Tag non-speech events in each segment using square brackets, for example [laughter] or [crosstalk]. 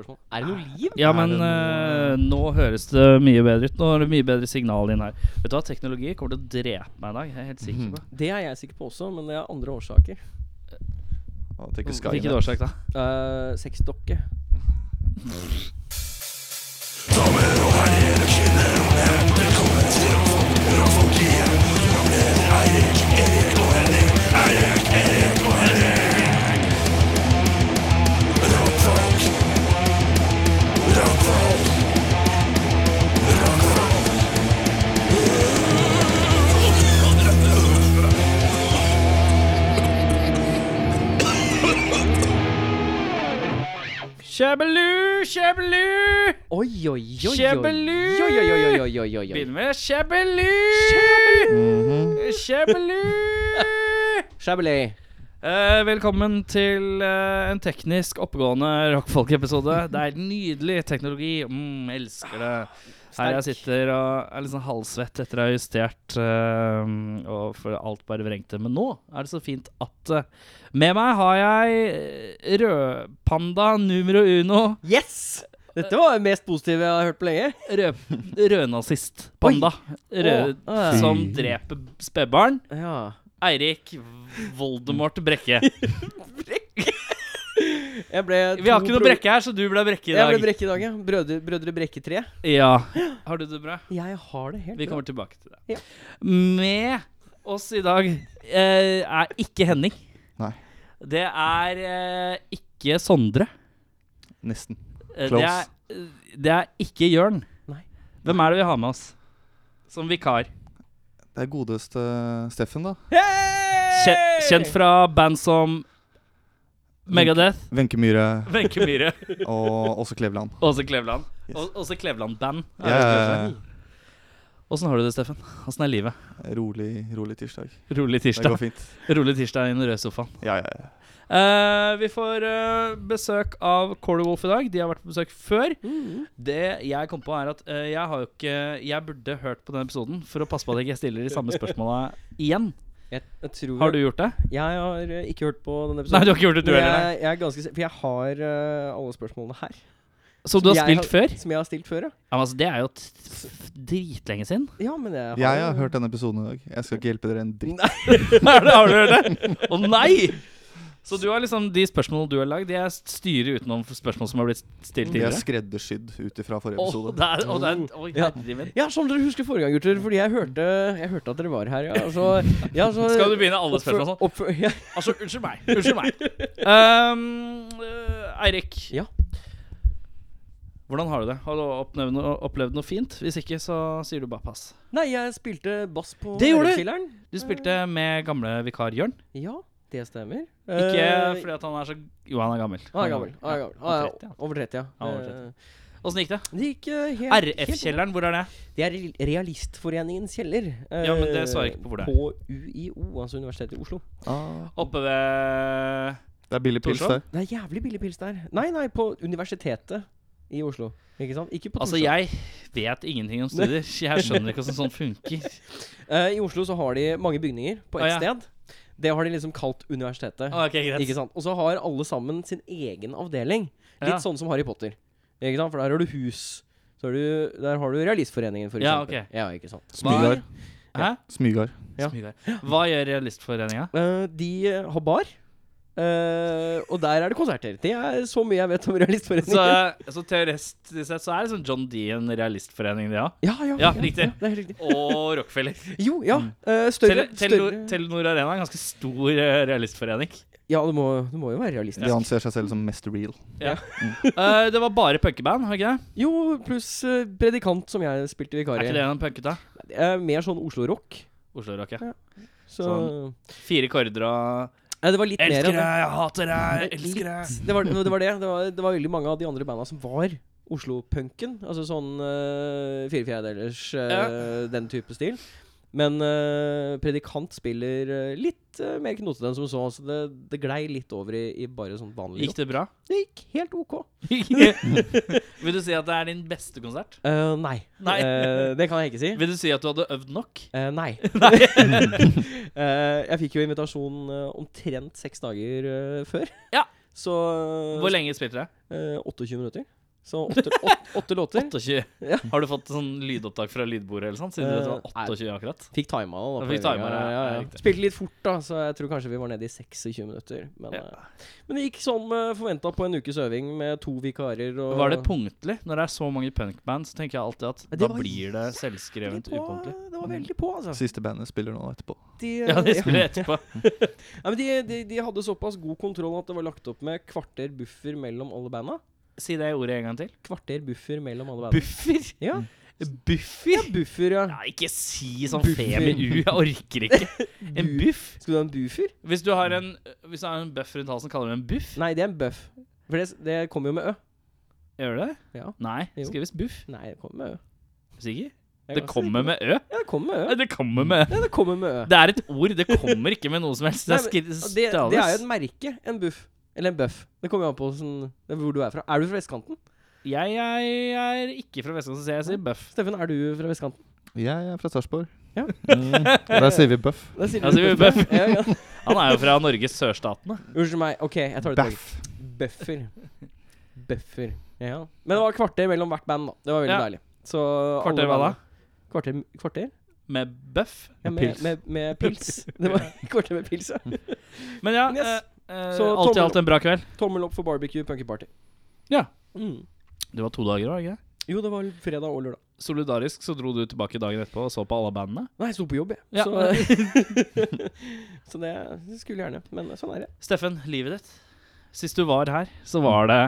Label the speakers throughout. Speaker 1: spørsmål. Ah, Er det noe liv?
Speaker 2: Ja,
Speaker 3: Er
Speaker 2: men
Speaker 3: det noe-
Speaker 2: eh, nå høres det mye bedre ut. Nå er det mye bedre signal inn her. Vet du hva, teknologi kommer til å drepe meg i dag. Jeg er helt
Speaker 3: Mhm.
Speaker 2: sikker på
Speaker 1: Det er jeg sikker på også, men det er andre årsaker.
Speaker 3: At det ikke skal inn
Speaker 2: Hvilken
Speaker 3: her.
Speaker 2: årsak, da?
Speaker 1: Uh, Sexdokke.
Speaker 2: Kjebelu, kjebelu!
Speaker 1: Oi, oi, oi, oi.
Speaker 2: Kjebelu!
Speaker 1: Oi, oi, oi, oi, oi, oi, oi.
Speaker 2: Begynner med kjebelu!
Speaker 3: Mhm.
Speaker 2: Kjebelu!
Speaker 1: Chablis.
Speaker 2: Eh, velkommen til eh, en teknisk oppegående rockfolk-episode. [laughs] Det er nydelig teknologi. Mm, elsker det. Her jeg sitter og er litt sånn halvsvett etter å ha justert, eh, og for alt bare vrengte. Men nå er det så fint at eh, Med meg har jeg eh, rødpanda numero uno.
Speaker 1: Yes! Dette var det mest positive jeg har hørt på lenge.
Speaker 2: [laughs] Rød- Rødnazistpanda. Rød,
Speaker 1: Å,
Speaker 3: ja.
Speaker 2: som
Speaker 3: Fy.
Speaker 2: dreper spedbarn.
Speaker 1: Ja.
Speaker 2: Eirik Voldemort Brekke.
Speaker 1: Jeg ble
Speaker 2: Vi har
Speaker 1: to
Speaker 2: ikke noe
Speaker 1: bro-
Speaker 2: Brekke her, så du ble Brekke i
Speaker 1: Jeg ble
Speaker 2: dag.
Speaker 1: Brekke i dag, ja. Brødre, brødre Brekke 3.
Speaker 2: Ja. Har du det bra?
Speaker 1: Jeg har det helt
Speaker 2: Vi
Speaker 1: bra.
Speaker 2: kommer tilbake til det.
Speaker 1: Ja.
Speaker 2: Med oss i dag eh, er ikke Henning.
Speaker 3: Nei.
Speaker 2: Det er eh, ikke Sondre.
Speaker 3: Nesten.
Speaker 2: Eh, Det
Speaker 3: Close.
Speaker 2: er, eh, det er ikke Jørn.
Speaker 1: Nei.
Speaker 2: Hvem er det vi har med oss som vikar?
Speaker 3: Det er godeste Steffen, da.
Speaker 2: Kje- Kjent fra band som Megadeth,
Speaker 3: Wenche Myhre
Speaker 2: Wenche Myhre,
Speaker 3: og også Kleveland.
Speaker 2: [laughs] Åse Kleveland.
Speaker 3: Yes.
Speaker 2: Å- Åse Kleveland-band.
Speaker 3: Jeg er
Speaker 2: Åssen har du det, Steffen? Åssen er livet?
Speaker 3: rolig, rolig tirsdag.
Speaker 2: Rolig
Speaker 3: Det går
Speaker 2: tirsdag.
Speaker 3: fint.
Speaker 2: Rolig tirsdag i den røde sofaen.
Speaker 3: Ja, ja, ja.
Speaker 2: Eh, vi får eh, besøk av Corley Wolf i dag. De har vært på besøk før.
Speaker 1: Mm.
Speaker 2: Det jeg kom på, er at eh, jeg har jo ikke Jeg burde hørt på den episoden for å passe på at jeg ikke stiller de samme spørsmåla igjen.
Speaker 1: Jeg, jeg tror
Speaker 2: Har du gjort det?
Speaker 1: Jeg har eh, ikke hørt på denne episoden.
Speaker 2: Nei, du har ikke gjort det, du
Speaker 1: Men
Speaker 2: heller. nei.
Speaker 1: Jeg, jeg er ganske, se- for jeg har eh, alle spørsmålene her.
Speaker 2: Som du har
Speaker 1: Jeg
Speaker 2: spilt før?
Speaker 1: Som jeg har stilt før, ja.
Speaker 2: Ja, men altså, det er jo t- f- dritlenge siden.
Speaker 1: Ja, men jeg har,
Speaker 3: Jeg har hørt denne episoden i dag. Jeg skal ikke hjelpe dere en dritt.
Speaker 2: [laughs] Er det- har du hørt det? Å [laughs] nei! Så du har liksom de spørsmålene du har lagd, de er styrer utenom spørsmål som har blitt stilt
Speaker 3: De er
Speaker 2: tidligere?
Speaker 3: skreddersydd ut ifra forrige
Speaker 2: Åh,
Speaker 3: episode.
Speaker 2: det er, å, det er, oi,
Speaker 1: Ja.
Speaker 2: herre min.
Speaker 1: Ja, som dere husker forrige gang, gutter. Fordi jeg hørte, jeg hørte at dere var her, ja. og så- ja så,
Speaker 2: Skal du begynne alle
Speaker 1: oppfør-
Speaker 2: spørsmål sånn?
Speaker 1: oppfør- ja.
Speaker 2: Altså, unnskyld meg. Unnskyld meg. Um, eh, Eirik.
Speaker 1: Ja.
Speaker 2: Hvordan har du det? Har du opplevd noe, opplevd noe fint? Hvis ikke, så sier du bare pass.
Speaker 1: Nei, jeg spilte bass på
Speaker 2: Det gjorde du!
Speaker 1: Øreskilleren.
Speaker 2: Du
Speaker 1: Eh.
Speaker 2: spilte med gamle vikar Jørn.
Speaker 1: Ja, det stemmer.
Speaker 2: Ikke
Speaker 1: Eh,
Speaker 2: fordi at han er så Jo, han er gammel.
Speaker 1: Han Ah, er gammel. Han er gammel. Han
Speaker 2: han er
Speaker 1: er
Speaker 2: 30, ja.
Speaker 1: over 30, ja.
Speaker 2: Han er over
Speaker 1: Eh,
Speaker 2: Åssen gikk det?
Speaker 1: Det gikk eh, helt helt-
Speaker 2: RF-kjelleren, hvor er det?
Speaker 1: Det er Re- Realistforeningens kjeller. eh,
Speaker 2: Ja, men det svarer jeg ikke på hvor det er.
Speaker 1: På UiO, altså Universitetet i Oslo.
Speaker 3: Ah,
Speaker 2: Oppe ved
Speaker 3: det er billig pils
Speaker 2: Torshov?
Speaker 3: der.
Speaker 1: Det er jævlig billig pils der. Nei, nei, på Universitetet i Oslo. Ikke sant? Ikke på
Speaker 2: Altså,
Speaker 1: Torshov.
Speaker 2: jeg vet ingenting om studier. Jeg skjønner ikke hvordan sånn
Speaker 1: [laughs]
Speaker 2: funker.
Speaker 1: Eh, I Oslo så har de mange bygninger på
Speaker 2: Å,
Speaker 1: ett
Speaker 2: ja.
Speaker 1: sted. Det har de liksom kalt universitetet.
Speaker 2: Ok, greit.
Speaker 1: Ikke sant? Og så har alle sammen sin egen avdeling. Litt
Speaker 2: Ja.
Speaker 1: sånn som Harry Potter. Ikke sant? For der har du hus. Så har du, der har du Realistforeningen, for
Speaker 2: Ja,
Speaker 1: eksempel.
Speaker 2: ok.
Speaker 1: Ja, ikke sant?
Speaker 3: Smygar.
Speaker 2: Hæ?
Speaker 3: Smygar.
Speaker 1: Ja.
Speaker 2: Smygar. Hva gjør Realistforeninga?
Speaker 1: Eh, de eh, har bar. Eh, og der er det konserter. Det er så mye jeg vet om Realistforeningen.
Speaker 2: Så, så teoretisk sett så er liksom John D en realistforening, det òg.
Speaker 1: ja, ja,
Speaker 2: Ja, riktig. Mm.
Speaker 1: det er helt riktig.
Speaker 2: [laughs] Og Rockefeller.
Speaker 1: Jo, ja. eh, større, større
Speaker 2: Tele- Telenor Telenor Arena er en ganske stor eh, [laughs] realistforening.
Speaker 1: Ja, det må, det må jo være realistisk.
Speaker 3: De anser seg selv som mest real.
Speaker 2: Eh, det var bare punkeband, var det ikke det?
Speaker 1: Jo, pluss eh, predikant, som jeg spilte vikar
Speaker 2: Er
Speaker 1: i.
Speaker 2: ikke det en punkete?
Speaker 1: Det er mer sånn Oslo-rock.
Speaker 2: Oslo Rock, ja.
Speaker 1: Så
Speaker 2: Sånn. Fire kårder og
Speaker 1: Nei, det var litt
Speaker 2: Elsker
Speaker 1: mer enn
Speaker 2: deg,
Speaker 1: det.
Speaker 2: jeg hater deg, jeg
Speaker 1: Litt.
Speaker 2: elsker deg.
Speaker 1: Det var det. Var det. Det, var, det var veldig mange av de andre banda som var Oslo-punken. Altså sånn uh, fire fjerdedelers eh, den type stil. Men eh, Predikant spiller eh, litt eh, mer knotete enn som så, så det, det glei litt over i, i bare sånn vanlig
Speaker 2: Gikk det
Speaker 1: [laughs]
Speaker 2: bra?
Speaker 1: rock. Det gikk helt OK.
Speaker 2: Vil du si at det er din beste konsert?
Speaker 1: Eh, nei.
Speaker 2: Nei.
Speaker 1: Eh, det kan jeg
Speaker 2: [laughs]
Speaker 1: ikke si.
Speaker 2: Vil du si at du hadde øvd nok?
Speaker 1: Eh,
Speaker 2: [laughs]
Speaker 1: nei. [laughs] Eh, jeg fikk jo invitasjon eh, omtrent seks dager eh, før.
Speaker 2: Ja.
Speaker 1: Så
Speaker 2: Hvor lenge spilte dere?
Speaker 1: Eh, 28 minutter. Så
Speaker 2: [laughs]
Speaker 1: åtte, åtte, åtte låter.
Speaker 2: 28.
Speaker 1: Ja.
Speaker 2: Har du fått sånn lydopptak fra lydbordet eller sånn? Siden du
Speaker 1: Eh,
Speaker 2: vet sånn 28 akkurat?
Speaker 1: Fikk tima det. da på
Speaker 2: Ja, fikk
Speaker 1: øvinga.
Speaker 2: tima det,
Speaker 1: ja, ja,
Speaker 2: ja,
Speaker 1: ja.
Speaker 2: riktig.
Speaker 1: Spilte litt fort, da, så jeg tror kanskje vi var nede i 26 minutter. Men,
Speaker 2: Ja.
Speaker 1: eh, men det gikk som uh, forventa på en ukes øving med to vikarer og
Speaker 2: Var det punktlig? Når det er så mange punkband, så tenker jeg alltid at
Speaker 1: Ja, det
Speaker 2: da
Speaker 1: var
Speaker 2: blir det
Speaker 1: Veldig
Speaker 2: selvskrevent
Speaker 1: på, [laughs]
Speaker 2: upunktlig.
Speaker 1: Det var veldig på, altså.
Speaker 3: Siste bandet spiller nå etterpå.
Speaker 1: De,
Speaker 2: Ja,
Speaker 1: eh,
Speaker 2: det spiller jeg etterpå.
Speaker 1: ja, men de, de, de hadde såpass god kontroll at det var lagt opp med kvarter buffer mellom alle banda.
Speaker 2: [laughs] Si det ordet en gang til.
Speaker 1: Kvarter buffer mellom alle banda.
Speaker 2: Buffer?
Speaker 1: Ja, ja,
Speaker 2: Buffer?
Speaker 1: buffer, ja.
Speaker 2: Nei, ikke si sånn
Speaker 1: Buffer.
Speaker 2: femi-u. Jeg orker ikke. [laughs] En buff?
Speaker 1: Skal du ha en buffer?
Speaker 2: Hvis du har en, hvis du har en buff rundt halsen, kaller du det en buff?
Speaker 1: Nei, det er en buff. For det, det kommer jo med ø.
Speaker 2: Gjør du det?
Speaker 1: Ja.
Speaker 2: Nei,
Speaker 1: Jo.
Speaker 2: skrives buff.
Speaker 1: Nei, det kommer med ø.
Speaker 2: Sikker?
Speaker 1: Jeg
Speaker 2: Det
Speaker 1: kan si-
Speaker 2: kommer med ø.
Speaker 1: Ja, det kommer med ø.
Speaker 2: Nei, det kommer med ø.
Speaker 1: Ja, det kommer med ø.
Speaker 2: Det er et ord. Det kommer ikke med noe som helst. Det er
Speaker 1: Nei,
Speaker 2: skri-
Speaker 1: Ja, Det, det er jo
Speaker 2: staves.
Speaker 1: et merke, en buff. Eller en bøff. Det kommer jo an på hvordan- det er hvor du er fra. Er du fra vestkanten?
Speaker 2: Jeg, jeg er ikke fra Vestlandet, så jeg sier buff.
Speaker 1: Steffen, er du fra vestkanten?
Speaker 3: Jeg er fra Sarpsborg.
Speaker 1: Ja.
Speaker 3: Mm. Der sier vi bøff.
Speaker 1: [laughs] Da sier
Speaker 2: Ja, sier vi
Speaker 1: bøff.
Speaker 2: bøff.
Speaker 1: ja, ja.
Speaker 2: Han er jo fra Norges sørstatene.
Speaker 1: Unnskyld meg. OK, jeg tar det tilbake.
Speaker 3: Bæff.
Speaker 1: Bøffer. Bøffer. Ja. Men det var kvarter mellom hvert band, da. Det var veldig
Speaker 2: Ja.
Speaker 1: deilig. Så
Speaker 2: Kvarter
Speaker 1: alle
Speaker 2: hva da?
Speaker 1: bandene- Kvarter, kvarter?
Speaker 2: Med buff.
Speaker 1: Ja, med,
Speaker 3: Pils.
Speaker 1: pils. Med, med
Speaker 2: [laughs]
Speaker 1: pils. Det var [laughs] kvarter med pils, ja.
Speaker 2: Men ja,
Speaker 1: Yes.
Speaker 2: eh, eh,
Speaker 1: Så
Speaker 2: alt i
Speaker 1: tommel
Speaker 2: alt en bra kveld.
Speaker 1: Tommel opp for barbecue punkyparty.
Speaker 2: Ja.
Speaker 1: Mm.
Speaker 2: Det var to dager, var det ikke? det?
Speaker 1: Jo, det var fredag og lørdag.
Speaker 2: Solidarisk så dro du tilbake dagen etterpå og så på alle bandene.
Speaker 1: Nei, jeg sto på jobb, jeg.
Speaker 2: Ja.
Speaker 1: Så, [laughs] så det skulle jeg gjerne. Men sånn er det.
Speaker 2: Steffen, livet ditt. Sist du var her, så var det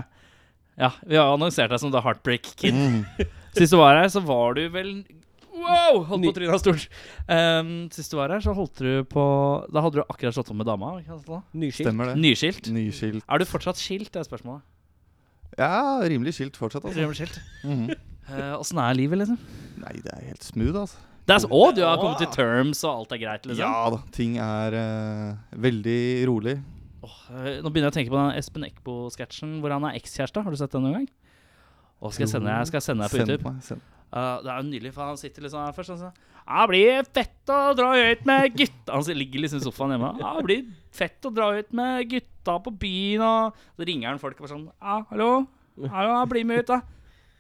Speaker 2: Ja, vi har annonsert deg som The Heartbreak Kid.
Speaker 3: Mm,
Speaker 2: Sist du var her, så var du vel Wow! Holdt på
Speaker 1: Ny-
Speaker 2: trynet stort. Um, sist du var her, så holdt du på Da hadde du akkurat slått opp med dama. ikke sant da?
Speaker 1: Nyskilt.
Speaker 3: Stemmer det.
Speaker 2: Nyskilt.
Speaker 3: Nyskilt.
Speaker 2: Er du fortsatt skilt? Det er spørsmålet.
Speaker 3: Ja, rimelig skilt fortsatt,
Speaker 2: [laughs]
Speaker 3: altså.
Speaker 2: Tror du er skilt?
Speaker 3: Mhm.
Speaker 2: Eh, Åssen er livet, liksom?
Speaker 3: Nei, det er helt smooth, altså.
Speaker 2: Det er så, å, du har kommet til terms, og alt er greit, liksom?
Speaker 3: Ja da. Ting er eh, veldig rolig.
Speaker 2: Åh, eh, nå begynner jeg å tenke på den Espen Eckbo-sketsjen hvor han er ekskjæreste. Har du sett den noen gang? Å, skal jeg sende deg skal jeg sende deg på
Speaker 3: Send
Speaker 2: YouTube?
Speaker 3: meg, send.
Speaker 2: Eh, det er jo nydelig, for han sitter liksom her først og sier Det blir fett å dra ut med gutta Han ligger liksom i sofaen hjemme. Ja, Det blir fett å dra ut med gutta på byen og Så ringer han folk og bare sånn Ja, hallo? Hallo, ja, bli med ut, da.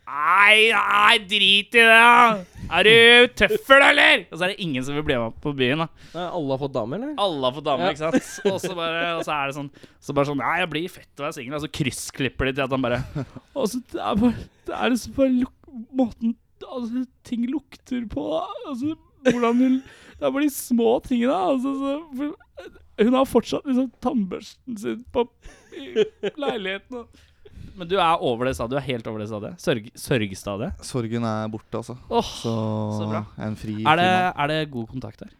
Speaker 2: Nei, nei, drit i det. da. Er du tøffel, eller? Og så er det ingen som vil bli med på byen, da.
Speaker 1: Nei, alle har fått dame, eller?
Speaker 2: Alle har fått dame,
Speaker 1: Ja.
Speaker 2: ikke sant? Og så bare, og så er det sånn Så bare sånn Nei, jeg blir fett å være singel. Og så kryssklipper de til at han bare [laughs] Og så Altså, det er bare Det er liksom bare luk, måten altså, ting lukter på da. Altså hvordan hun Det er bare de små tingene. Altså, så, for, hun har fortsatt liksom tannbørsten sin på i leiligheten. Og. Men du er over det stadiet. Du er helt over det stadiet. Sørg, sørgstadiet.
Speaker 3: Sorgen er borte, altså.
Speaker 2: Åh,
Speaker 3: Så,
Speaker 2: Så bra.
Speaker 3: jeg er en fri
Speaker 2: er, det,
Speaker 3: kvinne.
Speaker 2: er det god kontakt der?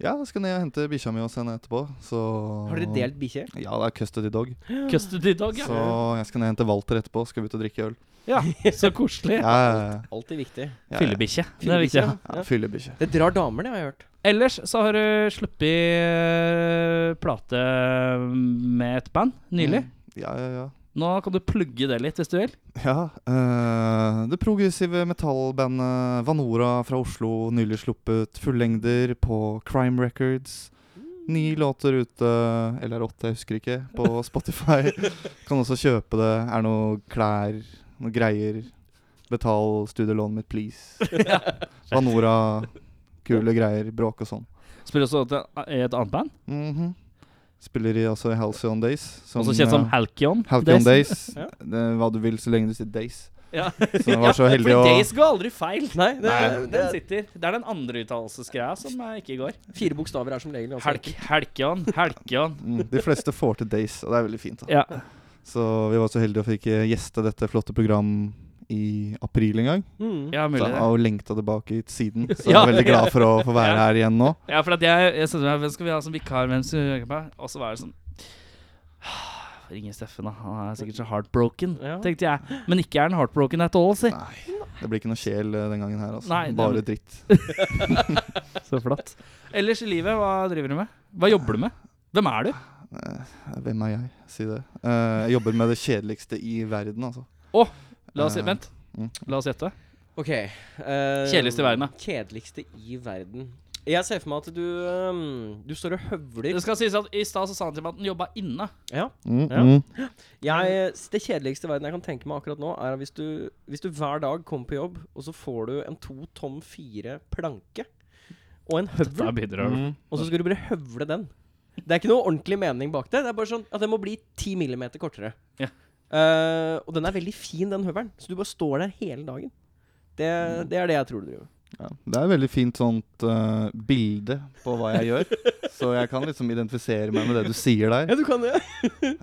Speaker 3: Ja, da skal jeg ned og hente bikkja mi hos henne etterpå. Så
Speaker 1: Har dere delt bikkje?
Speaker 3: Ja, det er custody dog.
Speaker 2: Custody dog, ja.
Speaker 3: Så jeg skal ned og hente Walter etterpå. Skal vi ut og drikke øl.
Speaker 2: ja. Så koselig.
Speaker 3: Ja, ja,
Speaker 1: Alltid viktig.
Speaker 3: ja.
Speaker 2: Fyllebikkje. Det er
Speaker 1: Fyllebikkje,
Speaker 2: viktig.
Speaker 1: ja.
Speaker 3: Ja, Fyllebikkje.
Speaker 1: Det drar damer, det har jeg hørt.
Speaker 2: Ellers så har du sluppet eh, plate med et band nylig.
Speaker 3: Ja, ja, ja.
Speaker 2: Nå kan du plugge det litt hvis du vil.
Speaker 3: Ja, eh, Det progressive metallbandet Vanora fra Oslo nylig sluppet fullengder på Crime Records.
Speaker 2: Mm.
Speaker 3: Ni låter ute, eller åtte, jeg husker ikke,
Speaker 2: [laughs]
Speaker 3: på Spotify. kan også kjøpe det. Er noe klær, noe greier. Betal studielånet mitt,
Speaker 2: [laughs]
Speaker 3: please. Vanora, kule greier, bråk og sånn.
Speaker 2: Spiller også til- i et annet band,
Speaker 3: Mhm. Spiller i også i Halcyon Days. som,
Speaker 2: også kjent som
Speaker 3: eh,
Speaker 2: Halkion.
Speaker 3: Halcyon
Speaker 2: [laughs]
Speaker 3: Days.
Speaker 1: Ja.
Speaker 3: Det er Hva du vil, så lenge du sier Days.
Speaker 2: Ja.
Speaker 3: [laughs] Så jeg var
Speaker 2: [laughs]
Speaker 3: så
Speaker 2: Ja,
Speaker 3: heldig
Speaker 2: for
Speaker 3: å
Speaker 2: Days går aldri feil.
Speaker 1: Nei, det,
Speaker 3: Nei.
Speaker 1: det,
Speaker 2: Den sitter. Det er den andre uttalelsesgreia som eh, ikke går.
Speaker 1: fire bokstaver er som regel ganske
Speaker 2: Halk, Halkion, [laughs] Halkion.
Speaker 3: Mm, De fleste får til Days, og det er veldig fint. da
Speaker 2: Ja.
Speaker 3: Så vi var så heldige å fikk eh, gjeste dette flotte program i april en gang.
Speaker 1: Mm.
Speaker 2: ja,
Speaker 3: Så
Speaker 2: mulig
Speaker 3: jeg
Speaker 2: det.
Speaker 3: har jo lengta tilbake hit
Speaker 2: [laughs]
Speaker 3: siden, så jeg
Speaker 2: Ja.
Speaker 3: er veldig glad for å få være
Speaker 2: Ja.
Speaker 3: her igjen nå.
Speaker 2: Ja, for at jeg, jeg sendte meg Hvem skal vi ha som vikar? Hvem skal vi ha på? Og så var det sånn [sighs] Ringe Steffen, da. Han er sikkert så heartbroken,
Speaker 1: Ja.
Speaker 2: tenkte jeg. Men ikke er han heartbroken at all, si.
Speaker 3: Nei, det blir ikke noe sjel eh, den gangen her, altså.
Speaker 2: Nei, det-
Speaker 3: Bare dritt.
Speaker 2: [laughs] Så flott. Ellers i livet, hva driver du med? Hva jobber du med? Hvem er du?
Speaker 3: Eh, Hvem er jeg? Si det. Eh, Jeg jobber med det kjedeligste i verden, altså.
Speaker 2: La oss,
Speaker 3: Eh,
Speaker 2: vent,
Speaker 3: mm.
Speaker 2: la oss gjette.
Speaker 1: Ok. eh,
Speaker 2: Kjedeligste i verden, da.
Speaker 1: Kjedeligste i verden. Jeg ser for meg at du øhm, Du står og høvler.
Speaker 2: Det skal sies at I stad så sa han til meg at han jobba inne.
Speaker 1: Ja.
Speaker 3: Mm,
Speaker 1: Ja.
Speaker 3: mm.
Speaker 1: Jeg, det kjedeligste i verden jeg kan tenke meg akkurat nå, er at hvis du, hvis du hver dag kommer på jobb, og så får du en to tom fire planke og en høvel,
Speaker 2: Der begynner
Speaker 3: Mm.
Speaker 2: det å
Speaker 1: og så skal du bare høvle den. Det er ikke noe ordentlig mening bak det. Det er bare sånn at den må bli ti millimeter kortere.
Speaker 2: Ja.
Speaker 1: Eh, og den er veldig fin, den høvelen. Så du bare står der hele dagen. Det, det er det jeg tror du driver med.
Speaker 3: Ja, det er et veldig fint sånt eh, bilde på hva jeg gjør. Så jeg kan liksom identifisere meg med det du sier der.
Speaker 1: Ja, du kan det.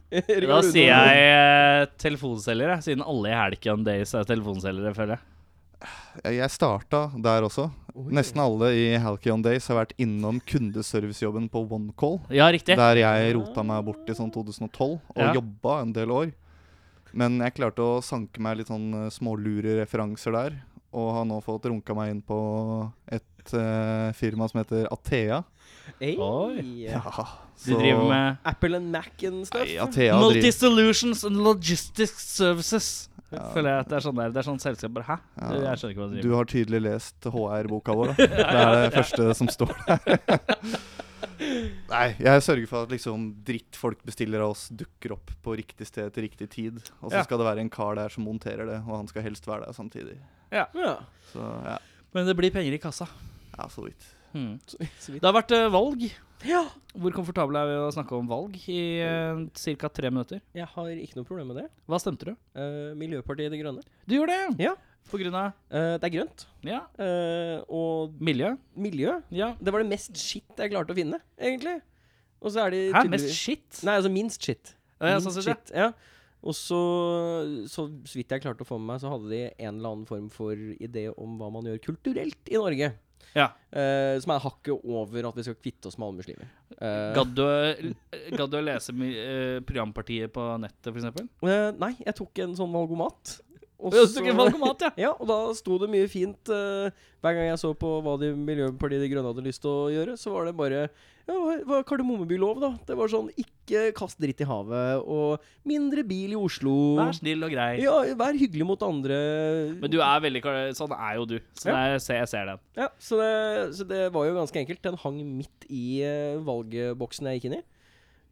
Speaker 1: [laughs]
Speaker 2: Da sier jeg eh, telefonselgere, siden alle i Halcyon Days er telefonselgere, føler jeg.
Speaker 3: Jeg- Eh, Jeg starta der også. Nesten alle i Halcyon Days har vært innom kundeservicejobben på OneCall.
Speaker 2: Ja, riktig.
Speaker 3: Der jeg rota meg bort i sånn 2012 og
Speaker 2: Ja.
Speaker 3: jobba en del år. Men jeg klarte å sanke meg litt sånn eh, smålure referanser der. Og har nå fått runka meg inn på et eh, firma som heter Athea.
Speaker 1: Hey.
Speaker 2: Oi. De
Speaker 3: så-
Speaker 2: driver med
Speaker 1: Apple and Mac and stuff.
Speaker 3: Nei, Athea driver-
Speaker 2: Multi-Solutions and Logistics Services.
Speaker 3: Ja.
Speaker 2: Føler jeg at det er sånn der Det er sånn selskap bare Hæ? Du,
Speaker 3: Ja.
Speaker 2: jeg skjønner ikke hva du driver
Speaker 3: Du har tydelig lest HR-boka vår,
Speaker 2: [laughs]
Speaker 3: da. Det er det første som står der. [laughs] Nei, jeg sørger for at liksom drittfolk bestiller av oss, dukker opp på riktig sted til riktig tid. Og så
Speaker 2: Ja.
Speaker 3: skal det være en kar der som monterer det, og han skal helst være der samtidig.
Speaker 1: Ja.
Speaker 3: Så ja,
Speaker 2: med. Men det blir penger i kassa.
Speaker 3: ja så vidt.
Speaker 2: Hmm.
Speaker 1: Så, så vidt.
Speaker 2: Det har vært eh, valg.
Speaker 1: Ja.
Speaker 2: Hvor komfortable er vi å snakke om valg i uh, ca. tre minutter?
Speaker 1: Jeg har ikke noe problem med det.
Speaker 2: Hva stemte du?
Speaker 1: Eh, Miljøpartiet De Grønne.
Speaker 2: Du gjorde det!
Speaker 1: Ja.
Speaker 2: På grunn av
Speaker 1: Eh, det er grønt.
Speaker 2: Ja.
Speaker 1: eh, og
Speaker 2: Miljø.
Speaker 1: miljø.
Speaker 2: Ja.
Speaker 1: Det var det mest shit jeg klarte å finne, egentlig. Og så er de
Speaker 2: Hæ? Mest shit?
Speaker 1: Nei, altså minst shit.
Speaker 2: Ja,
Speaker 1: Minst
Speaker 2: sånn synes jeg.
Speaker 1: shit, ja. Og så, så vidt jeg klarte å få med meg, så hadde de en eller annen form for idé om hva man gjør kulturelt i Norge.
Speaker 2: Ja.
Speaker 1: Eh, som er hakket over at vi skal kvitte oss med alle muslimer. Eh,
Speaker 2: Gadd du, gadd du å lese my- eh, programpartiet på nettet, f.eks.?
Speaker 1: eh, nei, jeg tok en sånn valgomat. Og
Speaker 2: Valgomat, ja.
Speaker 1: Ja, og da sto det mye fint. eh, hver gang jeg så på hva de Miljøpartiet De Grønne hadde lyst til å gjøre, så var det bare ja, hva- hva er kardemommebylov, da? Det var sånn ikke kast dritt i havet, og mindre bil i Oslo.
Speaker 2: Vær snill og grei.
Speaker 1: ja, vær hyggelig mot andre.
Speaker 2: Men du er veldig kar- Sånn er jo du. Sånn er, se, jeg ser den.
Speaker 1: ja, så, det, så det var jo ganske enkelt. Den hang midt i eh, valgboksen jeg gikk inn i.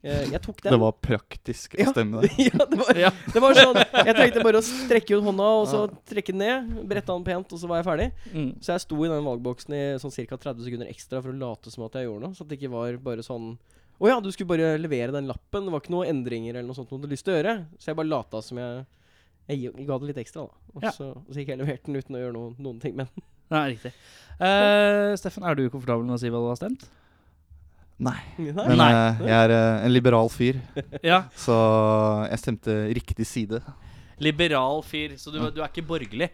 Speaker 1: Eh, jeg tok den.
Speaker 3: Det var praktisk
Speaker 1: Ja.
Speaker 3: å [laughs] stemme der.
Speaker 1: [laughs] ja, det var,
Speaker 2: Ja.
Speaker 1: det var sånn Jeg trengte bare å strekke ut hånda, og så trekke den ned. Brette den pent, og så var jeg ferdig.
Speaker 2: Mm.
Speaker 1: Så jeg sto i den valgboksen i sånn ca. 30 sekunder ekstra for å late som at jeg gjorde noe. Så at det ikke var bare sånn Å ja, du skulle bare levere den lappen. Det var ikke noen endringer eller noe sånt du hadde lyst til å gjøre. Så jeg bare lata som jeg Jeg gi- ga det litt ekstra, da. Og
Speaker 2: Ja.
Speaker 1: så, og så gikk jeg og leverte den uten å gjøre noe, noen ting
Speaker 2: [laughs]
Speaker 1: med den.
Speaker 2: Nei, riktig. Eh, Steffen, er du komfortabel med å si hva du har stemt?
Speaker 3: Nei.
Speaker 1: Nei.
Speaker 3: Men
Speaker 2: Nei.
Speaker 3: eh, jeg er eh, en liberal fyr,
Speaker 2: Ja.
Speaker 3: så jeg stemte riktig side.
Speaker 2: Liberal fyr. Så du, du er ikke borgerlig?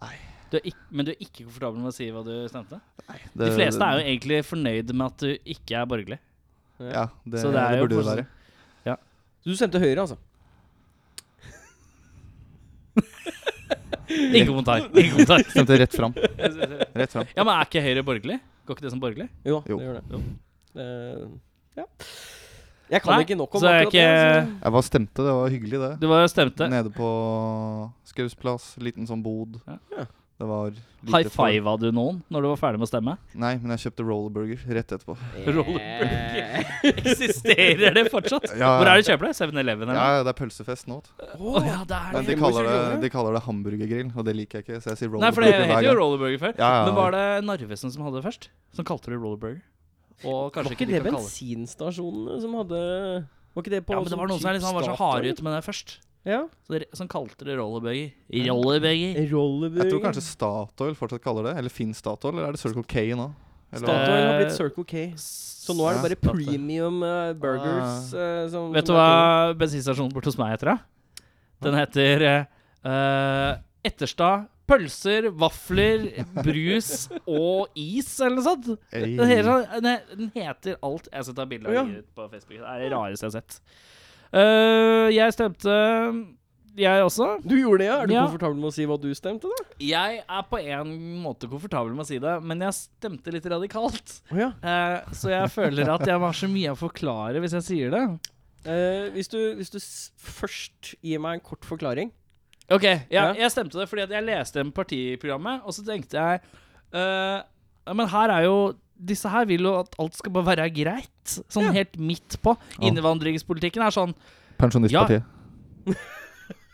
Speaker 3: Nei.
Speaker 2: Du er ikk- men du er ikke komfortabel med å si hva du stemte?
Speaker 3: Nei,
Speaker 2: De fleste er jo egentlig fornøyd med at du ikke er borgerlig.
Speaker 3: Ja, det,
Speaker 2: Så det
Speaker 3: det,
Speaker 2: er jo
Speaker 3: burde du
Speaker 2: posi-
Speaker 3: være.
Speaker 1: Så du stemte Høyre, altså?
Speaker 2: Ingen kommentar. Ingen kommentar. [laughs]
Speaker 3: Stemte rett fram. Rett fram.
Speaker 2: Ja, men er ikke Høyre borgerlig? Går ikke det som borgerlig?
Speaker 1: Jo da,
Speaker 3: Jo.
Speaker 1: det gjør det. Eh, ja. Jeg kan
Speaker 2: Nei,
Speaker 1: ikke nok om
Speaker 2: så jeg er
Speaker 1: akkurat det.
Speaker 2: ikke-
Speaker 1: så-
Speaker 3: Jeg var stemte, det var hyggelig, det.
Speaker 2: Du var jo stemte.
Speaker 3: Nede på Skaus plass. Liten sånn bod.
Speaker 2: Ja.
Speaker 1: Ja.
Speaker 3: Det var lite
Speaker 2: High fiva du noen når du var ferdig med å stemme?
Speaker 3: folk. Nei, men jeg kjøpte rollerburger
Speaker 2: [laughs]
Speaker 3: rett etterpå.
Speaker 1: altså.
Speaker 2: Rollerblade. [laughs]
Speaker 1: Eh,
Speaker 2: Eksisterer det fortsatt? Hvor er det du kjøper det? 7-Eleven?
Speaker 3: Ja,
Speaker 2: eller?
Speaker 3: ja, det er pølsefest nå. vet du.
Speaker 2: Å ja, det er
Speaker 3: Men
Speaker 2: det.
Speaker 3: de
Speaker 1: Hvorfor sier
Speaker 3: kaller,
Speaker 1: du
Speaker 3: det,
Speaker 1: det?
Speaker 3: de kaller det hamburgergrill, og det liker jeg ikke, så jeg sier
Speaker 2: Nei, for det
Speaker 3: rollerburger
Speaker 2: het
Speaker 3: hver
Speaker 2: jo
Speaker 3: gang.
Speaker 2: rollerburger før.
Speaker 3: Ja, ja.
Speaker 2: Men var det Narvesen som hadde det først? Som kalte det rollerburger? Og kanskje
Speaker 1: Var
Speaker 2: ikke
Speaker 1: ikke
Speaker 2: de
Speaker 1: det
Speaker 2: kan kalle det
Speaker 1: bensinstasjonene som hadde Var ikke det på
Speaker 2: Ja, men det
Speaker 1: sånn
Speaker 2: var noen som
Speaker 1: typ
Speaker 2: liksom var så
Speaker 1: Statoil?
Speaker 2: harde ute med det først.
Speaker 1: Ja.
Speaker 2: Så de, som kalte det rollerburger. Rollerburger.
Speaker 1: Rollerburger.
Speaker 3: Jeg tror kanskje Statoil fortsatt kaller det. Eller Finn Statoil, eller er det Circle K nå? Eller hva?
Speaker 1: Statoil har
Speaker 2: Eh,
Speaker 1: blitt Circle K. Så nå er det bare
Speaker 2: Statoil.
Speaker 1: premium eh, burgers.
Speaker 3: Ah.
Speaker 1: eh, som,
Speaker 2: Vet du
Speaker 1: som
Speaker 2: hva
Speaker 1: er
Speaker 2: bensinstasjonen borte hos meg heter, da? Den heter eh, eh, Etterstad pølser, vafler, brus og is, eller noe sånt.
Speaker 3: Ei.
Speaker 2: Den heter, sånn- den he- den heter alt Jeg skal ta bilde av
Speaker 1: Ja.
Speaker 2: det ut på Facebook. Det er det rareste jeg har sett. Eh, jeg stemte jeg også.
Speaker 1: god. Du gjorde det, ja? Er du
Speaker 2: Ja.
Speaker 1: komfortabel med å si hva du stemte, da?
Speaker 2: Jeg er på en måte komfortabel med å si det, men jeg stemte litt radikalt.
Speaker 1: Å ja.
Speaker 2: Eh, så jeg føler at jeg har så mye å forklare hvis jeg sier det.
Speaker 1: Eh, hvis du, hvis du s først gir meg en kort forklaring
Speaker 2: Ok, jeg,
Speaker 1: Ja.
Speaker 2: jeg stemte det fordi at jeg leste en partiprogrammet, og så tenkte jeg eh, ja, Men her er jo disse her vil jo at alt skal bare være greit. Sånn
Speaker 1: Ja.
Speaker 2: helt midt på.
Speaker 3: Ja.
Speaker 2: Innvandringspolitikken er sånn
Speaker 3: Pensjonistpartiet.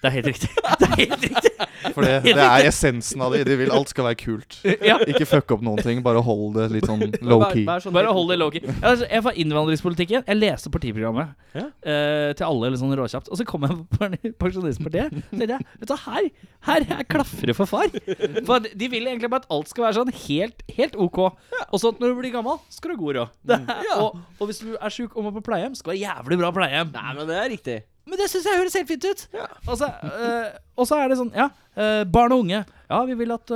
Speaker 2: Det er helt riktig. [laughs] Det er helt riktig.
Speaker 3: For det, det er essensen av det. De vil alt skal være kult.
Speaker 2: Ja.
Speaker 3: Ikke fucke opp noen ting, bare hold det
Speaker 2: [laughs]
Speaker 3: litt sånn low-key.
Speaker 1: Vær- vær sånn
Speaker 2: Bare
Speaker 1: helt-
Speaker 2: hold det lowkey. [laughs] Ja, altså, Jeg var innvandringspolitikken. Jeg leste partiprogrammet
Speaker 1: Ja.
Speaker 2: eh, til alle litt sånn råkjapt. Og så kom jeg på [laughs] Pen- Pensjonistpartiet. Så tenkte jeg vet du, her, her er klaffere for far. For at de vil egentlig bare at alt skal være sånn helt, helt ok. Og så at når du blir gammel, skal du ha god råd. Det er- Og, og hvis du er sjuk og må på pleiehjem, skal du ha jævlig bra pleiehjem.
Speaker 1: Nei, men det er riktig.
Speaker 2: Men det syns jeg høres helt fint ut. Og, så, eh, og så er det sånn, ja. eh, barn og unge. Ja, vi vil at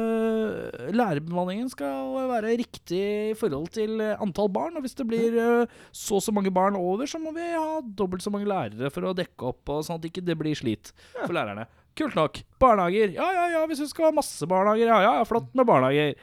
Speaker 2: eh, lærerbemanningen skal være riktig i forhold til eh, antall barn. Og hvis det blir eh, så og så mange barn over, så må vi ha dobbelt så mange lærere for å dekke opp, og sånn at ikke det blir slit for lærerne. Kult nok. Barnehager. Ja, ja, ja, hvis vi skal ha masse barnehager. Ja, ja, ja, flott med barnehager.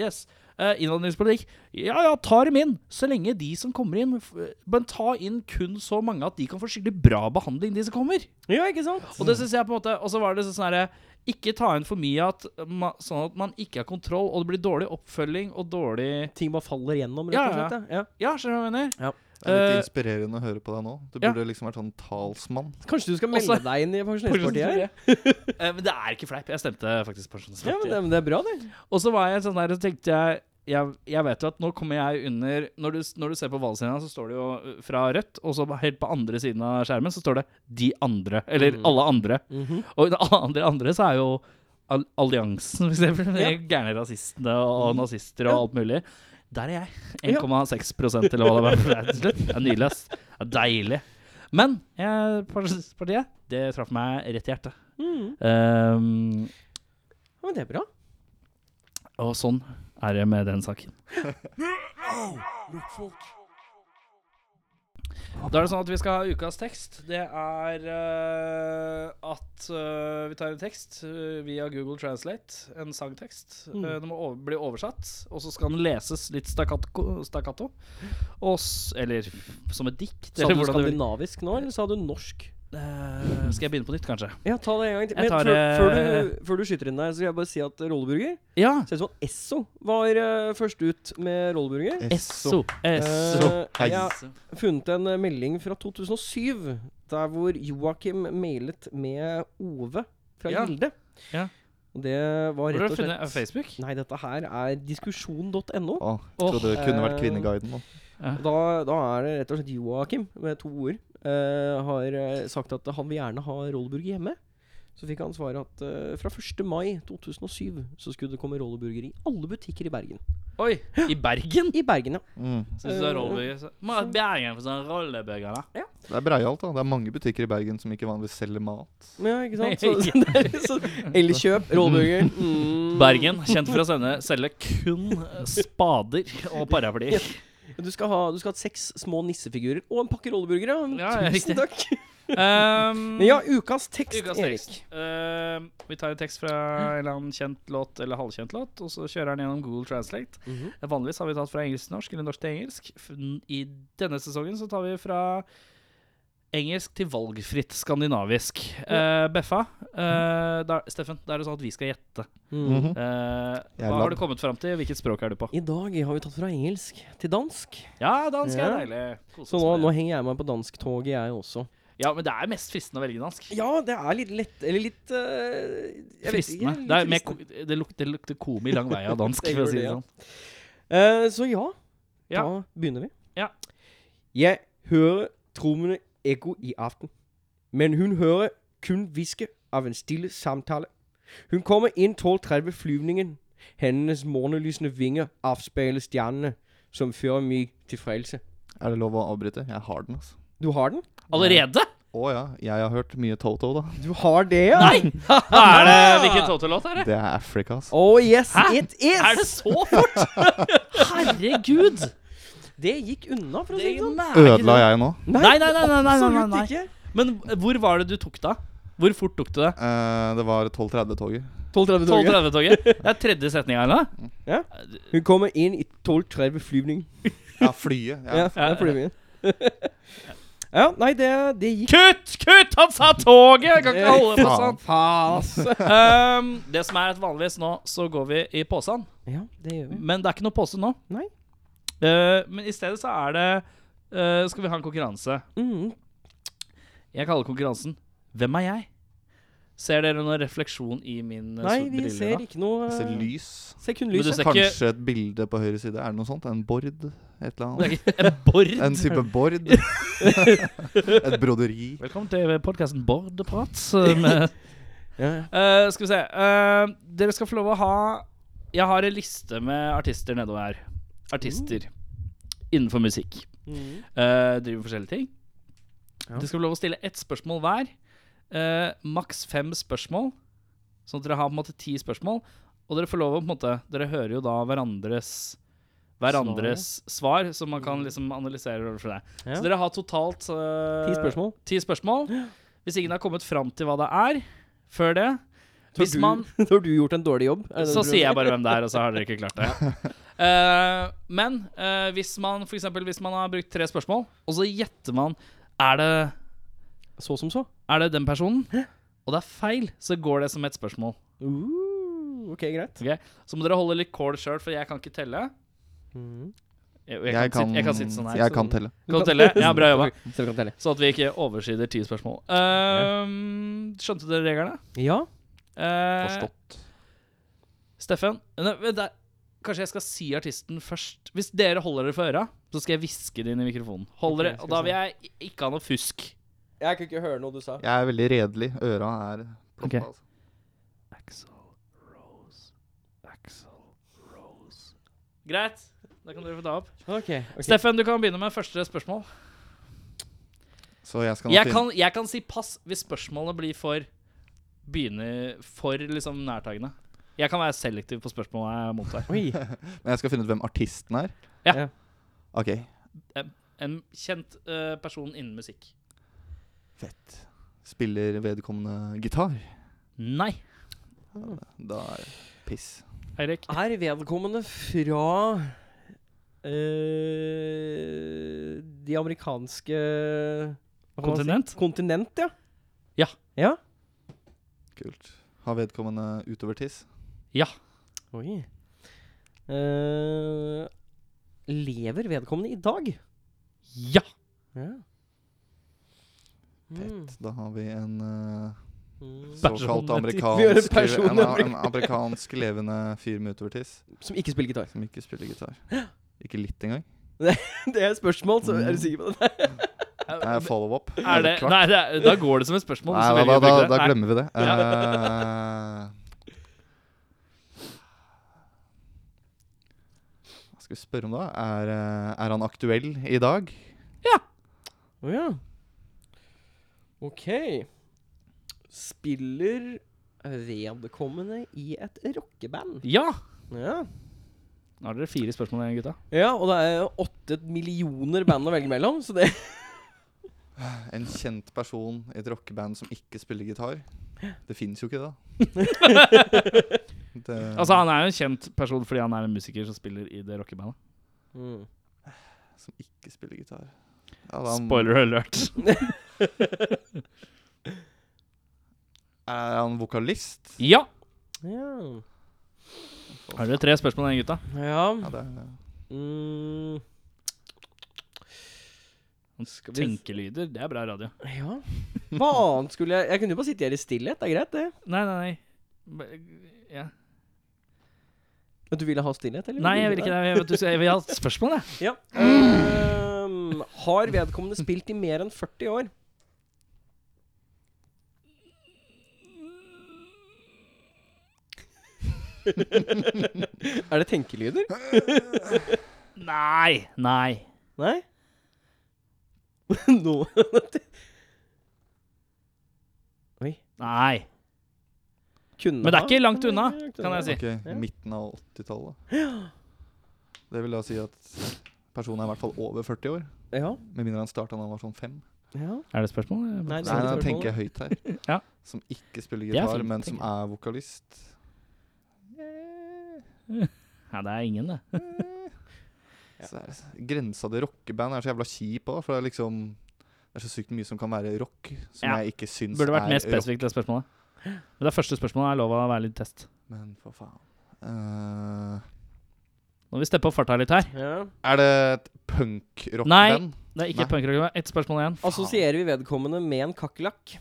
Speaker 2: Yes. Eh, innvandringspolitikk. Ja, ja, ta dem inn. Så lenge de som kommer inn f- Men ta inn kun så mange at de kan få skikkelig bra behandling, de som kommer.
Speaker 1: Ja, ikke sant?
Speaker 2: Og det synes jeg på en måte Og så var det sånn herre Ikke ta inn for mye at ma, sånn at man ikke har kontroll, og det blir dårlig oppfølging og dårlig
Speaker 1: Ting bare faller gjennom, rett
Speaker 2: Ja,
Speaker 1: og slett. Ja.
Speaker 2: Ja, skjønner du hva jeg mener?
Speaker 3: Det er
Speaker 2: Eh,
Speaker 3: litt inspirerende å høre på deg nå. Du
Speaker 2: ja.
Speaker 3: burde liksom vært sånn talsmann.
Speaker 1: Kanskje du skal melde
Speaker 2: Også-
Speaker 1: deg inn i Pensjonistpartiet? her?
Speaker 2: Eh, Men det er ikke fleip. Jeg stemte faktisk
Speaker 1: Ja, men
Speaker 2: Pensjonistpartiet.
Speaker 1: det, men det er bra, det.
Speaker 2: Og så var jeg sånn der, så tenkte jeg jeg, jeg vet jo at nå kommer jeg under Når du, når du ser på valgscenen, så står det jo eh, fra Rødt, og så helt på andre siden av skjermen så står det 'de andre', eller 'alle andre'.
Speaker 1: Mhm.
Speaker 2: Og under alle andre andre så er jo al alliansen, for eksempel. De gærne rasistene og nazister og alt mulig. Der er jeg. 1,6 prosent, eller hva det var. for det er til slutt. Det er nydelig, ass. Det er deilig. Men jeg, partiet, det traff meg rett i hjertet.
Speaker 1: Mhm.
Speaker 2: Ehm,
Speaker 1: Ja, men det er bra.
Speaker 2: og sånn er det med den saken. Da er det sånn at vi skal ha ukas tekst. Det er eh, at eh, vi tar en tekst eh, via Google Translate, en sangtekst. Mm. den må over, bli oversatt, og så skal den leses litt stakkato. stakkato. Og s eller som et dikt.
Speaker 1: Sa
Speaker 2: Eller
Speaker 1: du
Speaker 2: hvordan du vil.
Speaker 1: skandinavisk nå, eller sa du norsk?
Speaker 2: Eh, skal jeg begynne på nytt, kanskje?
Speaker 1: Ja, ta det en gang til. eh,
Speaker 2: Jeg
Speaker 1: Men
Speaker 2: tar
Speaker 1: før,
Speaker 2: det-
Speaker 1: før, du, før du skyter inn der, så skal jeg bare si at rolleburger
Speaker 2: Ja.
Speaker 1: Ser ut som Esso var eh, først ut med rolleburger.
Speaker 2: Esso. Esso.
Speaker 1: Eh, jeg har funnet en eh, melding fra 2007, der hvor Joakim mailet med Ove fra
Speaker 2: Ja.
Speaker 1: Gilde.
Speaker 2: Ja.
Speaker 1: Og det var
Speaker 2: Hvor
Speaker 1: rett
Speaker 2: har
Speaker 1: og
Speaker 2: du funnet eh,
Speaker 1: slett
Speaker 2: Facebook?
Speaker 1: Nei, dette her er diskusjon.no.
Speaker 3: Å, trodde det kunne vært
Speaker 1: eh,
Speaker 3: Kvinneguiden. nå.
Speaker 1: Og Da, da er det rett og slett Joakim, med to ord, eh, har eh, sagt at han vil gjerne ha rolleburger hjemme. Så fikk han svaret at eh, fra 1. mai 2007 så skulle det komme rolleburger i alle butikker i Bergen.
Speaker 2: Oi, i Bergen?
Speaker 1: I Bergen, ja.
Speaker 3: Mm.
Speaker 2: Syns du det er
Speaker 1: Øh,
Speaker 2: rolleburger? så- Må ha Bergen for sånn rolleburger, da.
Speaker 3: Det er breialt, da. Det er mange butikker i Bergen som ikke vanligvis selger mat.
Speaker 1: ja ikke [laughs] sant? Så, så, det er så Elkjøp, [laughs] rolleburger. Mm.
Speaker 2: Bergen, kjent for å sende, selge kun spader og paraplyer.
Speaker 1: Du skal ha, du skal ha seks små nissefigurer og en pakke rolleburgere.
Speaker 2: Ja, ja,
Speaker 1: Tusen
Speaker 2: riktig.
Speaker 1: takk. [laughs]
Speaker 2: Um,
Speaker 1: Men ja, ukas tekst,
Speaker 2: ukas
Speaker 1: Erik.
Speaker 2: tekst. Um, vi tar en tekst fra en eller annen kjent låt eller halvkjent låt, og så kjører den gjennom Google Translate.
Speaker 1: Mhm.
Speaker 2: Vanligvis har vi tatt fra engelsk til norsk eller norsk til engelsk. F- I denne sesongen så tar vi fra engelsk til valgfritt skandinavisk. Eh, Beffa, eh, da, Steffen, da er det sånn at vi skal gjette.
Speaker 1: Mm.
Speaker 3: Mhm.
Speaker 2: Eh, hva
Speaker 3: Jævla.
Speaker 2: har du kommet fram til? Hvilket språk er du på?
Speaker 1: I dag har vi tatt fra engelsk til dansk.
Speaker 2: Ja, dansk er
Speaker 1: Ja.
Speaker 2: deilig. Kose
Speaker 1: Så
Speaker 2: oss
Speaker 1: nå,
Speaker 2: med
Speaker 1: nå
Speaker 2: det.
Speaker 1: henger jeg meg på dansktoget, jeg også.
Speaker 2: Ja, men det er mest fristende å velge dansk.
Speaker 1: Ja, det er litt lett Eller litt eh, jeg vet ikke,
Speaker 2: Fristende.
Speaker 1: litt
Speaker 2: Det, er mer,
Speaker 1: fristende.
Speaker 2: ko- det, lukter, det lukter komi
Speaker 1: [laughs]
Speaker 2: lang vei av dansk,
Speaker 1: Det
Speaker 2: for å
Speaker 1: gjør
Speaker 2: si
Speaker 1: det,
Speaker 2: det
Speaker 1: ja.
Speaker 2: sånn.
Speaker 1: Eh, Så ja,
Speaker 2: Ja.
Speaker 1: da begynner vi.
Speaker 2: Ja.
Speaker 1: Jeg hører trommene ekko i aften, men hun hører kun hviske av en stille samtale. Hun kommer inn 12.30 flyvningen. Hennes morgenlysende vinger avspeiler stjernene, som fører meg til frelse.
Speaker 3: Er det lov å avbryte? Jeg har den, altså.
Speaker 1: Du har den?
Speaker 2: Allerede?
Speaker 3: Å ja, jeg har hørt mye Toto,
Speaker 2: [laughs]
Speaker 3: da.
Speaker 1: Du har det, [laughs] ja?
Speaker 2: Nei! Hva er det, [laughs] hvilken Toto-låt er det?
Speaker 3: Det er Africa, altså.
Speaker 1: Oh yes,
Speaker 2: Hæ?
Speaker 1: it is!
Speaker 2: Er det så fort?!
Speaker 1: [laughs]
Speaker 2: Herregud!
Speaker 1: Det gikk unna, for å si det sånn.
Speaker 3: Ødela jeg nå?
Speaker 2: Nei, nei, nei, nei, nei, nei, nei,
Speaker 1: absolutt
Speaker 2: nei.
Speaker 1: ikke.
Speaker 2: Men hvor var det du tok det? Hvor fort tok du det?
Speaker 3: Eh, det var 12.30-toget.
Speaker 1: 12.30-toget. [laughs]
Speaker 2: 12.30-toget? Det er tredje setninga her nå.
Speaker 1: Hun kommer inn i 12.30 flyvning.
Speaker 2: [laughs]
Speaker 3: Ja, flyet. Ja.
Speaker 1: Ja, det er flyvningen. [laughs] Ja, nei, det, det gikk
Speaker 2: Kutt! Kutt! Han sa toget! Jeg kan ikke holde på sånn.
Speaker 3: Faen.
Speaker 1: Faen,
Speaker 2: Um, det som er at vanligvis nå, så går vi i posen.
Speaker 1: Ja, det gjør vi.
Speaker 2: Men det er ikke noe pose nå.
Speaker 1: Nei.
Speaker 2: Eh, men i stedet så er det eh, Skal vi ha en konkurranse?
Speaker 1: Mm.
Speaker 2: Jeg kaller konkurransen 'Hvem er jeg?' Ser dere noen refleksjon i min uh,
Speaker 1: Nei, vi
Speaker 2: briller?
Speaker 1: ser
Speaker 2: da?
Speaker 1: ikke noe
Speaker 3: Jeg ser
Speaker 1: eh,
Speaker 3: lys.
Speaker 1: Ser kun
Speaker 2: Men du
Speaker 1: lys.
Speaker 2: ser-
Speaker 1: ja.
Speaker 2: Det er ikke-
Speaker 3: Kanskje et bilde på høyre side. Er det noe sånt? En bord? Et eller
Speaker 2: Det
Speaker 3: annet?
Speaker 2: er ikke en Bård.
Speaker 3: En type
Speaker 2: [laughs]
Speaker 3: bord? Et broderi?
Speaker 2: Velkommen til podkasten Bårdprat.
Speaker 1: [laughs]
Speaker 2: Med,
Speaker 1: Ja, ja.
Speaker 2: Eh, skal vi se. Eh, dere skal få lov å ha Jeg har en liste med artister nedover her. Artister innenfor musikk.
Speaker 1: Mm.
Speaker 2: Eh, driver forskjellige ting.
Speaker 1: Ja.
Speaker 2: Dere skal få lov å stille ett spørsmål hver. Eh, maks fem spørsmål. Sånn at dere har på en måte ti spørsmål. Og dere får lov å på en måte Dere hører jo da hverandres Hverandres svar, så man kan liksom analysere det for deg.
Speaker 1: Mm. Ja.
Speaker 2: Så dere har totalt eh,
Speaker 1: Ti spørsmål.
Speaker 2: ti spørsmål. Hvis ingen har kommet fram til hva det er før det
Speaker 1: Har
Speaker 2: Hvis man
Speaker 1: [laughs] du, har du gjort en dårlig jobb? Er det det
Speaker 2: så
Speaker 1: du
Speaker 2: sier
Speaker 1: prøver
Speaker 2: jeg bare hvem det er, og så har dere ikke klart
Speaker 1: [laughs]
Speaker 2: det. Eh, men eh, hvis man for eksempel, hvis man har brukt tre spørsmål, og så gjetter man Er det,
Speaker 1: å si? Så som så.
Speaker 2: er det den personen? Og det er feil, så går det som et spørsmål.
Speaker 1: Uh, ok, greit.
Speaker 2: ok? Så må dere holde litt kål sjøl, for jeg kan ikke telle.
Speaker 1: Mm.
Speaker 2: Jeg, jeg, kan, sitte, jeg kan sitte sånn her.
Speaker 3: Jeg
Speaker 2: så-
Speaker 3: kan telle.
Speaker 2: Kan du telle? Ja,
Speaker 1: [laughs]
Speaker 2: bra jobba.
Speaker 1: Så vi kan telle.
Speaker 2: Sånn at vi ikke oversider ti spørsmål. Eh, skjønte dere reglene?
Speaker 1: Ja.
Speaker 2: Eh,
Speaker 3: Forstått.
Speaker 2: Steffen, nei, vent der. kanskje jeg skal si artisten først. Hvis dere holder dere for øra, så skal jeg hviske det inn i mikrofonen. Hold
Speaker 1: Ok,
Speaker 2: dere,
Speaker 1: skal
Speaker 2: og da
Speaker 1: vi
Speaker 2: vil jeg i- ikke ha noe fusk.
Speaker 1: Jeg kunne ikke høre noe du sa.
Speaker 3: Jeg er veldig redelig. Øra er ploppa,
Speaker 2: Ok.
Speaker 3: altså.
Speaker 2: Axel Rose Axel Rose Greit. Da kan dere få ta opp.
Speaker 1: Ok, ok.
Speaker 2: Steffen, du kan begynne med første spørsmål.
Speaker 3: Så jeg skal nå
Speaker 2: Jeg
Speaker 3: finne-
Speaker 2: kan, jeg kan si pass hvis spørsmålet blir for Begynner for liksom nærtagende. Jeg kan være selektiv på spørsmålet jeg mottar.
Speaker 1: Oi.
Speaker 3: Men jeg skal finne ut hvem artisten er?
Speaker 2: Ja.
Speaker 1: Ja.
Speaker 3: Ok.
Speaker 2: En kjent eh, person innen musikk.
Speaker 3: Fett. Spiller vedkommende gitar?
Speaker 2: Nei,
Speaker 3: Da er det piss.
Speaker 2: Eirik.
Speaker 1: Er vedkommende fra eh, de amerikanske hva kan man si?
Speaker 2: Kontinent?
Speaker 1: Kontinent, ja.
Speaker 2: Ja.
Speaker 1: Ja?
Speaker 3: Kult. Har vedkommende utover tiss?
Speaker 2: Ja.
Speaker 1: Oi. Eh, lever vedkommende i dag?
Speaker 2: Ja.
Speaker 1: Ja. Mm.
Speaker 3: Da har vi en eh,
Speaker 1: Mm.
Speaker 3: såkalt
Speaker 2: Personlig-
Speaker 1: Vi gjør en
Speaker 3: amerikansk, en,
Speaker 1: personlig-
Speaker 3: en amerikansk levende fyr med utover tiss
Speaker 1: Som ikke spiller gitar.
Speaker 3: som ikke spiller gitar. Ikke litt engang.
Speaker 1: [laughs] Det er et spørsmål, så er du sikker [laughs] på det?
Speaker 3: Det er follow up.
Speaker 2: Er det, nei, det, er- da går det som et spørsmål.
Speaker 3: Nei,
Speaker 2: så
Speaker 3: da,
Speaker 2: velger
Speaker 3: da,
Speaker 2: du
Speaker 3: da,
Speaker 2: ikke det.
Speaker 3: da
Speaker 2: Nei.
Speaker 3: glemmer vi det. Eh, Hva skal vi spørre om da? Er, eh, er han aktuell i dag?
Speaker 1: Å ja. Ok. Spiller vedkommende i et rockeband?
Speaker 2: Ja!
Speaker 1: Ja.
Speaker 2: Nå har dere fire spørsmål igjen, gutta.
Speaker 1: ja, og det er åtte millioner band å velge mellom, så det
Speaker 3: En kjent person i et rockeband som ikke spiller gitar? Det fins jo ikke, da. det,
Speaker 2: Altså Han er jo en kjent person fordi han er en musiker som spiller i det rockebandet.
Speaker 1: mm.
Speaker 3: Som ikke spiller gitar. Ja, da,
Speaker 2: Spoiler
Speaker 3: [laughs]
Speaker 2: alert.
Speaker 3: Er han vokalist?
Speaker 2: Ja!
Speaker 1: Ja.
Speaker 2: Har dere tre spørsmål igjen, gutta?
Speaker 1: ja.
Speaker 3: Ja, det er,
Speaker 1: Mm. vi-
Speaker 2: Tenkelyder, det er bra radio.
Speaker 1: Ja. Hva annet skulle jeg Jeg kunne jo bare sitte her i stillhet. Det er greit, det.
Speaker 2: Nei, nei, nei. B- Ja.
Speaker 1: Men du ville ha stillhet, eller?
Speaker 2: Nei, jeg vil ikke det. Jeg, vet, du- jeg vil ha et spørsmål, jeg.
Speaker 1: Ja. Ehm, har vedkommende spilt i mer enn 40 år? [laughs] er det tenkelyder?
Speaker 2: Nei. Nei.
Speaker 1: Nei? [laughs] Nå [laughs] Oi.
Speaker 2: Nei.
Speaker 1: Kunne
Speaker 2: Men det er
Speaker 1: ha.
Speaker 2: ikke langt unna,
Speaker 1: Nei, det er langt
Speaker 2: kan jeg si.
Speaker 3: ok,
Speaker 1: Ja.
Speaker 3: midten av 80-tallet. Det vil da si at personen er i hvert fall over 40 år.
Speaker 1: Ja.
Speaker 3: Med mindre han starta da han var sånn fem.
Speaker 1: ja.
Speaker 2: Er det spørsmål?
Speaker 1: Nei,
Speaker 3: Nei,
Speaker 1: Sånn
Speaker 3: da
Speaker 1: spørsmål.
Speaker 3: tenker jeg høyt her.
Speaker 2: [laughs] Ja.
Speaker 3: Som ikke spiller
Speaker 2: Det er
Speaker 3: gitar,
Speaker 2: fint,
Speaker 3: men som
Speaker 2: tenker
Speaker 3: er vokalist.
Speaker 2: Nei, det er ingen, det.
Speaker 3: Så er det- Grensa til rockeband er så jævla kjip òg, for det er liksom Det er så sykt mye som kan være rock, som
Speaker 2: Ja.
Speaker 3: jeg ikke syns
Speaker 2: Burde vært
Speaker 3: er
Speaker 2: mer spesifikt, det spørsmålet. Men det første spørsmålet er lov å være litt test.
Speaker 3: rock. Men for faen. Eh,
Speaker 2: Nå må vi steppe opp farta litt her.
Speaker 1: Ja.
Speaker 3: er det et punkrock-band?
Speaker 2: Det er ikke
Speaker 3: Nei.
Speaker 2: punkrock. det er Ett spørsmål igjen.
Speaker 1: Assosierer vi vedkommende med en kakerlakk?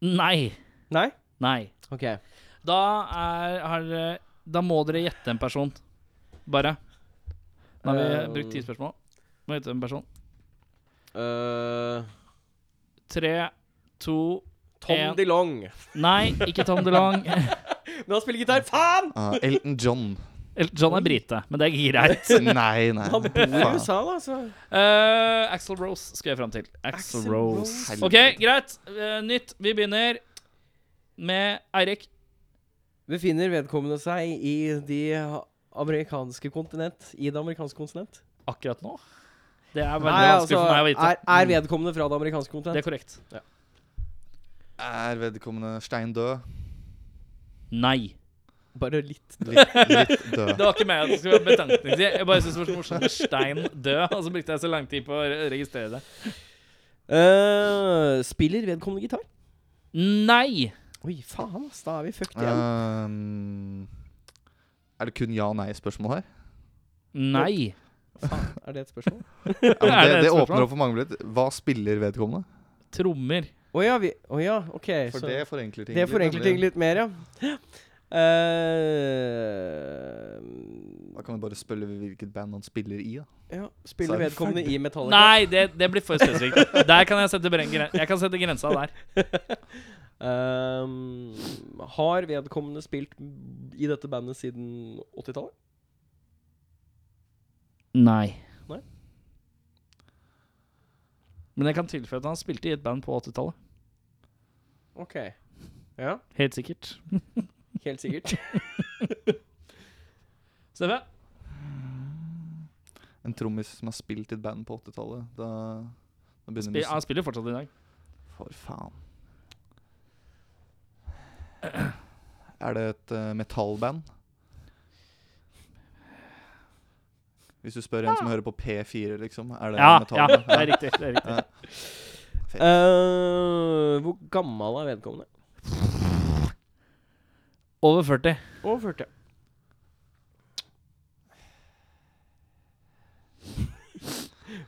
Speaker 2: Nei.
Speaker 1: Nei?
Speaker 2: Nei.
Speaker 1: Ok. Eh,
Speaker 2: Da er har, dere- Da må dere gjette en person. Bare. Da har vi
Speaker 1: Eh,
Speaker 2: brukt ti spørsmål. Må gjette en person.
Speaker 1: eh,
Speaker 2: Tre, to
Speaker 1: Tom
Speaker 2: En.
Speaker 1: DeLong.
Speaker 2: Nei, ikke Tom DeLong. [laughs]
Speaker 1: Men han spiller gitar! Faen!
Speaker 3: Ah, Elton John.
Speaker 2: Eller, John er brite, men det er greit.
Speaker 3: Nei, nei.
Speaker 1: Han bor i
Speaker 3: faen.
Speaker 1: USA, da, altså. så
Speaker 2: Uh, Axel Rose skal jeg fram til. Axel,
Speaker 1: Axl
Speaker 2: Rose.
Speaker 1: Rose.
Speaker 2: OK, greit. Eh, nytt. Vi begynner med Eirik.
Speaker 1: Befinner vedkommende seg i de amerikanske kontinent? I det amerikanske kontinent?
Speaker 2: Akkurat nå. Det er veldig
Speaker 1: Nei, altså,
Speaker 2: vanskelig for meg å vite. Mm,
Speaker 1: er, er vedkommende fra det amerikanske
Speaker 2: Det er
Speaker 1: kontinent?
Speaker 2: korrekt.
Speaker 3: Er vedkommende stein
Speaker 2: [laughs]
Speaker 3: død?
Speaker 2: Nei.
Speaker 1: Bare litt.
Speaker 3: Litt, litt død.
Speaker 2: Det var ikke meg. Det skulle være betankning. Jeg bare synes det var så morsomt med stein død, og så brukte jeg så lang tid på å re- registrere det.
Speaker 1: Eh, spiller vedkommende gitar?
Speaker 2: Nei.
Speaker 1: Oi, faen, ass. Da er vi fucked igjen.
Speaker 3: Um, er det kun ja- og nei-spørsmål her?
Speaker 2: Nei.
Speaker 1: Faen, er det et spørsmål?
Speaker 3: Ja, men
Speaker 2: [laughs] Er det et
Speaker 3: det, det
Speaker 2: spørsmål?
Speaker 3: åpner opp for mange blitt. Hva spiller vedkommende?
Speaker 2: Trommer.
Speaker 1: [laughs] Å ja, vi Å ja, OK.
Speaker 3: For
Speaker 1: så-
Speaker 3: det forenkler ting.
Speaker 1: Det
Speaker 3: litt,
Speaker 1: forenkler
Speaker 3: nemlig.
Speaker 1: ting litt mer, ja. [gasps] Eh,
Speaker 3: Da kan vi bare spørre hvilket band han spiller i. da
Speaker 1: ja,
Speaker 3: Så
Speaker 1: spiller
Speaker 3: er vi
Speaker 1: vedkommende i Metallica? [laughs]
Speaker 2: Nei, det, det blir for spesifikt. Der kan jeg sette, bren- gren- jeg kan sette grensa der.
Speaker 1: Ehm, har vedkommende spilt i dette bandet siden 80-tallet?
Speaker 2: Nei.
Speaker 1: Nei.
Speaker 2: Men jeg kan tilføye at han spilte i et band på 80-tallet.
Speaker 1: Ok. Ja,
Speaker 2: Helt sikkert.
Speaker 1: helt
Speaker 3: [laughs]
Speaker 1: sikkert.
Speaker 2: Steffe?
Speaker 3: En trommis som har spilt i et band på 80-tallet. Da, da begynner
Speaker 2: Spi- Han
Speaker 3: musikken.
Speaker 2: spiller fortsatt i dag.
Speaker 3: For faen. Er det et uh, metallband? Hvis du spør en som hører på P4, liksom. Er det
Speaker 2: Ah. Ja, ja,
Speaker 3: metallband?
Speaker 2: det er riktig. Det er riktig.
Speaker 1: Eh, hvor gammel er vedkommende?
Speaker 2: Over 40.
Speaker 1: Over 40.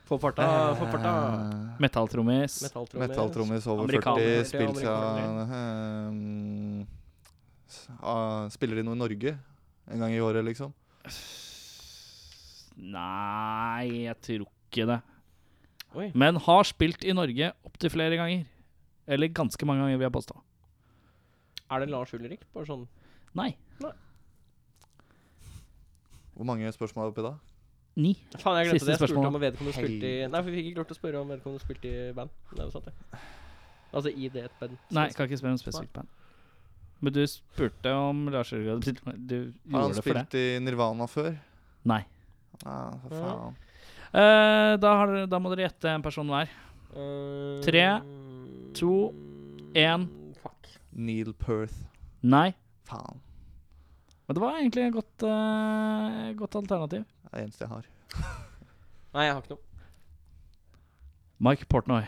Speaker 1: Få
Speaker 2: Ah,
Speaker 1: farta, få farta.
Speaker 3: Eh,
Speaker 2: Metalltrommis.
Speaker 1: Metalltrommer.
Speaker 3: Metalltrommis over
Speaker 2: Amerikaner.
Speaker 1: Amerikaner,
Speaker 3: 40, spilt
Speaker 1: amerikaner.
Speaker 3: seg ehm, s- ah, Spiller de noe i Norge en gang i året, liksom?
Speaker 2: Nei, jeg tror ikke det.
Speaker 1: Oi.
Speaker 2: Men har spilt i Norge opptil flere ganger. Eller ganske mange ganger, vil jeg påstå.
Speaker 1: Er det Lars Ulrik? Bare sånn
Speaker 2: Nei.
Speaker 3: Hvor mange spørsmål er oppi da?
Speaker 2: Ni.
Speaker 1: Faen, jeg glemte det. Jeg
Speaker 2: Siste
Speaker 1: spurte
Speaker 2: spørsmål.
Speaker 1: om vedkommende spilte i
Speaker 3: Helvete.
Speaker 1: Nei, for vi fikk ikke lov til å spørre om vedkommende spilte i band. Det er jo sant, det. Altså i det et band.
Speaker 2: Nei, kan ikke spørre om spesifikt band. Men du spurte om Lars Jørgen Du
Speaker 3: Har han
Speaker 2: gjorde det for det.
Speaker 3: spilt i Nirvana før?
Speaker 2: Nei.
Speaker 3: Ah, for faen.
Speaker 2: Eh, da, har, dere- da må dere gjette en person hver.
Speaker 1: Eh,
Speaker 2: Tre, to, en.
Speaker 1: Fuck.
Speaker 3: Neil Perth.
Speaker 2: Nei.
Speaker 3: Faen.
Speaker 2: Men det var egentlig et godt, eh, godt alternativ.
Speaker 3: Det er det eneste jeg har.
Speaker 1: Nei, jeg har ikke noe.
Speaker 2: Mike Portnoy.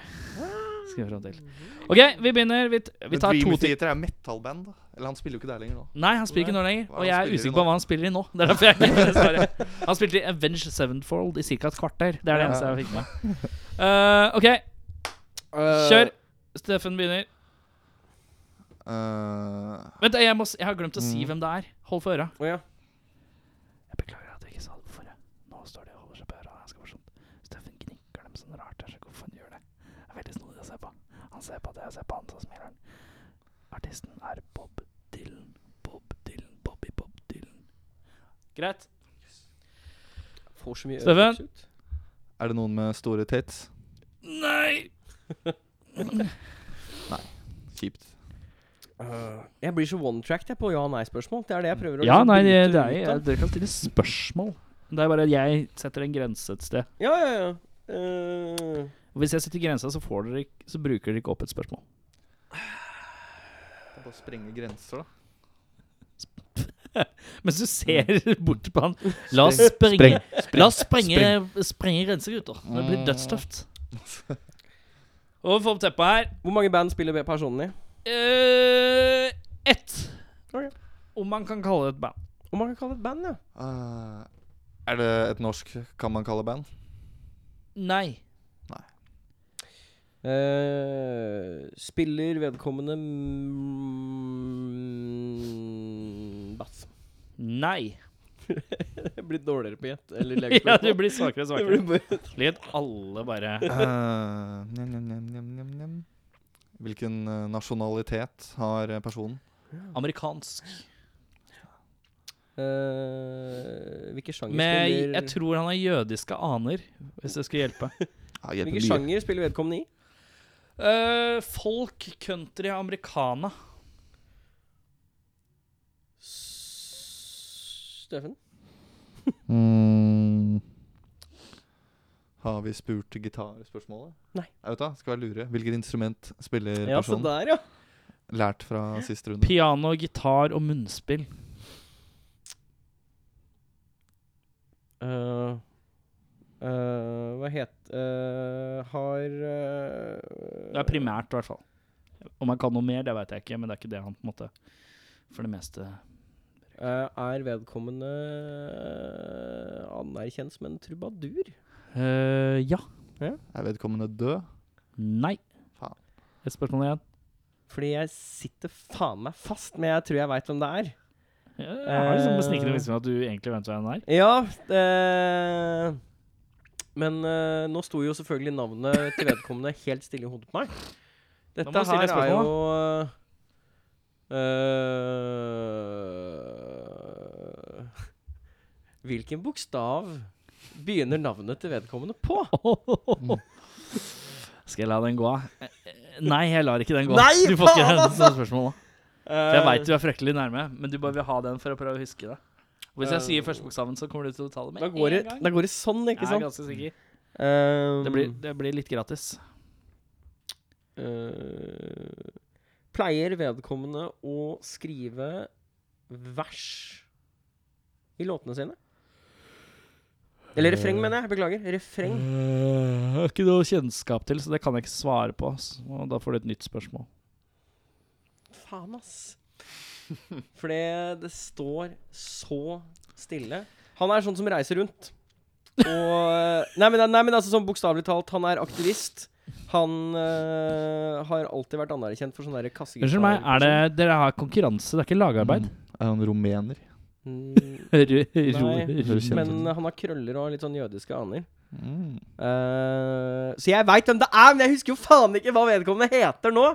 Speaker 2: Skal vi fram til. OK, vi begynner. Vi, t- vi
Speaker 3: Men
Speaker 2: tar
Speaker 3: Dream
Speaker 2: to til.
Speaker 3: Theater er metallband, da. Eller han spiller jo ikke der lenger nå.
Speaker 2: Nei, han spiller ikke nå lenger.
Speaker 3: Hva
Speaker 2: Og
Speaker 3: er det
Speaker 2: jeg er
Speaker 3: han spiller i
Speaker 2: usikker på
Speaker 3: nå?
Speaker 2: hva han spiller i nå. Det er derfor jeg ikke
Speaker 3: [laughs]
Speaker 2: vet det svaret. Han spilte i Avenge Sevenfold i ca. et kvarter. Det er det
Speaker 3: Ja.
Speaker 2: eneste jeg fikk med. Eh, OK, kjør. Steffen begynner.
Speaker 3: Eh,
Speaker 2: Vent, jeg, må, s- jeg har glemt å si
Speaker 3: Mm.
Speaker 2: hvem det er. Hold for øra.
Speaker 1: Å ja.
Speaker 2: Jeg beklager at jeg ikke sa det forrige. Nå står de og holder seg på øra. Det er så morsomt. sånn- Steffen gnikker dem sånn rart. Jeg skjønner ikke hvorfor han gjør det. Det er veldig snodig å se på. Han ser på at jeg ser på han, så smiler han. Artisten er Bob Dylan. Bob Dylan, Bobby Bob Dylan. Greit.
Speaker 1: Får så mye
Speaker 2: Steffen?
Speaker 1: øyeblikksut.
Speaker 3: er det noen med store tits?
Speaker 2: Nei!
Speaker 3: Kjipt.
Speaker 1: Eh, jeg blir så one-tracked jeg på ja- og nei-spørsmål. Det er det jeg prøver å
Speaker 2: Ja,
Speaker 1: liksom
Speaker 2: nei, det,
Speaker 1: bryte
Speaker 2: det
Speaker 1: ut
Speaker 2: er,
Speaker 1: av.
Speaker 2: dere kan stille spørsmål. Det er bare at jeg setter en grense et sted.
Speaker 1: Ja, ja, ja. Eh,
Speaker 2: Og hvis jeg setter grensa, så, får dere, ikke- så bruker dere ikke opp et spørsmål.
Speaker 3: Kan Bare sprenge grenser, da.
Speaker 2: [laughs] Mens du ser bort på han La oss sprenge, La oss sprenge, sprenge grenser, gutter. Det blir dødstøft. Mm. [laughs] Og få opp teppet her.
Speaker 1: Hvor mange band spiller personen i?
Speaker 2: Eh, ett.
Speaker 1: Ok.
Speaker 2: Om man kan kalle det et band.
Speaker 1: Om man kan kalle det et band, ja.
Speaker 3: Eh, er det et norsk kan man kalle band?
Speaker 2: Nei.
Speaker 1: Eh, spiller vedkommende mm, bass? [laughs]
Speaker 2: Nei.
Speaker 1: Jeg blir dårligere på gjett. Eller
Speaker 2: [laughs] Ja,
Speaker 1: lekespill.
Speaker 2: du blir svakere og svakere. Lyd alle bare
Speaker 3: Eh, njem, njem, njem, njem, njem, njem. Hvilken eh, nasjonalitet har eh, personen?
Speaker 2: amerikansk.
Speaker 1: Eh, Hvilken sjanger
Speaker 2: Med Jeg
Speaker 1: spiller
Speaker 2: tror han har jødiske aner, hvis det skulle hjelpe.
Speaker 3: Ja, hjelper
Speaker 1: Hvilken
Speaker 3: mye.
Speaker 1: sjanger spiller vedkommende i?
Speaker 2: Eh, folk, country, americana.
Speaker 1: S- Steffen?
Speaker 3: Mm. Har vi spurt gitarspørsmålet?
Speaker 1: Nei.
Speaker 3: Jeg vet da, skal være lure. Hvilket instrument spiller
Speaker 2: Eh,
Speaker 1: Ja, så
Speaker 3: personen?
Speaker 1: der, ja.
Speaker 3: Lært fra sist runde.
Speaker 2: Piano, gitar og munnspill.
Speaker 1: Eh, eh, hva het eh, Har eh,
Speaker 2: Det er primært, i hvert fall. Om han kan noe mer, det veit jeg ikke, men det er ikke det han på en måte For det meste
Speaker 1: eh, Er vedkommende eh, anerkjent som en trubadur?
Speaker 2: Eh, Ja.
Speaker 3: Er vedkommende død?
Speaker 2: Nei.
Speaker 3: Faen.
Speaker 2: Et spørsmål igjen.
Speaker 1: Fordi jeg sitter faen meg fast, men jeg tror jeg veit hvem det er.
Speaker 2: Jeg har liksom
Speaker 1: Eh.
Speaker 2: snikende visst at du egentlig vet hvem han er.
Speaker 1: Ja, eh, men eh, nå sto jo selvfølgelig navnet til vedkommende helt stille i hodet på meg.
Speaker 2: Da må
Speaker 1: Dette
Speaker 2: du stille
Speaker 1: her er
Speaker 2: spørsmål,
Speaker 1: jo eh, eh, Hvilken bokstav begynner navnet til vedkommende
Speaker 2: [laughs]
Speaker 1: på?
Speaker 2: Skal jeg la den gå? Eh, Nei, jeg lar ikke den gå.
Speaker 1: Nei,
Speaker 2: du får ikke
Speaker 1: faen,
Speaker 2: det
Speaker 1: altså!
Speaker 2: sånne spørsmål, da.
Speaker 1: Eh,
Speaker 2: For jeg veit du er fryktelig nærme, men du bare vil ha den for å prøve å huske det. Og hvis jeg sier første bokstaven, så kommer du til å ta det med
Speaker 1: Eh, da går,
Speaker 2: en
Speaker 1: det,
Speaker 2: gang.
Speaker 1: da går det sånn, ikke
Speaker 2: Jeg er
Speaker 1: sant?
Speaker 2: ganske sikker.
Speaker 1: Eh,
Speaker 2: Det blir, det blir litt gratis.
Speaker 1: eh, Pleier vedkommende å skrive vers i låtene sine? Eller refreng,
Speaker 2: Eh.
Speaker 1: mener jeg. Beklager. Refreng.
Speaker 2: Mm. Jeg har ikke noe kjennskap til, så det kan jeg ikke svare på. ass. Og da får du et nytt spørsmål.
Speaker 1: Faen, ass. For det, det står så stille. Han er sånn som reiser rundt. Og Nei, men, nei, men altså sånn bokstavelig talt, han er aktivist. Han eh, har alltid vært anerkjent for sånn derre kassegitar.
Speaker 2: Unnskyld meg, er det, dere har konkurranse, det er ikke lagarbeid?
Speaker 3: Mm. [laughs] Er han rumener?
Speaker 2: [laughs]
Speaker 1: Mm,
Speaker 2: Ru-
Speaker 1: Nei,
Speaker 2: ru- ru-
Speaker 3: høres kjent
Speaker 1: men
Speaker 3: ut.
Speaker 1: han har krøller og litt sånn jødiske aner.
Speaker 3: Mm.
Speaker 1: Eh, så jeg veit hvem det er, men jeg husker jo faen ikke hva vedkommende heter nå!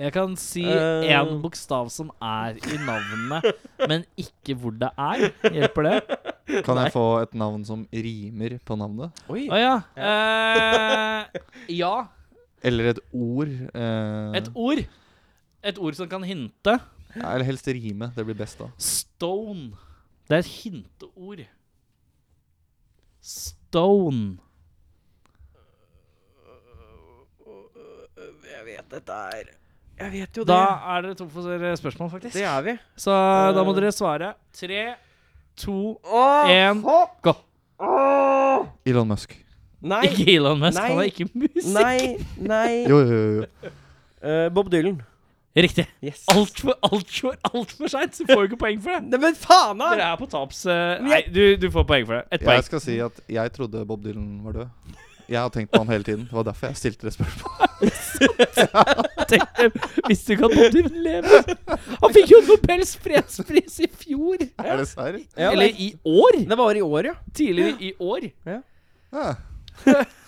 Speaker 2: Jeg kan si
Speaker 1: Eh.
Speaker 2: én bokstav som er i
Speaker 1: [laughs]
Speaker 2: navnet, men ikke hvor det er. Hjelper det?
Speaker 3: Kan jeg få et navn som rimer på navnet?
Speaker 1: Oi.
Speaker 2: Å ja. Eh, ja.
Speaker 3: Eller et ord? eh,
Speaker 2: Et ord. Et ord som kan hinte.
Speaker 3: Eller helst rime. Det blir best da.
Speaker 2: Stone. Det er et hinteord. Stone.
Speaker 1: Jeg vet dette er Jeg vet jo det.
Speaker 2: Da er dere tom for spørsmål, faktisk.
Speaker 1: det er Eh. vi.
Speaker 2: Så da må dere svare. Tre, to
Speaker 1: Åh,
Speaker 2: En.
Speaker 1: faen!
Speaker 2: Gå.
Speaker 1: Åh!
Speaker 3: Elon Musk.
Speaker 1: Nei.
Speaker 2: Ikke Elon Musk,
Speaker 1: Nei.
Speaker 2: han er ikke musikk.
Speaker 1: Nei, nei
Speaker 3: Jo, jo, jo.
Speaker 1: Eh, Bob Dylan.
Speaker 2: Riktig.
Speaker 1: Yes.
Speaker 2: Altfor, altfor, altfor seint, så får du ikke poeng for det.
Speaker 1: Nei, men faen, da!
Speaker 2: Dere er på taps... eh, Nei, du, du får poeng for det. Ett
Speaker 3: Jeg
Speaker 2: poeng.
Speaker 3: skal si at jeg trodde Bob Dylan var død. Jeg har tenkt på han hele tiden. Det var derfor jeg stilte det spørsmålet.
Speaker 2: Tenk, eh, Hvis du kan Bob Dylan leve Han fikk jo Nobels fredspris i fjor.
Speaker 3: Er det serr?
Speaker 1: Ja,
Speaker 2: Eller
Speaker 1: det-
Speaker 2: i år.
Speaker 1: det var i år, ja.
Speaker 2: Tidligere i år.
Speaker 3: Ja,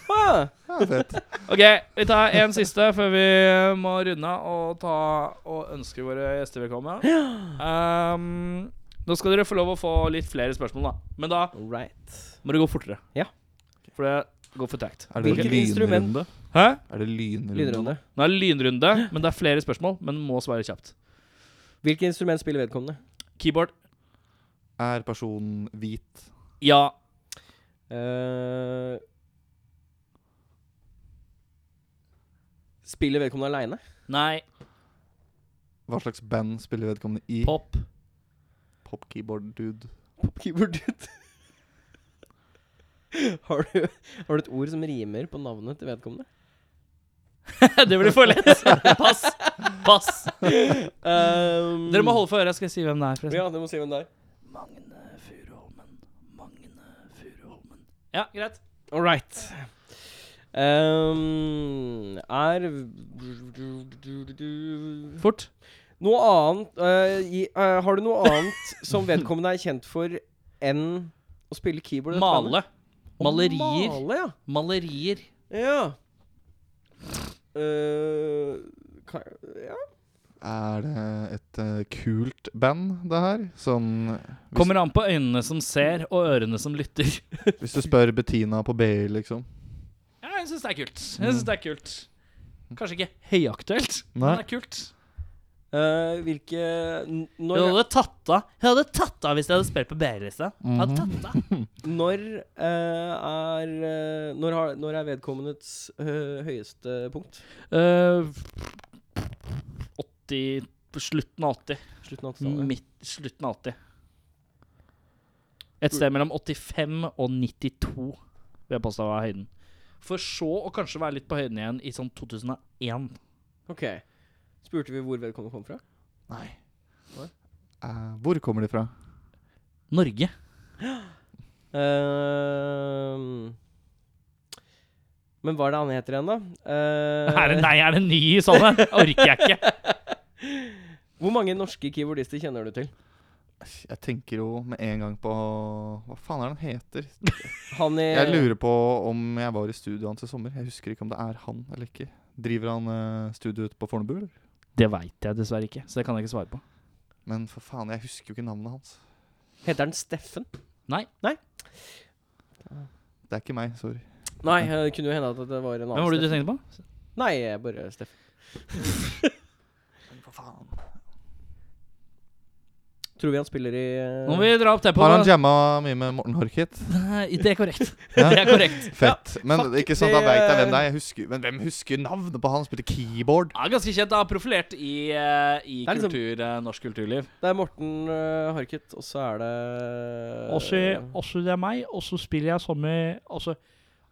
Speaker 1: Ah,
Speaker 3: ja, fett.
Speaker 2: Ok, vi tar en siste før vi eh, må runde av og, ta og ønske våre gjester velkommen. Um, nå skal dere få lov å få litt flere spørsmål, da. Men da
Speaker 1: Alright.
Speaker 2: må det gå fortere.
Speaker 1: Ja.
Speaker 2: For det går for tregt.
Speaker 3: Er
Speaker 1: Hvilket
Speaker 3: lynrunde?
Speaker 1: instrument?
Speaker 2: Hæ?
Speaker 3: Er det lynrunde?
Speaker 1: Lydrunde.
Speaker 2: Nå er det lynrunde, men det er flere spørsmål. Men må svare kjapt.
Speaker 1: Hvilket instrument spiller vedkommende?
Speaker 2: Keyboard.
Speaker 3: Er personen hvit?
Speaker 2: Ja.
Speaker 1: Eh, spiller vedkommende
Speaker 2: [laughs]
Speaker 1: aleine?
Speaker 2: Nei.
Speaker 3: Hva slags band spiller vedkommende i?
Speaker 2: Pop. [laughs]
Speaker 3: Pop-keyboard-dude.
Speaker 2: [laughs]
Speaker 1: Har du, har du et ord som rimer på navnet til vedkommende?
Speaker 2: det blir for lett. Pass. Pass.
Speaker 1: Um,
Speaker 2: Dere må holde for øret. Jeg skal si hvem det er, forresten.
Speaker 1: Ja, du må si hvem det er.
Speaker 2: Magne Furuholmen. Magne Furuholmen. Ja, greit.
Speaker 1: All right. Um, er
Speaker 2: Fort.
Speaker 1: Noe annet eh, i, eh, Har du noe annet som vedkommende er kjent for enn å spille keyboard? i dette bandet?
Speaker 2: Male. Malerier.
Speaker 1: Male, ja.
Speaker 2: Malerier.
Speaker 1: ja. Eh, kan, ja.
Speaker 3: Er det et eh, kult band, det her? Sånn hvis,
Speaker 2: Kommer an på øynene som ser, og ørene som lytter.
Speaker 3: hvis du spør Bettina på BI, liksom.
Speaker 2: [laughs] Ja, jeg syns det er kult. Jeg synes det er kult. Kanskje ikke høyaktuelt, men
Speaker 3: Nei.
Speaker 2: det er kult.
Speaker 1: Eh, hvilke n-
Speaker 2: Jeg
Speaker 1: Når,
Speaker 2: hadde tatt av Jeg hadde tatt av hvis jeg hadde spilt på BR-lista.
Speaker 3: Mhm.
Speaker 2: Jeg hadde tatt av.
Speaker 1: når eh, er eh, når, har, når er vedkommendes eh, høyeste punkt?
Speaker 2: Eh, 80 på Slutten av 80.
Speaker 1: Slutten av 80-tallet?
Speaker 2: Midt, slutten av 80. Et sted mellom 85 og 92 vil jeg påstå var høyden. For så å kanskje være litt på høyden igjen i sånn 2001.
Speaker 1: Ok. Spurte vi hvor vedkommende kom fra?
Speaker 3: Nei.
Speaker 1: Hva?
Speaker 3: Eh, hvor kommer de fra?
Speaker 2: Norge.
Speaker 1: Ehm, men hva er det han heter igjen, da? Ehm,
Speaker 2: [laughs] Er det nei, er det ny i sånne? Orker jeg ikke.
Speaker 1: Hvor mange norske keyboardister kjenner du til?
Speaker 3: Jeg tenker jo med en gang på Hva faen er det han heter?
Speaker 1: Han i
Speaker 2: Eh.
Speaker 3: Jeg lurer på om jeg var i studioet hans i sommer. Jeg husker ikke om det er han eller ikke. Driver han eh, studio ute på Fornebu, eller?
Speaker 2: Det veit jeg dessverre ikke, så det kan jeg ikke svare på.
Speaker 3: Men for faen, jeg husker jo ikke navnet hans.
Speaker 1: Heter han Steffen?
Speaker 3: Det er ikke meg, sorry.
Speaker 1: Nei, det kunne jo hende at det var en annen.
Speaker 2: Hvem var det du
Speaker 1: Steffen.
Speaker 2: tenkte på?
Speaker 1: Nei, jeg bare Steffen.
Speaker 3: For faen.
Speaker 1: Tror vi han spiller i eh,
Speaker 2: Nå må vi dra opp tempoet.
Speaker 3: Har han jamma mye med Morten
Speaker 2: [laughs]
Speaker 3: Harket?
Speaker 2: Nei, Det er korrekt.
Speaker 3: Ja.
Speaker 2: Det er korrekt.
Speaker 3: Fett. Men
Speaker 1: fuck,
Speaker 3: ikke sant, da
Speaker 1: det-
Speaker 3: veit jeg hvem det er. Jeg husker, men hvem husker navnet på han? som Spilte keyboard.
Speaker 2: Ja, ganske kjent. da, Profilert i, eh, i
Speaker 1: Det er liksom-
Speaker 2: kultur, eh, norsk kulturliv.
Speaker 1: Det er Morten eh, Harket, og så er det Eh.
Speaker 2: det er meg, og så spiller jeg samme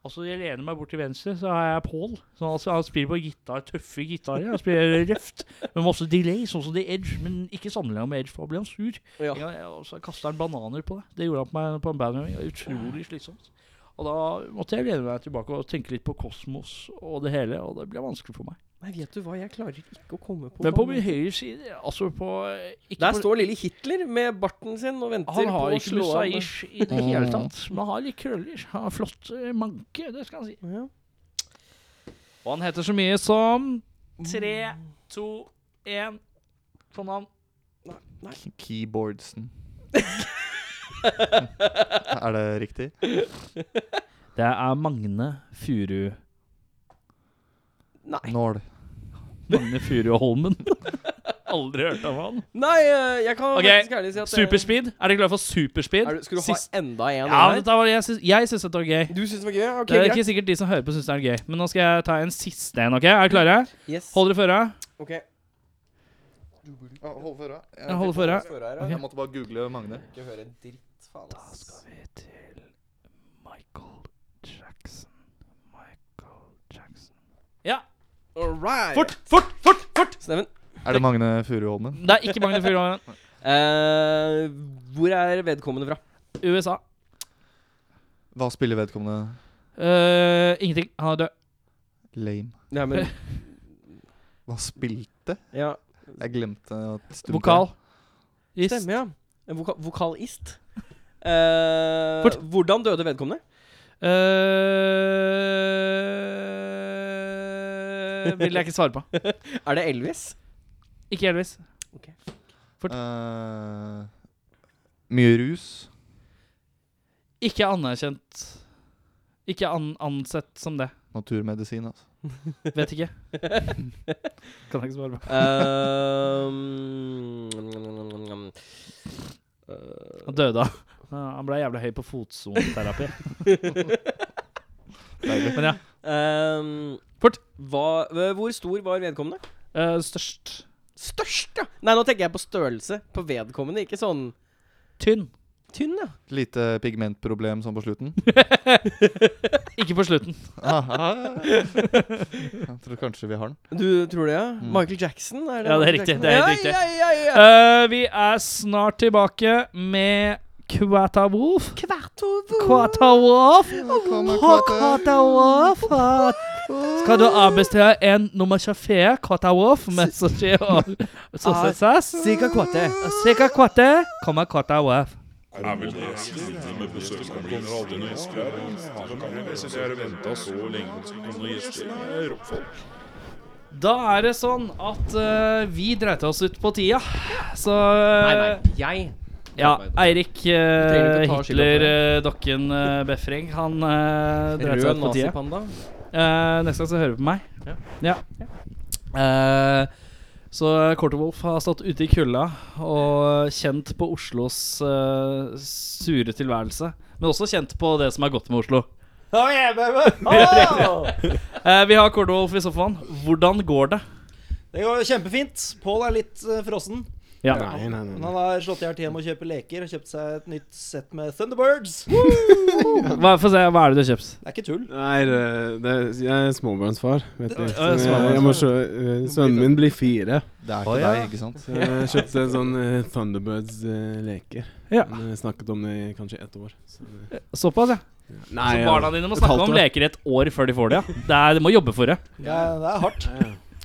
Speaker 2: Altså, jeg lener meg bort til venstre, så har jeg Pål. han spiller på gitar, tøffe gitarer. Han spiller røft, men også delay, sånn som The Edge. Men ikke sammenligna med Edge, for da blir han sur.
Speaker 1: ja.
Speaker 2: Ja. Ja, og så kasta han bananer på det. Det gjorde han på meg på en bandøving. Utrolig slitsomt. Og da måtte jeg lene meg tilbake og tenke litt på kosmos og det hele, og det ble vanskelig for meg.
Speaker 1: Nei, vet du hva, jeg klarer ikke å komme på
Speaker 2: Men på min
Speaker 1: navnet.
Speaker 2: høyre side, altså på ikke
Speaker 1: Der
Speaker 2: på-
Speaker 1: står lille Hitler med barten sin og venter
Speaker 2: han har
Speaker 1: på å
Speaker 2: ikke
Speaker 1: slå av.
Speaker 2: mustaish i det hele tatt, men han har litt krøller. Han har flott eh, manke, det skal han si.
Speaker 1: Ja.
Speaker 2: Og han heter så mye som Tre, to, én Sånn navn.
Speaker 3: K- Keyboardsen. er det riktig?
Speaker 2: Det er Magne Furu
Speaker 1: [laughs] Nei.
Speaker 3: Nål.
Speaker 2: Magne Furuholmen. [laughs] Aldri hørt om han.
Speaker 1: Nei, eh, jeg kan
Speaker 2: Ok,
Speaker 1: faktisk ærlig si
Speaker 2: eh,
Speaker 1: at det-
Speaker 2: Superspeed. Er dere klare for superspeed?
Speaker 1: Er du, skulle du
Speaker 2: Sist-
Speaker 1: ha enda en?
Speaker 2: ja,
Speaker 1: her?
Speaker 2: dette var, jeg syns- jeg syns dette var gøy.
Speaker 1: Du syns det var gøy? Ok,
Speaker 2: det er
Speaker 1: greit.
Speaker 2: ikke sikkert de som hører på, syns det er gøy. Men nå skal jeg ta en siste en. ok? Er dere klare?
Speaker 1: Yes.
Speaker 2: Hold dere for øra.
Speaker 1: Ok.
Speaker 3: Hold for øra.
Speaker 2: Ja, hold for øra.
Speaker 3: Jeg måtte bare google Magne.
Speaker 1: Ikke høre en dritt, faen.
Speaker 2: vi til Michael Jackson. Michael Jackson Ja.
Speaker 1: All right.
Speaker 2: Fort, fort, fort! fort
Speaker 1: Steven.
Speaker 3: Er det Magne Furuholmen?
Speaker 2: Det er ikke Magne Furuholmen.
Speaker 1: eh, hvor er vedkommende fra?
Speaker 2: USA.
Speaker 3: Hva spiller vedkommende?
Speaker 2: Eh, ingenting. Han er død.
Speaker 3: Lame.
Speaker 1: Ja, men,
Speaker 3: Hva spilte?
Speaker 1: ja.
Speaker 3: Jeg glemte at stum-
Speaker 2: Vokal. Ist.
Speaker 1: Stemmer, ja. En voka [laughs] vokalist. Eh,
Speaker 2: Fort.
Speaker 1: hvordan døde vedkommende?
Speaker 2: Eh, vil jeg ikke svare på.
Speaker 1: Er det [laughs] Elvis?
Speaker 2: [laughs] Ikke Elvis. Fort.
Speaker 3: Eh, mye rus.
Speaker 2: Ikke anerkjent. Ikke an ansett som det.
Speaker 3: Naturmedisin, altså.
Speaker 2: Vet ikke. [laughs] kan jeg ikke svare på.
Speaker 1: Eh, mm, eh,
Speaker 2: Han døde av Han ble jævlig høy på [laughs] fotsoneterapi. Men ja.
Speaker 1: eh,
Speaker 2: Fort.
Speaker 1: Hva, eh, hvor stor var vedkommende?
Speaker 2: eh, størst.
Speaker 1: Størst, ja! Nei, nå tenker jeg på størrelse på vedkommende, ikke sånn
Speaker 2: Tynn.
Speaker 1: tynn, ja.
Speaker 3: Lite pigmentproblem sånn på
Speaker 2: [laughs]
Speaker 3: slutten.
Speaker 2: Ikke på slutten.
Speaker 3: Ah, Jeg tror kanskje vi har den.
Speaker 1: Du tror det, ja?
Speaker 3: Mm.
Speaker 1: Michael Jackson? Er
Speaker 2: Ja, det er
Speaker 1: Michael
Speaker 2: riktig,
Speaker 1: Jackson?
Speaker 2: det er helt
Speaker 1: Ja,
Speaker 2: riktig.
Speaker 1: Ja, ja, ja.
Speaker 2: Eh, vi er snart tilbake med Kvata Wolf. Kvata Wolf. Kvata Wolf. Skal du avbestille en nummer kafé, Kvata Wolf, med sushi
Speaker 1: [laughs]
Speaker 2: og sossesaus?
Speaker 1: Cirka kvarte.
Speaker 2: Cirka kvate kommer Kvata Wolf.
Speaker 4: er vel det siste med besøksmål. Aldri noen gjester her. Jeg synes jeg har ventet så lenge på noen gjester. Jeg er rockfolk.
Speaker 2: Da er det sånn at eh, vi dreit oss ut på tida. Så
Speaker 1: Nei, nei. Jeg
Speaker 2: Ja, Eirik eh,
Speaker 1: trenger ikke å ta skylda for
Speaker 2: Hitler, eh, dokken eh, Befring, han eh, dreit seg
Speaker 1: Rød
Speaker 2: ut på tida.
Speaker 1: nazipanda.
Speaker 2: Eh, neste gang så hører du på meg.
Speaker 1: Ja.
Speaker 2: Ja. Eh, så Quarterwolf har stått ute i kulda og kjent på Oslos eh, sure tilværelse. Men også kjent på det som er godt med Oslo. [laughs]
Speaker 5: Åh!
Speaker 2: Eh, vi har Quarterwolf i sofaen. Hvordan går det?
Speaker 5: Det går kjempefint. Pål er litt eh, frossen.
Speaker 2: Ja.
Speaker 6: Nei, nei, nei.
Speaker 5: Men han har slått i hjel tida med å kjøpe leker og kjøpt seg et nytt sett med Thunderbirds.
Speaker 2: Hva, få se, hva er det du har kjøpt?
Speaker 5: Det er ikke tull.
Speaker 6: Nei, det, det, jeg er småbarnsfar. Vet du.
Speaker 5: Ja,
Speaker 6: Så jeg-
Speaker 2: småbarnsfar.
Speaker 6: jeg må se, sønnen min blir fire.
Speaker 3: Det er
Speaker 2: Å,
Speaker 3: til
Speaker 2: ja.
Speaker 3: deg, ikke sant?
Speaker 6: Så jeg kjøpte en sånn eh, Thunderbirds-leker.
Speaker 2: Ja.
Speaker 6: Snakket om det i kanskje ett år. Så, det-
Speaker 2: Såpass, ja.
Speaker 6: Nei,
Speaker 2: så barna dine må
Speaker 6: et
Speaker 2: snakke
Speaker 6: halvt
Speaker 2: om
Speaker 6: år.
Speaker 2: leker i et år før de får det, ja. Det er, de må jobbe for det.
Speaker 5: Ja, det er hardt.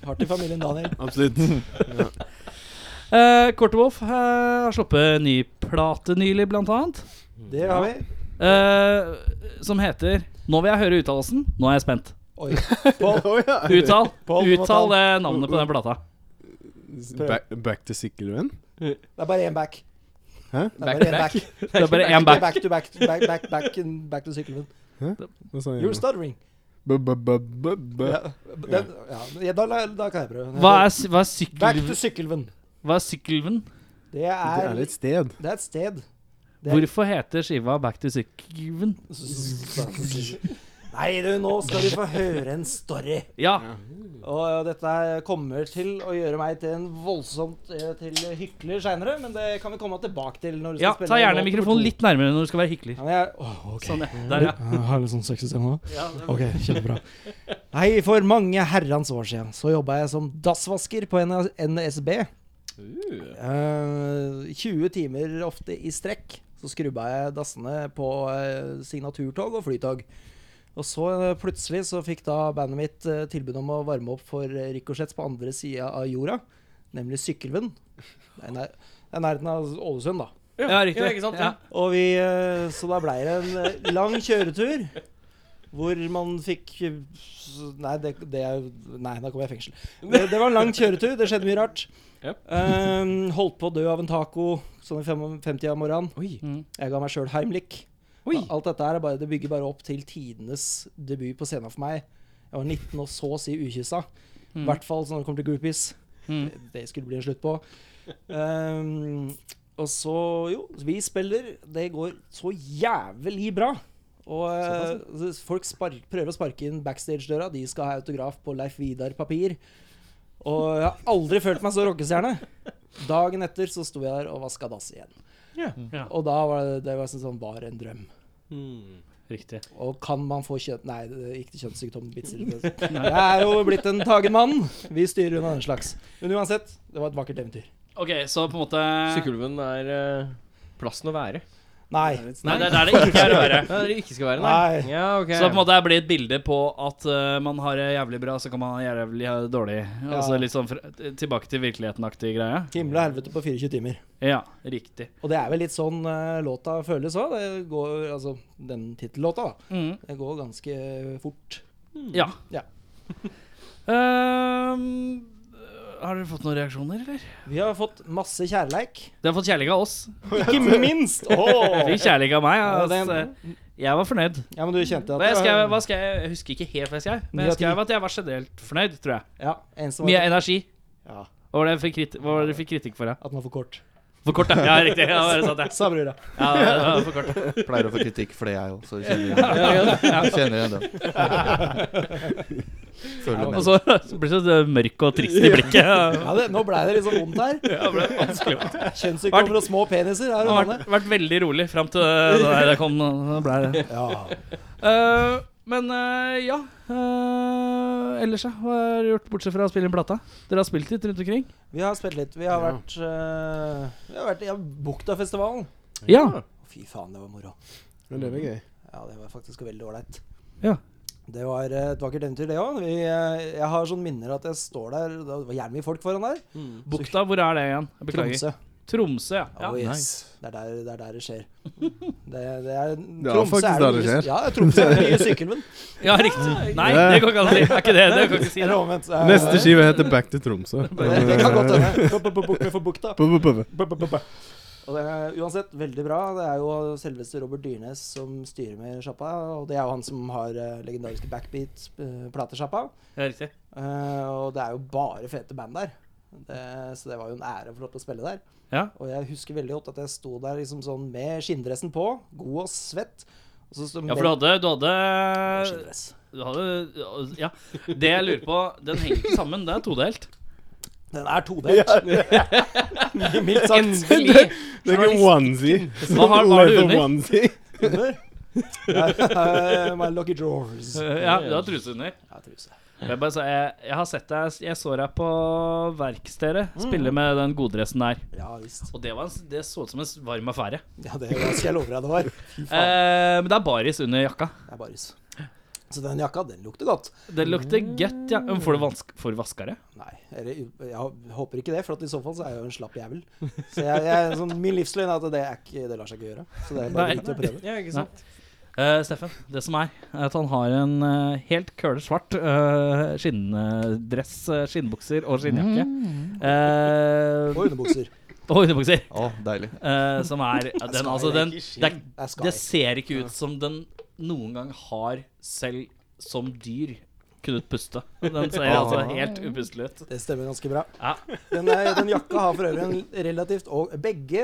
Speaker 5: Hardt i familien Daniel.
Speaker 6: Absolutt.
Speaker 2: Uh, Kortewolf har sluppet ny plate nylig, blant annet.
Speaker 6: Mm.
Speaker 5: Det har vi.
Speaker 2: Eh, som heter Nå vil jeg høre uttalelsen. Nå er jeg spent.
Speaker 5: Oi.
Speaker 6: [laughs]
Speaker 5: Pål,
Speaker 6: Å, ja.
Speaker 2: Uttal,
Speaker 5: Paul, du må ta
Speaker 2: uttal det navnet på den plata.
Speaker 6: Back, back to Sikkelven?
Speaker 5: det er bare én back.
Speaker 6: Hæ?
Speaker 5: Det er bare én back.
Speaker 2: Det er bare én
Speaker 5: Back,
Speaker 2: back.
Speaker 5: back to back, back, back, back, and back to sykkelven.
Speaker 6: Hva sa jeg?
Speaker 5: You're stuttering.
Speaker 6: B- b- b- b- b-
Speaker 5: Ja, den, ja, ja, da, da kan jeg prøve.
Speaker 2: Hva er, s- hva er
Speaker 5: Back to
Speaker 2: sykkelven?
Speaker 5: sykkelven.
Speaker 2: Hva er sykkelven?
Speaker 5: Det
Speaker 6: Det
Speaker 5: er,
Speaker 6: er et sted.
Speaker 5: det er et sted. Det er-
Speaker 2: Hvorfor heter skiva Back to Sykkelven?
Speaker 5: Nei, du, nå skal du få høre en story.
Speaker 2: Ja.
Speaker 5: Og dette her kommer til å gjøre meg til en voldsomt eh, til hykler seinere, men det kan vi komme tilbake til. når du skal
Speaker 2: ja,
Speaker 5: spille
Speaker 2: ta gjerne
Speaker 5: låt nummer
Speaker 2: mikrofonen
Speaker 5: to.
Speaker 2: litt nærmere når du skal være hykler.
Speaker 5: Ja, men jeg, åh, ok.
Speaker 2: Sånn, ja. Der, ja.
Speaker 5: Jeg Har litt sånn sexsystem nå? Ok, kjempebra. Nei, for mange herrens år siden så jobba jeg som dassvasker på NS NSB.
Speaker 2: Uh.
Speaker 5: Eh, 20 timer ofte i strekk. Så skrubba jeg dassene på eh, signaturtog og flytog. Og så eh, plutselig så fikk da bandet mitt eh, tilbud om å varme opp for eh, Ricochet på andre sida av jorda, nemlig Sykkylven. Det er i nær- det er i nærheten av Ålesund, da.
Speaker 2: ja, riktig.
Speaker 1: Ja, ikke sant, ja.
Speaker 5: Og vi, eh, så da blei det en eh, lang kjøretur hvor man fikk eh, s- Nei, det, det er, nei da kom jeg i fengsel. Det, det var en lang kjøretur. Det skjedde mye rart.
Speaker 1: Yep.
Speaker 5: Eh, holdt på å dø av en taco sånn i 55-tida om morgenen.
Speaker 1: Oi.
Speaker 2: Mm.
Speaker 5: Jeg ga meg sjøl heimlik.
Speaker 1: Oi.
Speaker 5: Alt dette her er bare, det bygger bare opp til tidenes debut på scenen for meg. Jeg var 19 og så å si ukyssa. I
Speaker 2: Mm.
Speaker 5: hvert fall når det kommer til groupies.
Speaker 2: Mm.
Speaker 5: Det skulle bli en slutt på. Ehm, og så Jo, vi spiller. Det går så jævlig bra. Og eh, folk spark, prøver å sparke inn backstage-døra. De skal ha autograf på Leif Vidar-papir. Og jeg har aldri følt meg så rockestjerne. Dagen etter så sto jeg der og vaska dass igjen.
Speaker 1: Ja.
Speaker 2: Ja.
Speaker 5: Og da var det, det var sånn, sånn var en drøm.
Speaker 1: Hmm.
Speaker 2: Riktig.
Speaker 5: Og kan man få kjønn... Nei, det gikk til kjønnssykdom. bitte stille. Jeg er jo blitt en tagen mann. Vi styrer unna den slags. Men uansett, det var et vakkert eventyr.
Speaker 2: OK, så på en måte
Speaker 1: Sykkylven er eh, plassen å være.
Speaker 5: Nei.
Speaker 2: Nei, det er der det ikke er å være.
Speaker 1: Det er det ikke skal være,
Speaker 5: Nei.
Speaker 1: Ja, ok.
Speaker 2: Så det på en måte her blir et bilde på at eh, man har det jævlig bra, så kan man ha jævlig ha det dårlig. Altså
Speaker 5: Ja.
Speaker 2: litt sånn fra, tilbake til virkeligheten-aktig greie.
Speaker 5: Himmel og helvete på 24 timer.
Speaker 2: Ja, riktig.
Speaker 5: Og det er vel litt sånn eh, låta føles òg. Det går Altså, den tittellåta, da.
Speaker 2: Mm.
Speaker 5: Det går ganske fort.
Speaker 2: Ja.
Speaker 5: Ja.
Speaker 2: [laughs] Ehm, har dere fått noen reaksjoner, eller?
Speaker 5: Vi har fått masse kjærleik.
Speaker 2: Dere har fått kjærlighet av oss.
Speaker 5: Ikke minst!
Speaker 2: Dere
Speaker 5: Åh!
Speaker 2: Fikk kjærlighet av meg.
Speaker 5: Ja,
Speaker 2: Altså.
Speaker 5: det-
Speaker 2: Jeg var fornøyd.
Speaker 5: Ja, men du kjente at
Speaker 2: Hva jeg,
Speaker 5: det-
Speaker 2: skrev, hva skrev, jeg? jeg husker ikke helt hva jeg skrev, men
Speaker 5: Ni av
Speaker 2: jeg
Speaker 5: ti.
Speaker 2: skrev at jeg var generelt fornøyd, tror jeg.
Speaker 5: Ja, en som
Speaker 2: Mye
Speaker 5: var,
Speaker 2: energi.
Speaker 5: Ja.
Speaker 2: Hva var det jeg fikk, kriti hva var det jeg fikk kritikk for? Jeg?
Speaker 5: At den var for kort.
Speaker 2: For kort, ja. ja riktig. Ja, det er sant, det.
Speaker 5: Sa brura. [laughs]
Speaker 2: Ja, det var for kort.
Speaker 3: Pleier å få kritikk for det, jeg òg,
Speaker 2: [laughs]
Speaker 3: så kjenner jeg kjenner igjen den. Føler
Speaker 2: Og
Speaker 3: med.
Speaker 2: så [laughs] så blir det så eh, mørk og trist i [laughs] blikket.
Speaker 5: Ja, det, nå ble det liksom vondt her.
Speaker 2: Ja, det ble vanskelig. Det
Speaker 5: Kjønnssykdommer og små peniser her i
Speaker 2: har
Speaker 5: landet.
Speaker 2: vært, vært veldig rolig fram til det der det kom. Det ble det.
Speaker 5: Ja.
Speaker 2: Eh, men eh, ja Eh, Ellers, ja. Hva har dere gjort bortsett fra å spille inn plata? Dere har spilt litt rundt omkring?
Speaker 5: Vi har spilt litt. Vi har
Speaker 6: Ja.
Speaker 5: vært eh, Vi har vært i Buktafestivalen.
Speaker 2: Ja.
Speaker 5: Fy faen, det var moro.
Speaker 6: Men det var gøy.
Speaker 5: Ja, det var faktisk veldig ålreit.
Speaker 2: Ja.
Speaker 5: Det var eh, et vakkert eventyr, det òg. Jeg har sånn minner at jeg står der Det var jævlig mye folk foran der.
Speaker 2: Bukta, hvor er det igjen? Jeg Beklager.
Speaker 5: Tromsø.
Speaker 2: Tromsø, ja.
Speaker 5: Oh,
Speaker 2: ja.
Speaker 5: yes. det, er der, det er der det skjer. Det, det er,
Speaker 6: er
Speaker 5: Tromsø
Speaker 6: faktisk
Speaker 5: jo
Speaker 6: der det
Speaker 5: nye-
Speaker 6: skjer.
Speaker 5: Ja, Tromsø er den nye sykkelven.
Speaker 2: Ja, riktig. Nei, det går ikke an å si. Det er ikke det. Det kan jeg ikke [laughs] si.
Speaker 5: Eller omvendt. Det er-
Speaker 6: Neste skive heter Back to Tromsø.
Speaker 5: Det, [laughs] det kan godt hende. Bu- bu- bu- Bukta for bukta.
Speaker 6: Bu- bu- bu- bu.
Speaker 5: Bu- bu- bu- bu. Og det er uansett veldig bra. Det er jo selveste Robert Dyrnes som styrer med sjappa. Og det er jo han som har eh, legendariske eh, Backbeat-platesjappa.
Speaker 2: Ja, riktig.
Speaker 5: Eh, og det er jo bare fete band der. Det, så det var jo en ære å få lov til å spille der.
Speaker 2: Ja.
Speaker 5: Og jeg husker veldig godt at jeg sto der liksom sånn med skinndressen på, god og svett. Og så sto
Speaker 2: Ja, for du hadde, du hadde
Speaker 5: skinndress.
Speaker 2: Du hadde Ja. Det jeg lurer på, den henger ikke sammen. Det er todelt.
Speaker 5: Den er todelt. [laughs] Mildt sagt.
Speaker 2: Endelig.
Speaker 6: Det er ikke onesie.
Speaker 2: Hva har- hva har du
Speaker 6: Leather
Speaker 2: under?
Speaker 6: onesie.
Speaker 5: Under. Ja, eh, My lucky drawers.
Speaker 2: Ja, du har truse under.
Speaker 5: Ja, truse.
Speaker 2: Jeg, bare, sa- jeg, jeg har sett deg Jeg så deg på Verkstedet spille med den goddressen der.
Speaker 5: Ja visst.
Speaker 2: Mm. Og det, var en, det så ut som en s- varm affære.
Speaker 5: Ja, det skal jeg love deg det var. Fy faen.
Speaker 2: Eh, men det er baris under jakka.
Speaker 5: Det er bare rus. Så den jakka, den lukter godt.
Speaker 2: Det lukter godt, ja. Men Får du vansk, får du vaska det?
Speaker 5: Nei, eller, jeg håper ikke det, for at i så fall så er jeg jo en slapp jævel. Så jeg, jeg, sånn, min livsløgn er at det, er ikke, det lar seg ikke gjøre. Så det er bare
Speaker 2: Nei.
Speaker 5: dritt å prøve.
Speaker 1: Ja, ikke sant?
Speaker 2: Eh, Steffen, det som er, er at han har en eh, helt køle svart eh, skinndress, eh, skinnbukser og skinnjakke. Eh,
Speaker 5: Og underbukser.
Speaker 2: og underbukser.
Speaker 3: Å, deilig.
Speaker 2: eh, som er ja, den, altså, den, det, er-
Speaker 5: Det er
Speaker 2: det
Speaker 5: skar.
Speaker 2: ser ikke ut som den noen gang har selv som dyr kunnet puste. Den ser altså helt upustelig ut.
Speaker 5: Det stemmer ganske bra.
Speaker 2: Ja.
Speaker 5: Den, er- den jakka har for øvrig en relativt Og begge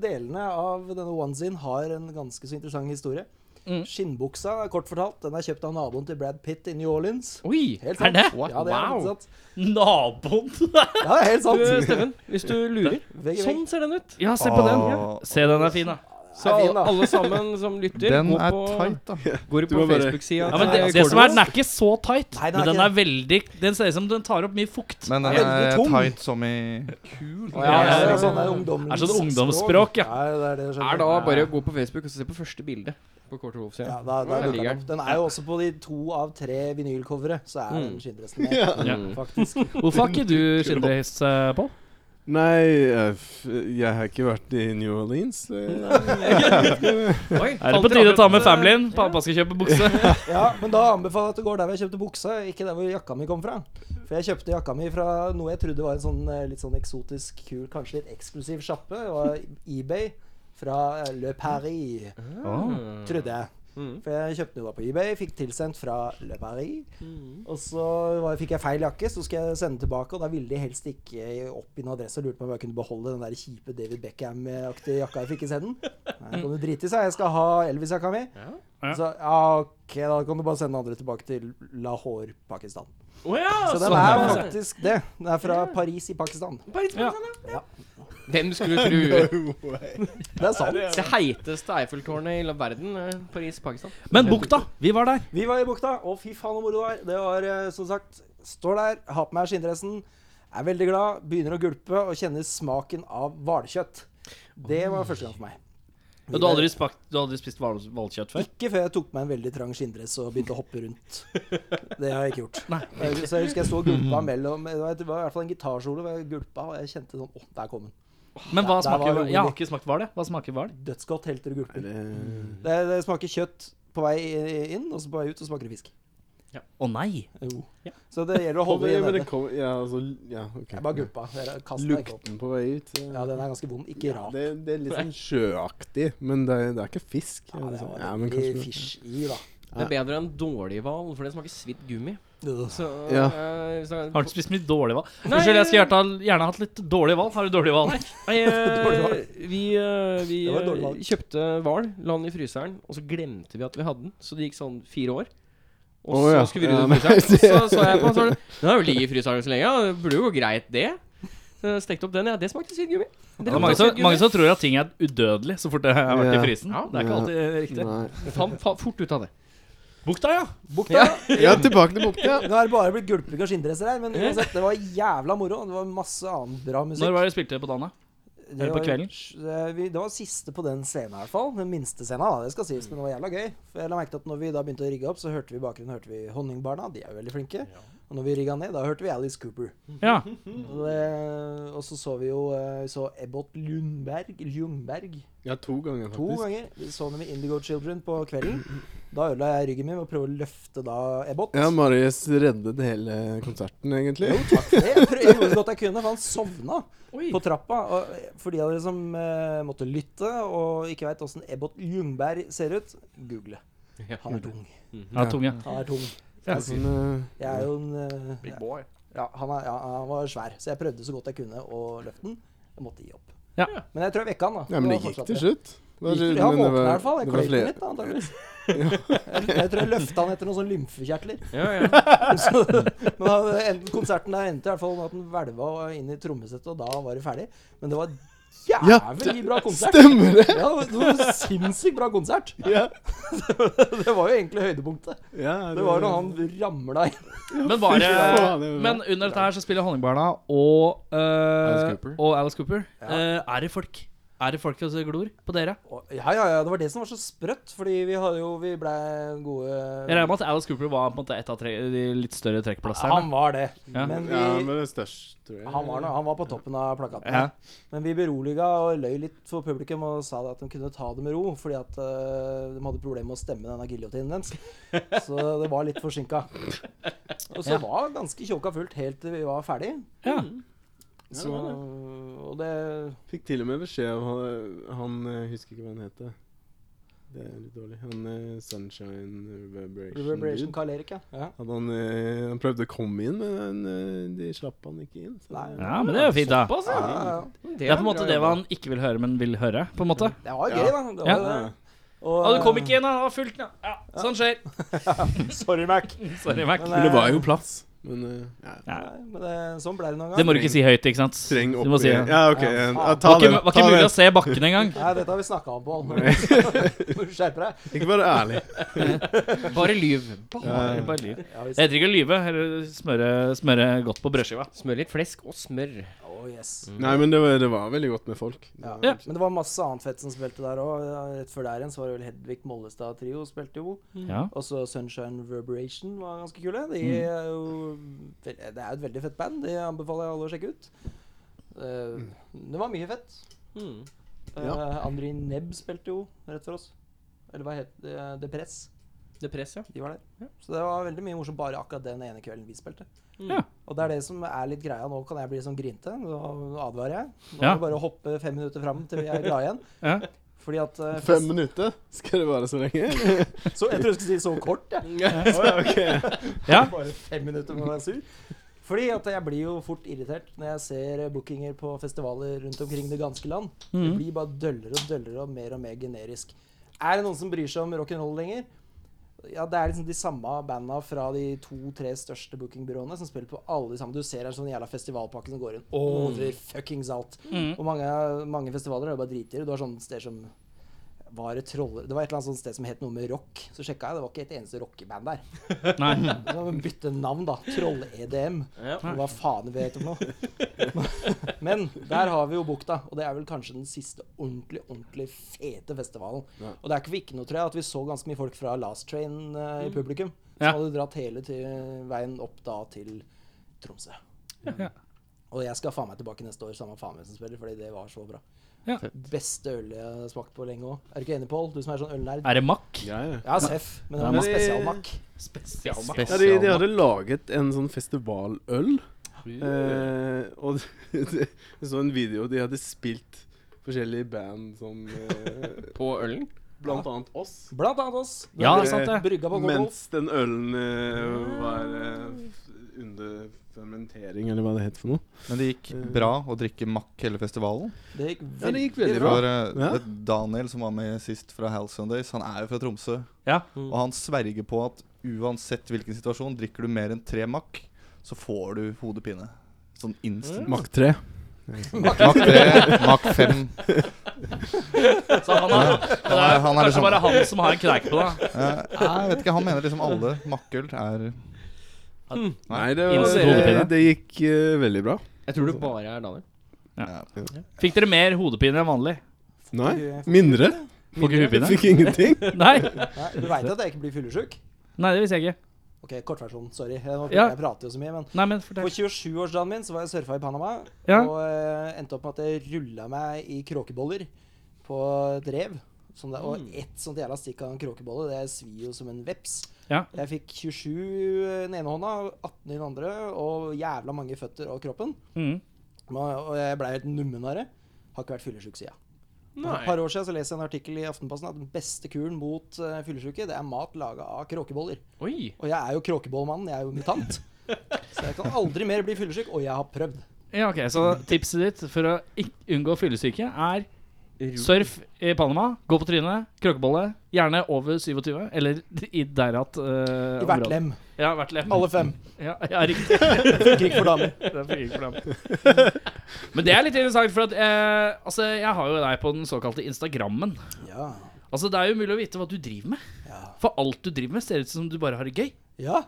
Speaker 5: delene av denne onesien har en ganske så interessant historie.
Speaker 2: Mm.
Speaker 5: Skinnbuksa, kort fortalt, den er kjøpt av naboen til Brad Pitt i New Orleans.
Speaker 2: Oi,
Speaker 5: Helt
Speaker 2: er
Speaker 5: sant.
Speaker 2: det
Speaker 5: Ja, det er helt sant.
Speaker 2: naboen? [laughs]
Speaker 5: Ja, det er
Speaker 1: Du,
Speaker 5: helt sant.
Speaker 1: Steffen, hvis du lurer.
Speaker 5: Vegg i vegg.
Speaker 1: Sånn ser den ut.
Speaker 2: Ja, se på den.
Speaker 3: Åh.
Speaker 2: Ah. Se, den er fin, da.
Speaker 1: Så
Speaker 5: Den er fin,
Speaker 1: alle,
Speaker 5: da.
Speaker 1: alle sammen som lytter,
Speaker 3: Den
Speaker 1: gå
Speaker 3: er
Speaker 1: på,
Speaker 3: tight, da.
Speaker 1: går
Speaker 6: Du
Speaker 1: på
Speaker 6: må bare-
Speaker 1: Facebook-sida.
Speaker 2: Ja, men det,
Speaker 1: til
Speaker 2: det som er,
Speaker 1: Kålros.
Speaker 2: Den er ikke så tight,
Speaker 5: Nei, den er
Speaker 2: men den
Speaker 5: ikke
Speaker 2: er veldig Den ser ut som den tar opp mye fukt.
Speaker 3: Men
Speaker 5: Den
Speaker 3: den
Speaker 5: er
Speaker 3: er
Speaker 5: veldig tung.
Speaker 3: tight som i
Speaker 5: Å, ja,
Speaker 2: Ja,
Speaker 5: det er
Speaker 2: ja,
Speaker 5: sånn der ungdommens
Speaker 2: Er sånn ungdomsspråk, ja.
Speaker 5: det er det
Speaker 1: er da bare å gå på Facebook og se på første bilde på Kårt Rolf-sida.
Speaker 5: Ja, da, da
Speaker 1: Der
Speaker 5: dukker
Speaker 1: ligger
Speaker 5: den opp. Den er jo også på de to av tre vinylcovere, så er den
Speaker 1: Mm.
Speaker 5: skinndressen der,
Speaker 2: Ja.
Speaker 5: [laughs] faktisk.
Speaker 2: Hvorfor har ikke du skinndress, eh, Pål?
Speaker 6: Nei, eh, f- jeg har ikke vært i New Orleans. eh.
Speaker 1: Oi,
Speaker 2: Er det på tide å ta med familien? Pappa skal kjøpe bukse. [laughs]
Speaker 5: Ja, men da anbefaler jeg at du går der hvor jeg kjøpte buksa, ikke der hvor jakka mi kom fra. For jeg kjøpte jakka mi fra noe jeg trodde var en sånn eh, litt sånn eksotisk, kul, kanskje litt eksklusiv sjappe. Det var eBay fra eh, Le Paris, trodde jeg.
Speaker 1: Mm.
Speaker 5: For jeg kjøpte den jo da på eBay, fikk tilsendt fra Le Paris. Og så var, fikk jeg feil jakke, så skulle jeg sende den tilbake, og da ville de helst ikke opp i noen adresse og lurte på om jeg kunne beholde den der kjipe David Beckham-aktige jakka jeg fikk i senden. Nei, det kan du drite i, sa jeg. Jeg skal ha Elvis-jakka mi.
Speaker 2: Ja.
Speaker 5: Så ja, OK, da kan du bare sende den andre tilbake til Lahore, Pakistan. Så den er faktisk det. Den er fra Paris i Pakistan.
Speaker 1: sånn,
Speaker 2: Ja.
Speaker 1: Hvem skulle tro
Speaker 5: Det er sant.
Speaker 1: Det heiteste Eiffeltårnet i la- verden, eh, Paris, Pakistan.
Speaker 2: Men bukta, vi var der.
Speaker 5: Vi var i bukta, og fy faen hvor moro det var. Det var eh, som sagt Står der, har på meg skinndressen, er veldig glad, begynner å gulpe og kjenner smaken av hvalkjøtt. Det var første gang for meg.
Speaker 2: Men du har aldri, spakt, du har aldri spist hval- hvalkjøtt før?
Speaker 5: Ikke før jeg tok meg en veldig trang skinndress og begynte å hoppe rundt. Det har jeg ikke gjort. Jeg- Så jeg husker jeg sto og gulpa mellom Det var det var i hvert fall en gitarsolo hvor jeg gulpa, og jeg kjente sånn Å, der kom den.
Speaker 2: Men hva
Speaker 5: Der var
Speaker 2: smaker
Speaker 5: det
Speaker 2: hval? Jeg har ikke smakt hval, jeg. Hva smaker hval?
Speaker 5: Dødsgodt helt til du gulper.
Speaker 6: Det-
Speaker 5: Det, det smaker kjøtt på vei inn, og så på vei ut, og så smaker det fisk.
Speaker 2: Å nei.
Speaker 5: Jo.
Speaker 2: Ja.
Speaker 5: Så det gjelder å holde det
Speaker 6: Ja, men
Speaker 5: nede.
Speaker 6: det kom, ja, altså, ja, ok.
Speaker 5: Jeg bare gulpa. Dere, Kast deg ikke opp.
Speaker 6: Lukten på vei ut. eh.
Speaker 5: Ja, den er ganske vond. Ikke
Speaker 6: Ja,
Speaker 5: rap.
Speaker 6: det, det er litt sånn sjøaktig, men det, er- det er ikke fisk.
Speaker 5: Ja,
Speaker 6: er
Speaker 5: det
Speaker 6: liksom-
Speaker 5: var
Speaker 6: ja, men
Speaker 5: veldig
Speaker 6: kanskje
Speaker 5: fish i, da.
Speaker 1: Det er bedre enn dårlig hval, for det smaker svidd gummi. Så,
Speaker 6: Ja.
Speaker 1: eh, hvis det er-
Speaker 2: Har du spist mye dårlig hval?
Speaker 1: Nei.
Speaker 2: Unnskyld, jeg skulle gjerne, gjerne hatt litt dårlig hval. Har du dårlig hval?
Speaker 1: [laughs] Nei, eh, vi eh, vi
Speaker 5: Det var et dårlig valg.
Speaker 1: eh, kjøpte hval, la den i fryseren, og så glemte vi at vi hadde den. Så det gikk sånn fire år. Og
Speaker 6: Å,
Speaker 1: så
Speaker 6: ja.
Speaker 1: skulle vi
Speaker 6: Ja,
Speaker 1: rydde
Speaker 6: men
Speaker 1: fryseren.
Speaker 6: det-
Speaker 1: Så så jeg på den, så var det Den har jo ligget i fryseren så lenge, ja, det burde jo gå greit, det. Så jeg stekte opp den, ja. Det smakte svidd gummi.
Speaker 2: Det er mange som, mange som tror at ting er udødelig så fort det har vært
Speaker 6: Ja.
Speaker 2: i frysen.
Speaker 1: Ja.
Speaker 2: Det er ikke alltid riktig.
Speaker 6: Nei.
Speaker 1: Fant fa fort ut av det.
Speaker 2: Bukta, ja.
Speaker 5: Bukta.
Speaker 6: Ja, tilbake til bukta.
Speaker 5: Nå er det bare blitt gulping og skinndresser her, men uansett, det var jævla moro. Det var masse annen bra musikk.
Speaker 2: Når var det du spilte på Dana?
Speaker 5: Det
Speaker 2: Eller på
Speaker 5: var-
Speaker 2: kvelden?
Speaker 5: Det, vi, det var siste på den scenen, i hvert fall. Den minste scenen, da, det skal sies, men det var jævla gøy. For jeg la merke til at når vi da begynte å rigge opp, så hørte vi i bakgrunnen hørte vi Honningbarna. De er jo veldig flinke. Og når vi rigga ned, da hørte vi Alice Cooper.
Speaker 2: Ja.
Speaker 5: Og, det, og så så vi jo eh, vi så Ebbot Lundberg, Ljungberg
Speaker 6: Ja, to ganger,
Speaker 5: to
Speaker 6: faktisk.
Speaker 5: ganger. Vi så dem i Indigo Children på kvelden. Da ødela jeg ryggen min ved å prøve å løfte da Ebbot.
Speaker 6: Ja, Marius reddet hele konserten, egentlig.
Speaker 5: Det- Jeg prøv- jeg gjorde så godt jeg kunne, for han sovna
Speaker 1: Oi.
Speaker 5: på trappa. Og for de av dere som eh, måtte lytte og ikke veit åssen Ebbot Ljungberg ser ut, google. Han er tung.
Speaker 2: ja tung, ja.
Speaker 5: Han er tung.
Speaker 2: Ja.
Speaker 6: Sånn, eh,
Speaker 5: Jeg er jo en eh, ja, han, er, ja, han var svær, så jeg prøvde så godt jeg kunne å løfte den. Jeg måtte gi opp.
Speaker 2: Ja.
Speaker 5: Men jeg tror jeg vekka han, da.
Speaker 6: ja, men det
Speaker 5: Og
Speaker 6: gikk
Speaker 5: fortsatte.
Speaker 6: til slutt. Det var-
Speaker 5: Gikk- Ja, han
Speaker 6: men det
Speaker 5: våkna i
Speaker 6: var-
Speaker 5: hvert fall. Jeg
Speaker 6: det var
Speaker 5: kløyv den
Speaker 6: flere-
Speaker 5: litt, da,
Speaker 6: [laughs]
Speaker 5: antakeligvis. Jeg, jeg tror jeg løfta han etter noen sånne
Speaker 6: [laughs]
Speaker 5: lymfekjertler.
Speaker 1: Ja, ja.
Speaker 5: Så, men da, en, konserten der endte i hvert fall med at den hvelva inn i trommesettet, og da var det ferdig. Men det var jævlig bra konsert.
Speaker 6: Stemmer det!
Speaker 5: Ja, det var en sinnssykt bra konsert.
Speaker 6: [laughs] Ja.
Speaker 5: [laughs] Det var jo egentlig høydepunktet.
Speaker 6: ja
Speaker 5: Det var når han ramla inn.
Speaker 2: Men, var [laughs] det,
Speaker 6: faen, det var bra.
Speaker 2: men under dette her så spiller Honningbarna og, eh,
Speaker 6: Alice Cooper.
Speaker 2: og Alice Cooper. Eh, er det folk? Er det folk som glor på dere?
Speaker 5: Ja, ja, ja. Det var det som var så sprøtt, fordi vi hadde jo Vi blei gode
Speaker 2: Jeg regner med at Alice Cooper var på en måte et av tre, de litt større trekkplassene.
Speaker 5: Han var det.
Speaker 2: Ja.
Speaker 5: Men
Speaker 6: Ja,
Speaker 5: vi
Speaker 6: men det er størst, tror jeg.
Speaker 5: Han var, nå- han var på toppen av plakaten.
Speaker 2: Ja.
Speaker 5: Men vi beroliga og løy litt for publikum og sa at de kunne ta det med ro, fordi at eh, de hadde problemer med å stemme denne giljotinen deres. Så det var litt forsinka. Og så var ganske tjåka fullt helt til vi var ferdig.
Speaker 2: Ja.
Speaker 5: Så, og det
Speaker 6: Fikk til og med beskjed av han, han eh, Husker ikke hva han heter. Det er litt dårlig. Han eh, Sunshine Vibration.
Speaker 5: Reverberation
Speaker 6: dude.
Speaker 5: Carl Erik, ja. ja.
Speaker 6: At han, eh, han prøvde å komme inn, men han, eh, de slapp han ikke inn. Så.
Speaker 5: Nei.
Speaker 2: ja, men det er jo fint, da.
Speaker 1: Pass, ja.
Speaker 5: ja, ja.
Speaker 2: Det er på en måte det man ikke vil høre, men vil høre. på en måte
Speaker 5: Det var
Speaker 6: Ja.
Speaker 5: gøy, da. Det var,
Speaker 2: Ja.
Speaker 5: det.
Speaker 6: Ja.
Speaker 5: Og,
Speaker 2: Ja, du kom ikke inn, da. Det var fullt. Ja. Ja, sånn [laughs] skjer.
Speaker 5: [laughs] Sorry, Mac.
Speaker 2: Sorry, Mac.
Speaker 5: Men,
Speaker 6: Men det var
Speaker 5: eh,
Speaker 6: jo plass. Men eh, ja.
Speaker 2: Ja.
Speaker 5: nei, men det, sånn ble det noen
Speaker 2: Det
Speaker 5: ganger.
Speaker 2: må du ikke si høyt, ikke sant?
Speaker 6: Treng
Speaker 2: Du
Speaker 6: opp
Speaker 2: må si
Speaker 6: i-
Speaker 2: det.
Speaker 6: Ja, OK. Ja,
Speaker 5: Ja,
Speaker 6: ta
Speaker 2: var
Speaker 6: det.
Speaker 2: ikke, var
Speaker 6: ta
Speaker 2: ikke mulig
Speaker 6: det.
Speaker 2: å se bakken engang.
Speaker 5: Nei, dette har vi snakka om, Pål. [laughs] Må du skjerpe deg.
Speaker 6: Ikke bare ærlig.
Speaker 1: Bare lyv. Bare.
Speaker 2: Bare lyv.
Speaker 5: Ja, vi
Speaker 2: Jeg heter ikke å lyve, eller smøre, smøre godt på brødskiva.
Speaker 1: Smør litt flesk og smør.
Speaker 5: Oh, yes.
Speaker 1: Mm.
Speaker 6: Nei, men det var, det var veldig godt med folk. Det
Speaker 5: Ja.
Speaker 6: var-
Speaker 2: Ja.
Speaker 5: Men det var masse annet fett som spilte der òg. Rett før der igjen så var det vel Hedvig Mollestad Trio spilte jo.
Speaker 1: Mm.
Speaker 2: Ja.
Speaker 5: Og så Sunshine Reverberation var ganske kule. De er jo vel- Det er jo et veldig fett band. Det anbefaler jeg alle å sjekke ut. Eh, Det var mye fett.
Speaker 1: Mm.
Speaker 5: Uh, Andri Nebb spilte jo rett for oss. Eller hva het eh, det? The Press.
Speaker 1: Det press, ja.
Speaker 5: De var der. Så det var veldig mye morsomt bare akkurat den ene kvelden vi spilte.
Speaker 2: Ja.
Speaker 5: Og det er det som er litt greia. Nå kan jeg bli sånn grinte. Nå advarer jeg. Nå
Speaker 2: Ja.
Speaker 5: er det bare å hoppe fem minutter fram til vi er glade igjen.
Speaker 2: Ja.
Speaker 5: Fordi at eh,
Speaker 6: Fem minutter? Skal det være så lenge?
Speaker 5: Så, jeg tror jeg skulle si så kort, jeg. [laughs]
Speaker 2: ja.
Speaker 5: Bare fem minutter må være sur. Fordi at jeg blir jo fort irritert når jeg ser bookinger på festivaler rundt omkring det ganske land.
Speaker 2: Mm. Mhm.
Speaker 5: Det blir bare døllere og døllere og mer og mer generisk. Er det noen som bryr seg om rock'n'roll lenger? Ja, det er liksom de samme banda fra de to-tre største bookingbyråene som spiller på alle de samme. Du ser en sånn jævla festivalpakke som går inn. Over fuckings alt. Og mange, mange festivaler er jo bare driter. Du har sånne steder som var det, troller? det var et eller annet sånt sted som het noe med rock. Så sjekka jeg, det var ikke et eneste rockeband der.
Speaker 2: Nei.
Speaker 5: Så må vi bytte navn, da. Troll-EDM. Og Hva faen vi heter for noe. Men der har vi jo bukta, og det er vel kanskje den siste ordentlig, ordentlig fete festivalen. Og det er ikke for ikke noe, tror jeg, at vi så ganske mye folk fra Last Train eh, i publikum. Som
Speaker 2: Ja.
Speaker 5: hadde dratt hele til, veien opp da til Tromsø.
Speaker 2: Ja.
Speaker 5: Og jeg skal faen meg tilbake neste år, samme faen hvem som spiller, fordi det var så bra.
Speaker 2: Ja.
Speaker 5: Beste ølet jeg har smakt på lenge òg. Er du ikke enig, Pål? Du som er sånn ølnerd.
Speaker 2: Er det makk?
Speaker 6: Ja, ja.
Speaker 5: Ja, seff, men det var
Speaker 2: Men
Speaker 5: noe
Speaker 6: det-
Speaker 5: spesialmakk.
Speaker 2: Spesialmakk.
Speaker 6: Ja, de, de hadde laget en sånn festivaløl. Eh, og [laughs] det-
Speaker 2: [laughs]
Speaker 6: jeg så en video de hadde spilt forskjellige band som eh,
Speaker 1: På ølen.
Speaker 6: Blant annet oss.
Speaker 5: Blant annet oss.
Speaker 2: Ja,
Speaker 6: det-
Speaker 2: sant det.
Speaker 5: Brygga på Golf.
Speaker 6: Mens den ølen eh, var eh, f- under fermentering, eller hva det heter for noe.
Speaker 3: Men det gikk bra å drikke makk hele festivalen.
Speaker 5: Det gikk
Speaker 6: Ja, det
Speaker 5: veldig
Speaker 6: gikk veldig bra.
Speaker 3: For eh,
Speaker 6: Ja.
Speaker 3: det- Daniel, som var med sist fra Hal Sundays, han er jo fra Tromsø.
Speaker 2: Ja.
Speaker 3: Og han sverger på at uansett hvilken situasjon, drikker du mer enn tre makk, så får du hodepine. Sånn
Speaker 2: Mm.
Speaker 3: instant.
Speaker 6: Mach 3.
Speaker 3: Makk tre, makk fem.
Speaker 2: Så han er,
Speaker 3: Han er, han er
Speaker 2: kanskje
Speaker 3: liksom,
Speaker 2: bare han som har en kneik på det.
Speaker 3: Eh, jeg vet ikke, han mener liksom alle makkøl er
Speaker 6: Nei, det, var,
Speaker 2: Instant
Speaker 6: det,
Speaker 2: hodepine.
Speaker 6: det gikk eh, veldig bra.
Speaker 1: Jeg tror det
Speaker 5: Altså,
Speaker 1: bare er Daniel.
Speaker 2: Fikk dere mer hodepine enn vanlig?
Speaker 6: Nei, mindre.
Speaker 2: Får ikke hodepine?
Speaker 6: Fikk ingenting. [laughs]
Speaker 2: Nei.
Speaker 5: Nei, Du veit at jeg ikke blir fyllesyk?
Speaker 2: Nei, det visste jeg ikke.
Speaker 5: OK, kortversjonen. Sorry. Jeg, nå-
Speaker 2: Ja.
Speaker 5: jeg prater jo så mye, men
Speaker 2: Nei, men
Speaker 5: På
Speaker 2: fortell.
Speaker 5: 27-årsdagen min så var jeg surfa i Panama
Speaker 2: Ja.
Speaker 5: og eh, endte opp med at jeg rulla meg i kråkeboller på et rev. Sånn der, og ett sånt jævla stikk av en kråkebolle, det svir jo som en veps.
Speaker 2: Ja.
Speaker 5: Jeg fikk 27 i den ene hånda, 18 i den andre og jævla mange føtter og kroppen.
Speaker 2: Mm.
Speaker 5: Ma- Og jeg blei helt nummen av det. Har ikke vært fyllesyk siden. For et par år siden så leser jeg en artikkel i Aftenposten at den beste kuren mot uh, fyllesyke, det er mat laga av kråkeboller.
Speaker 2: Oi.
Speaker 5: Og jeg er jo kråkebollmann, jeg er jo mutant. Så jeg kan aldri mer bli fyllesyk, og jeg har prøvd.
Speaker 2: Ja, ok, Så tipset ditt for å ikke unngå fyllesyke er surf i Panama, gå på trynet, kråkebolle, gjerne over 27, eller i derat uh,
Speaker 5: I hvert lem.
Speaker 2: Ja, hvert lem.
Speaker 5: Alle fem.
Speaker 2: Ja, ja, riktig.
Speaker 5: Krig for damer.
Speaker 2: Det er for for dem. [laughs] Men det er litt interessant, for at eh, altså, jeg har jo deg på den såkalte Instagrammen.
Speaker 5: Ja.
Speaker 2: Altså, Det er jo umulig å vite hva du driver med.
Speaker 5: Ja.
Speaker 2: For alt du driver med, ser ut som du bare har det gøy.
Speaker 5: ja.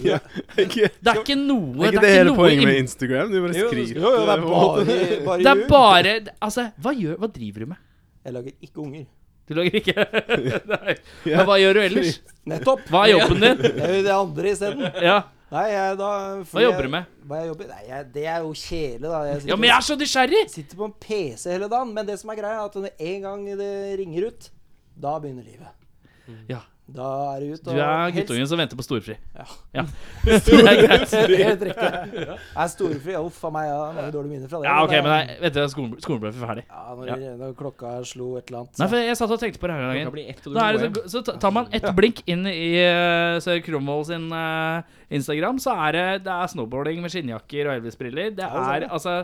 Speaker 6: Ja, ikke,
Speaker 2: Det er ikke noe
Speaker 6: er ikke det hele poenget med Instagram? Du bare
Speaker 5: Jo,
Speaker 6: skriver.
Speaker 5: jo, jo, det er bare, bare
Speaker 2: [laughs] Det er
Speaker 5: ljug.
Speaker 2: bare Altså, hva, gjør, hva driver du med?
Speaker 5: Jeg lager ikke unger.
Speaker 2: Du lager ikke [laughs] Nei. Men hva gjør du ellers?
Speaker 5: Nettopp.
Speaker 2: Hva er jobben din?
Speaker 5: Det er jo det andre isteden.
Speaker 2: Ja,
Speaker 5: Nei, jeg da
Speaker 2: Hva jobber du med?
Speaker 5: Hva jeg jobber? Nei, jeg, det er jo kjedelig, da. Jeg sitter,
Speaker 2: ja men jeg er så nysgjerrig!
Speaker 5: sitter på en PC hele dagen. Men det som er greia, er at når en gang det ringer ut, da begynner livet.
Speaker 2: Ja.
Speaker 5: Da er det ut.
Speaker 2: Du er guttungen som venter på storfri.
Speaker 5: Ja.
Speaker 6: [laughs]
Speaker 2: ja. Det er greit.
Speaker 5: Helt riktig. Jeg er storfri. Uff a meg, jeg har mange dårlige minner fra det.
Speaker 2: [laughs] Ja, OK, men nei, vent til skolen, skolen ble ferdig.
Speaker 5: Ja, når, når klokka slo et eller annet.
Speaker 2: Nei, for jeg satt og tenkte på det her
Speaker 1: Klokka
Speaker 2: dagen.
Speaker 1: blir ett, og du
Speaker 2: Da er
Speaker 1: må
Speaker 2: det
Speaker 1: hjem.
Speaker 2: så, så ta- tar man ett blink inn i eh, Sir Cromwell sin eh, Instagram, så er det, det er snowboarding med skinnjakker og Elvis-briller. Det
Speaker 5: Ja,
Speaker 2: er altså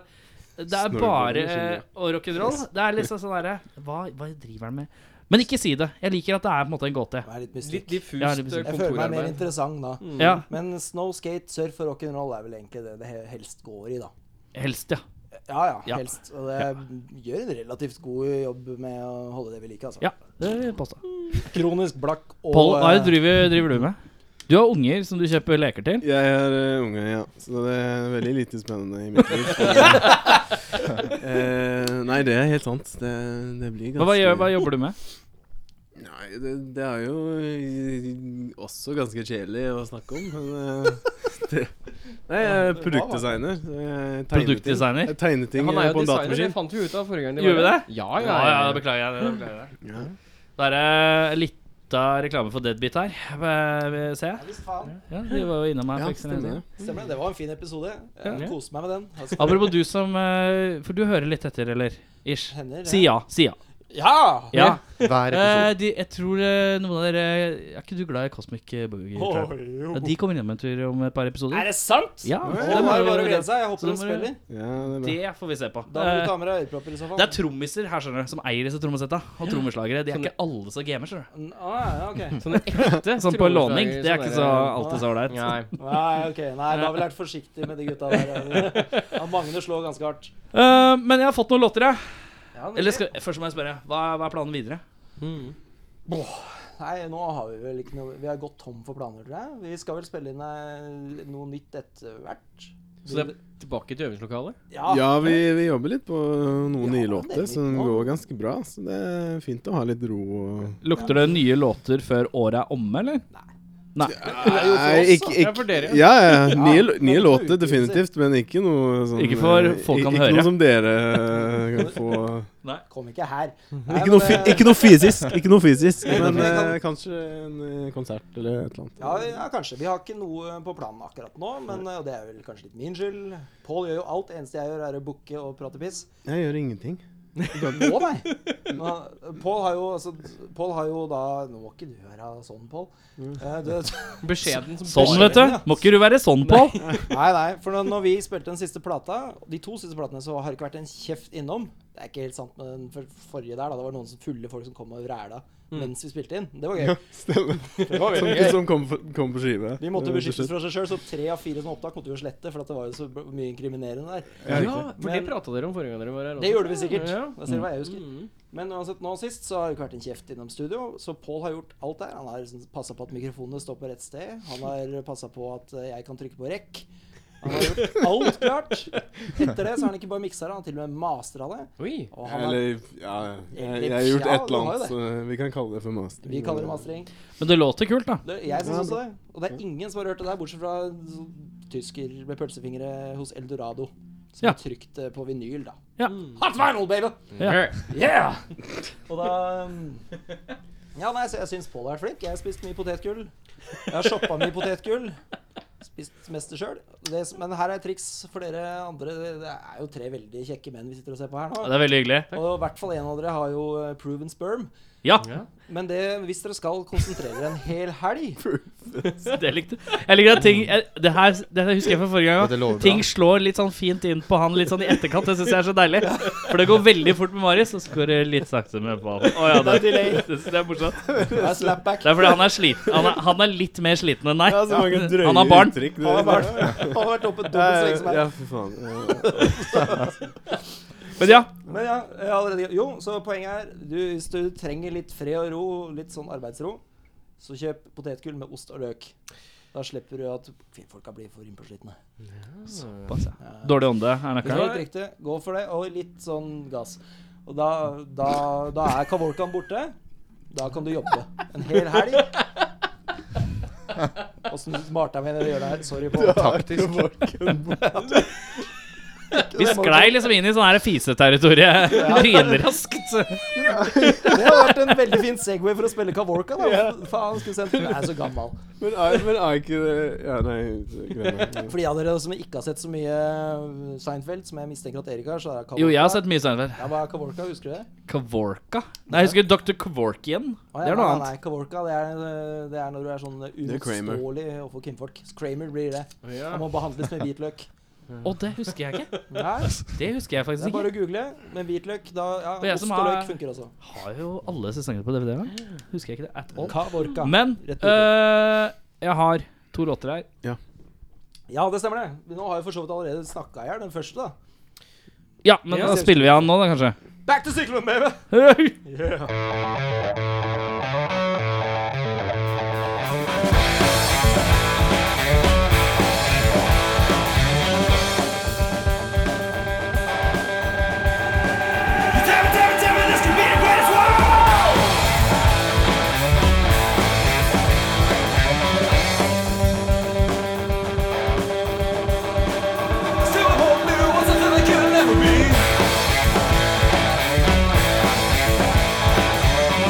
Speaker 2: Det er
Speaker 6: Snowboarding
Speaker 2: bare
Speaker 6: med skinnjakke.
Speaker 2: Og rock'n'roll. Det er liksom sånn derre hva, hva driver han med? Men ikke si det. Jeg liker at det er på en måte en gåte.
Speaker 5: Det er litt mystikk.
Speaker 1: Litt diffust
Speaker 2: Ja, det blir
Speaker 1: eh,
Speaker 2: sånn.
Speaker 5: Jeg føler meg mer
Speaker 1: kontorarbeid.
Speaker 5: interessant da.
Speaker 2: Ja,
Speaker 5: Men snow, skate, surf og rock'n'roll er vel egentlig det det he- helst går i, da.
Speaker 2: helst, ja.
Speaker 5: Ja ja,
Speaker 2: Ja.
Speaker 5: helst. Og det gjør en relativt god jobb med å holde det ved like, altså.
Speaker 2: Ja, det vil jeg påstå.
Speaker 5: Kronisk blakk og
Speaker 2: Pål, hva er det
Speaker 5: eh,
Speaker 2: du driver, driver du med? Du har unger som du kjøper leker til.
Speaker 6: Jeg er eh, unge, ja. Så det er veldig lite spennende i mitt liv. Eh, nei, det er helt sant. Det, det blir
Speaker 2: Hva,
Speaker 6: ganske
Speaker 2: hva, gjør, hva jobber du med?
Speaker 6: Nei, det, det er jo eh, også ganske kjedelig å snakke om, men eh, [laughs] det, Nei, jeg er produktdesigner. så jeg tegner ting.
Speaker 2: Produktdesigner?
Speaker 6: Jeg tegner ting
Speaker 1: Han er
Speaker 6: eh,
Speaker 1: jo
Speaker 6: på en
Speaker 1: designer, det
Speaker 6: datamaskin.
Speaker 1: fant vi ut av forrige gang. de
Speaker 2: Gjorde vi
Speaker 1: var
Speaker 2: det?
Speaker 1: her. Ja, ja, ja,
Speaker 2: da beklager jeg det. Da beklager jeg det.
Speaker 6: Ja.
Speaker 2: Da er det litt av reklame for Deadbeat her, eh, vi ser jeg.
Speaker 5: ja, visst faen.
Speaker 2: Ja, de var jo innom her.
Speaker 6: ja,
Speaker 2: for ikke så lenge
Speaker 6: stemmer det.
Speaker 2: siden.
Speaker 5: Stemmer det. Det var en fin episode. Jeg
Speaker 2: Ja.
Speaker 5: koste meg med den. Altså,
Speaker 2: Apropos du som eh, For du hører litt etter, eller? Ish.
Speaker 5: hender,
Speaker 2: Si ja. Si ja.
Speaker 5: Ja!
Speaker 2: ja.
Speaker 3: hver
Speaker 2: Eh,
Speaker 3: episode.
Speaker 2: de, jeg tror eh, noen av dere Er ikke du glad i Cosmic eh, Boogie? Tribe? Ja, de kommer innom en tur om et par episoder.
Speaker 5: Er det sant?
Speaker 2: Ja,
Speaker 5: Åh,
Speaker 2: dem har
Speaker 5: da er det
Speaker 2: jo-
Speaker 5: bare å glede seg.
Speaker 2: Så
Speaker 5: Jeg håper de
Speaker 2: da må du-
Speaker 5: spiller.
Speaker 6: Ja, det er bra.
Speaker 2: Det får vi se på.
Speaker 5: Da må
Speaker 2: Eh,
Speaker 5: du ta med deg ørepropper i så fall.
Speaker 2: Det er trommiser her, skjønner du, som eier disse trommesetta. Og trommeslagere. De er
Speaker 1: Sånn-
Speaker 2: ikke alle som gamer, skjønner du.
Speaker 5: ah, ja, ok.
Speaker 1: Sånn ekte
Speaker 2: [laughs] Sånn eh, på låning. Det er ikke så alltid så ålreit.
Speaker 1: Nei.
Speaker 5: Nei, ok. Nei, da har vi vært forsiktig med de gutta der. Ja, Magne slår ganske hardt.
Speaker 2: Eh, men jeg har fått noen låter, jeg.
Speaker 5: Ja, men-
Speaker 2: Eller skal, først må jeg spørre, hva, hva er planen videre?
Speaker 5: Nei, nå har vi vel ikke noe Vi har gått tom for planer, tror jeg. Vi skal vel spille inn eh, noe nytt etter hvert.
Speaker 1: Så det er tilbake til øvingslokalet?
Speaker 5: Ja.
Speaker 6: Ja, vi, vi jobber litt på noen
Speaker 5: Ja,
Speaker 6: nye
Speaker 5: det er
Speaker 6: låter
Speaker 5: litt
Speaker 6: som
Speaker 5: nå.
Speaker 6: går ganske bra. Så det er fint å ha litt ro og
Speaker 2: Lukter det nye låter før året er omme, eller?
Speaker 5: jo for
Speaker 6: Nei,
Speaker 5: oss,
Speaker 6: ikke,
Speaker 5: da.
Speaker 1: Ja, for
Speaker 6: ikke
Speaker 1: dere.
Speaker 6: Ja, ja. Nye,
Speaker 5: Ja,
Speaker 6: nye
Speaker 5: men
Speaker 6: låter,
Speaker 5: utgivelse.
Speaker 6: definitivt, men ikke noe sånn
Speaker 2: Ikke for
Speaker 6: eh,
Speaker 2: folk kan
Speaker 6: ikke
Speaker 2: høre.
Speaker 6: noe som dere eh, kan få
Speaker 5: Kom ikke her.
Speaker 2: Mhm.
Speaker 5: Nei,
Speaker 6: ikke noe,
Speaker 5: men, eh,
Speaker 6: fi- ikke noe fysisk, ikke noe fysisk
Speaker 5: men
Speaker 6: men
Speaker 5: vi
Speaker 6: eh,
Speaker 5: kan-
Speaker 6: kanskje en eh, konsert eller et eller annet.
Speaker 5: ja, ja, kanskje. Vi har ikke noe på planen akkurat nå, men eh, og det er vel kanskje litt min skyld. Pål gjør jo alt. Eneste jeg gjør, er å booke og prate piss.
Speaker 6: Jeg gjør ingenting.
Speaker 5: Nå, nei. Men, Paul har jo, altså, Paul har jo da Nå må ikke du være sånn, Paul. Eh, du, [laughs]
Speaker 1: Beskjeden som
Speaker 2: Sånn,
Speaker 1: bare-
Speaker 2: vet du. Må ikke du være sånn, Pål.
Speaker 5: nei, nei. For når, når vi spilte den siste plata, de to siste platene, så har det ikke vært en kjeft innom. Det er ikke helt sant med den for, forrige der. Da. Det var noen som fulle folk som kom og ræla mens vi spilte inn. Det var gøy.
Speaker 6: Stemmer.
Speaker 5: [laughs] Det var
Speaker 6: Som,
Speaker 5: veldig gøy.
Speaker 6: som kom, på- kom på skive.
Speaker 5: De måtte
Speaker 6: Eh,
Speaker 5: beskyttes
Speaker 6: rett og slett.
Speaker 5: fra seg sjøl, så tre av fire som opptak måtte jo slette, for at det var jo så b- mye inkriminerende der.
Speaker 1: Ja, for det
Speaker 5: Men-
Speaker 1: prata dere om forrige gang dere var her.
Speaker 5: Det gjorde vi sikkert.
Speaker 1: Ja.
Speaker 5: Det ser hva jeg husker.
Speaker 1: Mm.
Speaker 5: Men uansett, nå sist så har det ikke vært en kjeft innom studio, så Pål har gjort alt der. Han har liksom passa på at mikrofonene står på rett sted, han har passa på at eh, jeg kan trykke på rekk. Han har gjort alt klart. Etter det så har han ikke bare miksa det, han har til og med mastra det.
Speaker 1: Oi.
Speaker 5: Og han har,
Speaker 6: Eller ja, jeg, jeg har
Speaker 5: Ja,
Speaker 6: gjort et
Speaker 5: du
Speaker 6: eller
Speaker 5: har jo
Speaker 6: annet.
Speaker 5: det.
Speaker 6: så Vi kan kalle det for mastering.
Speaker 5: vi kaller det mastering.
Speaker 2: Men det låter kult, da.
Speaker 5: Det, jeg syns også det. Og det er ingen som har hørt det der, bortsett fra sånn tysker med pølsefingre hos Eldorado. Som
Speaker 2: Ja.
Speaker 5: er trykt eh, på vinyl, da.
Speaker 2: Ja.
Speaker 5: Hot vinyl, baby!
Speaker 2: Ja.
Speaker 5: Yeah! Og da um, [laughs] Ja, nei, så jeg syns Pål har vært flink. Jeg har spist mye potetgull. Jeg har shoppa mye potetgull. Spist mest sjøl. Men her er et triks for dere andre. Det det er jo tre veldig kjekke menn vi sitter og ser på her
Speaker 2: Ja,
Speaker 5: nå.
Speaker 2: Det er veldig hyggelig.
Speaker 5: Og i hvert fall en av dere har jo eh, proven sperm.
Speaker 2: Ja,
Speaker 5: Men det, hvis dere skal konsentrere dere en hel
Speaker 2: [laughs]
Speaker 5: helg
Speaker 2: det likte Jeg liker at ting jeg- Det her det her husker jeg fra forrige gang.
Speaker 3: Dette lover
Speaker 2: også.
Speaker 3: bra.
Speaker 2: Ting slår litt sånn fint inn på han litt sånn i etterkant. Det syns jeg er så deilig. For det går veldig fort med Marius, og så går det litt sakte med Pål. Å ja, det, det, synes jeg er morsomt.
Speaker 5: Det er slapback.
Speaker 2: Det er fordi han er sliten. Han er, han er litt mer sliten enn deg.
Speaker 6: Ja, så mange drøye
Speaker 2: Han har barn.
Speaker 6: uttrykk. det-
Speaker 5: Han har vært, han har vært oppe dobbelt så lenge som
Speaker 6: Ja,
Speaker 5: meg.
Speaker 6: ja, fy faen. Ja.
Speaker 2: Men ja,
Speaker 5: Men ja, jeg har allerede Jo, så poenget er du, Hvis du trenger litt fred og ro, litt sånn arbeidsro, så kjøp potetgull med ost og løk. Da slipper du at kvinnfolka blir for innpåslitne.
Speaker 2: Såpass, ja. Dårlig ånde er
Speaker 5: Det er
Speaker 2: nøkkelen.
Speaker 5: Helt riktig. Gå for det, og litt sånn gass. Og da, da, da er kavolkaen borte. Da kan du jobbe en hel helg. Åssen smarte jeg meg inn i å gjøre det her. Sorry på
Speaker 3: [laughs] Taktisk.
Speaker 2: Vi sklei liksom inn i sånn her fiseterritorie lynraskt.
Speaker 5: Det hadde vært en veldig fin Segway for å spille Kavorka. Da. Faen, skulle sendt Jeg er så gammel.
Speaker 6: Men er, men er ikke det Ja, nei,
Speaker 5: [laughs]
Speaker 6: greier.
Speaker 5: For de av dere som ikke har sett så mye eh, Seinfeld, som jeg mistenker at Erik har, så er det Kavorka.
Speaker 2: Jo, jeg har sett mye Steinfeld.
Speaker 5: Ja, hva er Kavorka, husker du det?
Speaker 2: Kavorka? Nei, jeg husker Dr. Kavorkian.
Speaker 5: Å, ja,
Speaker 2: Det er noe
Speaker 5: nei,
Speaker 2: annet.
Speaker 5: Nei, Kavorka, det er, det er når du er sånn
Speaker 6: er Kramer.
Speaker 5: uimotståelig overfor kvinnfolk. Kramer blir det. Han må behandles med hvitløk.
Speaker 2: Å, det husker jeg ikke.
Speaker 5: [laughs] Nei,
Speaker 2: Det husker jeg
Speaker 5: det
Speaker 2: faktisk
Speaker 5: er bare
Speaker 2: ikke.
Speaker 5: å google. Men hvitløk, da ja,
Speaker 2: jeg
Speaker 5: Ost
Speaker 2: som
Speaker 5: og
Speaker 2: har-
Speaker 5: løk funker også.
Speaker 2: Har jo alle sesongene på DVD. da. Husker jeg ikke det at all.
Speaker 5: Kavorka.
Speaker 2: Men
Speaker 5: Rett ut.
Speaker 2: øh, jeg har to låter her.
Speaker 5: Ja, det stemmer det. Men Nå har jeg for så vidt allerede snakka i hjel den første, da.
Speaker 2: Ja, men
Speaker 5: Ja.
Speaker 2: da spiller vi av den nå, da,
Speaker 5: [laughs]
Speaker 2: kanskje.
Speaker 5: Back to cyclone, baby!
Speaker 7: Never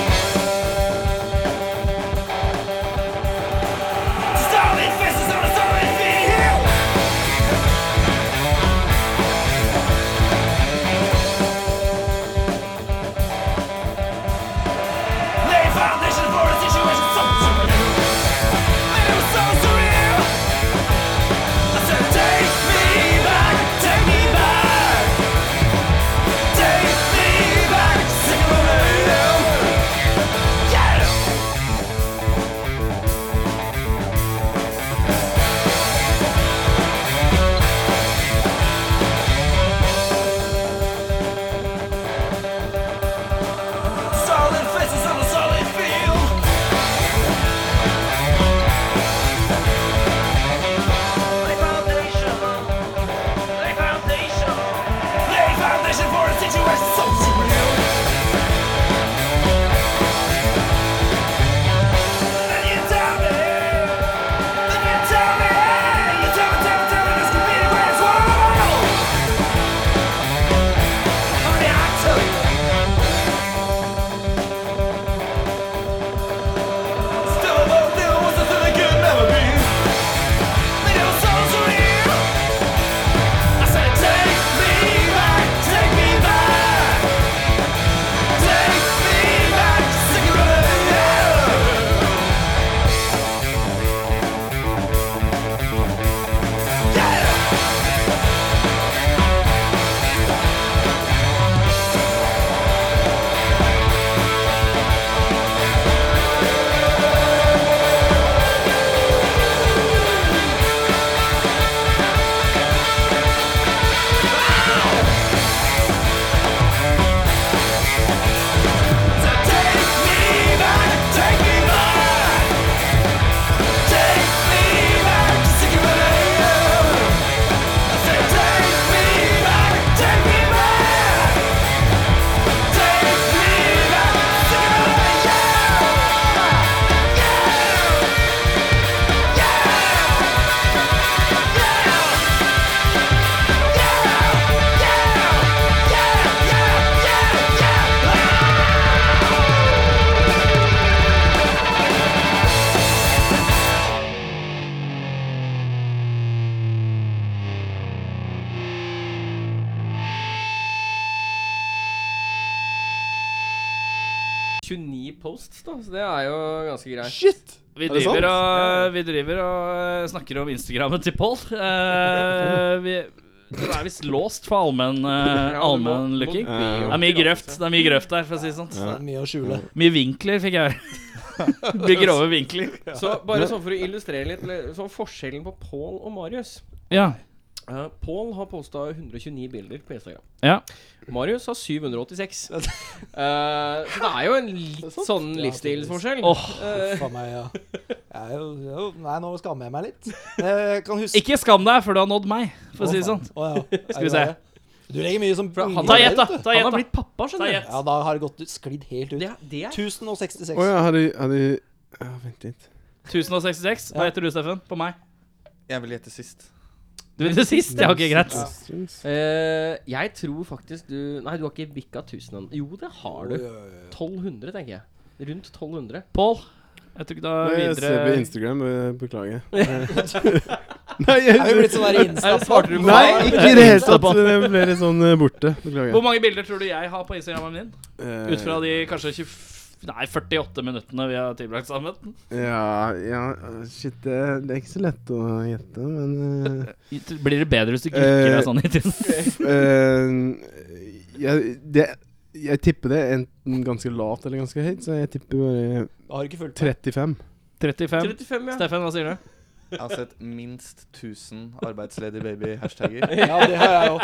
Speaker 1: 29 posts, da, så det er jo ganske greit.
Speaker 3: Shit!
Speaker 2: Vi
Speaker 3: det sant?
Speaker 2: driver, og, vi driver og snakker om Instagrammen til Pål. Eh, vi det er visst låst for allmenn eh,
Speaker 1: Ja, du må-
Speaker 2: allmennlooking.
Speaker 1: må be om
Speaker 2: det er mye grøft
Speaker 1: tillatelse.
Speaker 2: det er mye grøft der, for å si det sånn.
Speaker 5: Det er mye å skjule.
Speaker 2: Mye vinkler fikk
Speaker 1: [laughs]
Speaker 2: jeg. Mye grove vinkler.
Speaker 1: Så bare sånn for å illustrere litt eller sånn forskjellen på Pål og Marius.
Speaker 2: Ja.
Speaker 1: Uh, Pål har posta 129 bilder på Instagram.
Speaker 2: Ja.
Speaker 1: Marius har [laughs] 786. Eh, så det er jo en litt sånn livsstilsforskjell.
Speaker 2: Åh.
Speaker 1: Eh,
Speaker 5: Faen meg, ja. Jeg er jo, jeg er jo, nei, nå skammer jeg meg litt. Jeg kan huske
Speaker 2: Ikke skam deg før du har nådd meg, for å si det
Speaker 5: faen.
Speaker 2: sånn.
Speaker 5: Å, ja. Er
Speaker 2: [laughs] Skal vi
Speaker 5: det
Speaker 2: se.
Speaker 5: det? Du legger mye som
Speaker 1: han-
Speaker 2: Ta gjett, da. Ta
Speaker 1: han
Speaker 2: gjett,
Speaker 1: har
Speaker 2: da.
Speaker 1: blitt pappa,
Speaker 2: Ta
Speaker 1: skjønner du.
Speaker 2: gjett.
Speaker 5: Ja, da har det gått ut, sklidd helt ut.
Speaker 1: Det, det er
Speaker 5: 1066.
Speaker 6: Å ja, har de, har de ja, Vent litt.
Speaker 2: 1066. Hva heter du, Steffen? På meg?
Speaker 3: Jeg vil gjette sist.
Speaker 2: Du vet det sist? Ja, ok, greit.
Speaker 6: Syns.
Speaker 1: Eh, Jeg tror faktisk du Nei, du har ikke bikka 1000 ennå. Jo, det har du. 1200, tenker jeg. Rundt 1200.
Speaker 2: Pål. Jeg tok da
Speaker 6: Nei, Jeg ser på
Speaker 2: videre
Speaker 6: Instagram, eh,
Speaker 5: [laughs]
Speaker 6: beklager. Nei, jeg,
Speaker 5: Er jo blitt sånn der
Speaker 2: Er det smartere
Speaker 5: Insta-pop.
Speaker 2: du-
Speaker 6: nei, ikke i det hele tatt. Jeg ble litt sånn eh, borte.
Speaker 2: Hvor
Speaker 6: Beklager.
Speaker 2: mange bilder tror du jeg har på Instagrammen min?
Speaker 6: Eh.
Speaker 2: Ut fra de kanskje 20, nei, 48 minuttene vi har tilbrakt sammen.
Speaker 6: Ja, ja Shit, det, det er ikke så lett å gjette, men eh,
Speaker 2: Blir det bedre hvis du glikker
Speaker 6: Eh,
Speaker 2: deg sånn i tiden? [laughs]
Speaker 6: eh, jeg, det, jeg tipper det enten ganske lavt eller ganske høyt, så jeg tipper bare
Speaker 5: Har du ikke fulgt med?
Speaker 6: 35.
Speaker 2: 35?
Speaker 1: 35, ja.
Speaker 2: Steffen, hva sier du?
Speaker 3: Jeg har sett minst 1000 arbeidsledig baby-hashtagger.
Speaker 5: Ja, det har jeg jo.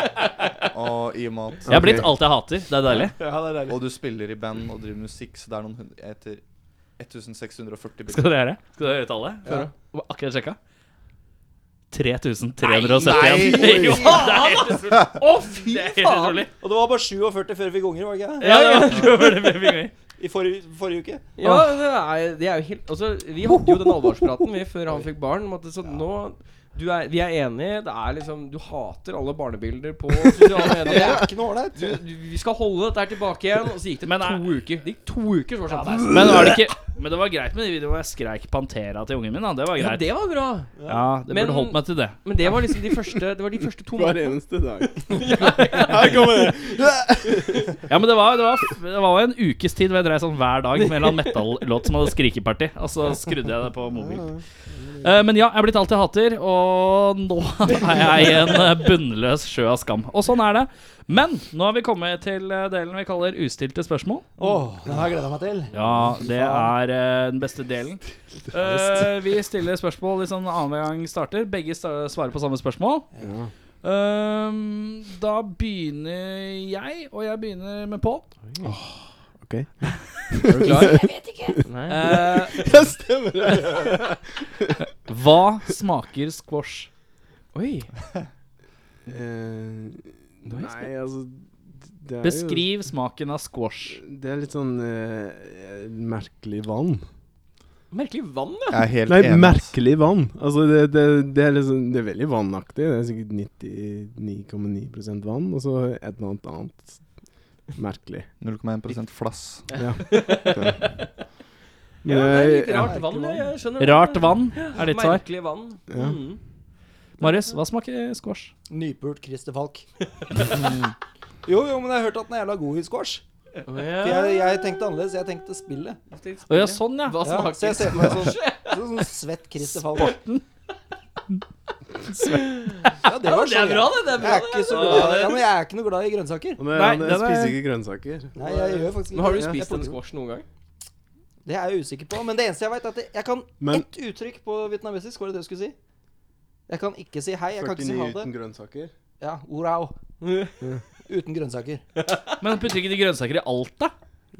Speaker 3: Og i og med at
Speaker 2: Jeg har blitt alt jeg hater. Det er deilig.
Speaker 5: [laughs] Ja, det er deilig.
Speaker 3: Og du spiller i band og driver musikk, så det er noen hundre Jeg heter
Speaker 2: Skal
Speaker 3: 1640 bilder.
Speaker 2: dere gjøre det? Skal dere gjøre tallet?
Speaker 5: Ja.
Speaker 2: Hva- Akkurat sjekka. 3371.
Speaker 6: [laughs]
Speaker 2: Jo, det er helt utrolig.
Speaker 1: Å, fy
Speaker 2: Det er helt
Speaker 1: faen!
Speaker 2: utrolig.
Speaker 5: Og det var bare 47 før vi fikk unger, var det ikke?
Speaker 2: Ja, det var- det var det vi fikk med.
Speaker 5: det? I forrige, forrige uke.
Speaker 1: Ja, det er, det er jo helt Altså, vi hadde jo den alvorspraten vi før han fikk barn. om at det- Så nå du er, Vi er enige. Det er liksom Du hater alle barnebilder på sosiale
Speaker 5: Det
Speaker 1: medier.
Speaker 5: er ikke noe ålreit.
Speaker 1: Du, du, vi skal holde dette her tilbake igjen. Og så gikk det
Speaker 2: Men er-
Speaker 1: to uker. Det gikk to uker, så var det sånn.
Speaker 2: Men var det ikke Men det var greit med de videoene hvor jeg skreik Pantera til ungen min. Da. Det var
Speaker 1: Ja,
Speaker 2: greit.
Speaker 1: det var bra.
Speaker 2: Ja, det
Speaker 1: Men-
Speaker 2: burde holdt meg til [laughs] det.
Speaker 1: Men det var liksom de første Det var de første to
Speaker 6: Hver
Speaker 1: månedene.
Speaker 6: eneste dag.
Speaker 2: [laughs] Ja, men det var, det var, det var en ukes tid hvor jeg drev sånn hver dag med en eller annen metal-låt som hadde skrikeparty. Og så skrudde jeg det på mobilen. Eh, men ja, jeg er blitt alt jeg hater, og nå [laughs] er jeg i en eh, bunnløs sjø av skam. Og sånn er det. Men nå har vi kommet til eh, delen vi kaller ustilte spørsmål.
Speaker 5: Åh, den har jeg gleda meg til.
Speaker 2: Ja, det er eh, den beste
Speaker 6: [laughs]
Speaker 2: delen. Eh, vi stiller spørsmål litt sånn annenhver gang starter. Begge sta- svarer på samme spørsmål. Ehm, da begynner jeg, og jeg begynner med Pål.
Speaker 6: ok.
Speaker 2: Er du klar?
Speaker 1: Nei.
Speaker 2: Eh,
Speaker 6: Ja, stemmer [laughs] det.
Speaker 2: [laughs] hva smaker squash?
Speaker 1: Oi.
Speaker 6: Eh, nei, altså det er
Speaker 2: Beskriv smaken av squash.
Speaker 6: Jo, det er litt sånn eh, merkelig vann.
Speaker 1: Merkelig vann, ja.
Speaker 3: Jeg er helt
Speaker 6: Nei,
Speaker 3: enig. ass.
Speaker 6: merkelig vann. Altså, det, det, det, er liksom, det er veldig vannaktig. Det er sikkert 99,9 vann, og så et eller annet annet merkelig.
Speaker 3: altså. 0,1 flass.
Speaker 6: Ja. Men
Speaker 1: ja det er litt
Speaker 6: jeg-
Speaker 1: rart vann. ja, Jeg skjønner det.
Speaker 2: Rart vann er ditt svar.
Speaker 1: Merkelig vann.
Speaker 6: Ja.
Speaker 1: Mm.
Speaker 2: Marius, hva smaker squash?
Speaker 5: Nypult Christer [laughs] Falk. Jo, jo, men jeg har hørt at den er jævla god i squash. For jeg, jeg tenkte annerledes. Jeg tenkte spillet.
Speaker 2: Å ja, sånn, ja.
Speaker 1: Eh. Hva
Speaker 5: Ja,
Speaker 1: smaker
Speaker 5: så jeg ser for meg sånn, [laughs] sånn, sånn svett Christer Falk. Sporten. Ja, det, var
Speaker 1: Det er
Speaker 5: så-
Speaker 1: bra, det. det er bra
Speaker 5: Jeg er ikke så glad ja, men Jeg er ikke noe glad i grønnsaker.
Speaker 6: Han, er,
Speaker 2: Nei,
Speaker 6: han er,
Speaker 2: den er-
Speaker 6: spiser ikke grønnsaker.
Speaker 5: Nei, jeg gjør faktisk ikke
Speaker 1: Men Har du
Speaker 5: det. Jeg
Speaker 1: spist en
Speaker 5: plukker-
Speaker 1: squash noen gang?
Speaker 5: Det er jeg usikker på. Men det eneste jeg vet, er at jeg- jeg kan
Speaker 6: Men-
Speaker 5: ett uttrykk på vietnamesisk. Var det det du skulle si? Jeg kan ikke si hei. Jeg kan ikke si
Speaker 6: 49
Speaker 5: ha
Speaker 6: uten
Speaker 5: det.
Speaker 6: grønnsaker.
Speaker 5: Ja, orao. [laughs] Uten grønnsaker.
Speaker 2: Men putter ikke de grønnsaker i alt, da?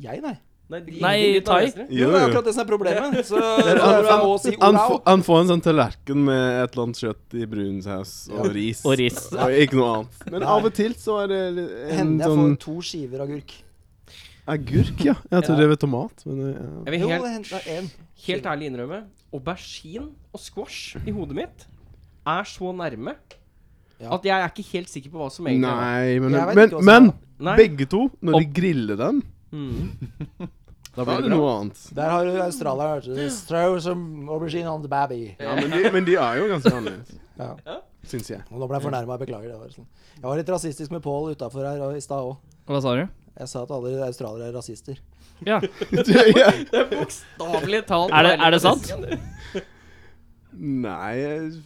Speaker 5: Jeg, nei.
Speaker 1: Nei, de-
Speaker 2: Nei,
Speaker 1: de- de- de-
Speaker 2: thai.
Speaker 1: lesere.
Speaker 5: Jo, det er akkurat det som er [laughs] problemet. Så det er
Speaker 6: han,
Speaker 5: derfor jeg må si
Speaker 6: han,
Speaker 5: orao.
Speaker 6: får- han får en sånn tallerken med et eller annet kjøtt i brun saus og ris.
Speaker 2: Og ris.
Speaker 6: Og ikke noe annet. Men av og til så er det li- en
Speaker 5: Hender jeg får
Speaker 6: sånn
Speaker 5: to skiver agurk.
Speaker 6: agurk, ja. Jeg trodde det var tomat. Men eh, ja.
Speaker 1: Jeg vil
Speaker 5: Jo, det
Speaker 1: helt,
Speaker 5: hender jeg en.
Speaker 1: helt ærlig innrømme aubergine og squash i hodet mitt er så nærme
Speaker 5: Mm. Ja.
Speaker 1: at jeg er ikke helt sikker på hva som egentlig er.
Speaker 6: Nei, men,
Speaker 5: Jeg vet
Speaker 6: men,
Speaker 5: ikke hva som
Speaker 6: men
Speaker 5: er.
Speaker 1: Nei.
Speaker 6: begge to, når de griller dem, [laughs]
Speaker 1: Mm.
Speaker 6: da
Speaker 1: blir
Speaker 6: er
Speaker 1: det
Speaker 6: det noe annet.
Speaker 5: Der har du australieren. vet du. Throw some aubergine on the baby.
Speaker 6: Ja, men de, men de er jo ganske annerledes,
Speaker 5: [laughs] Ja.
Speaker 6: syns jeg. [laughs]
Speaker 5: Og nå ble jeg fornærma. Beklager. det var sånn. Jeg var litt rasistisk med Pål utafor her og i stad òg.
Speaker 2: Hva sa du?
Speaker 5: Jeg sa at alle australiere er rasister.
Speaker 2: Ja.
Speaker 1: Det er bokstavelig talt
Speaker 2: Er det, er det sant?
Speaker 6: Nei jeg...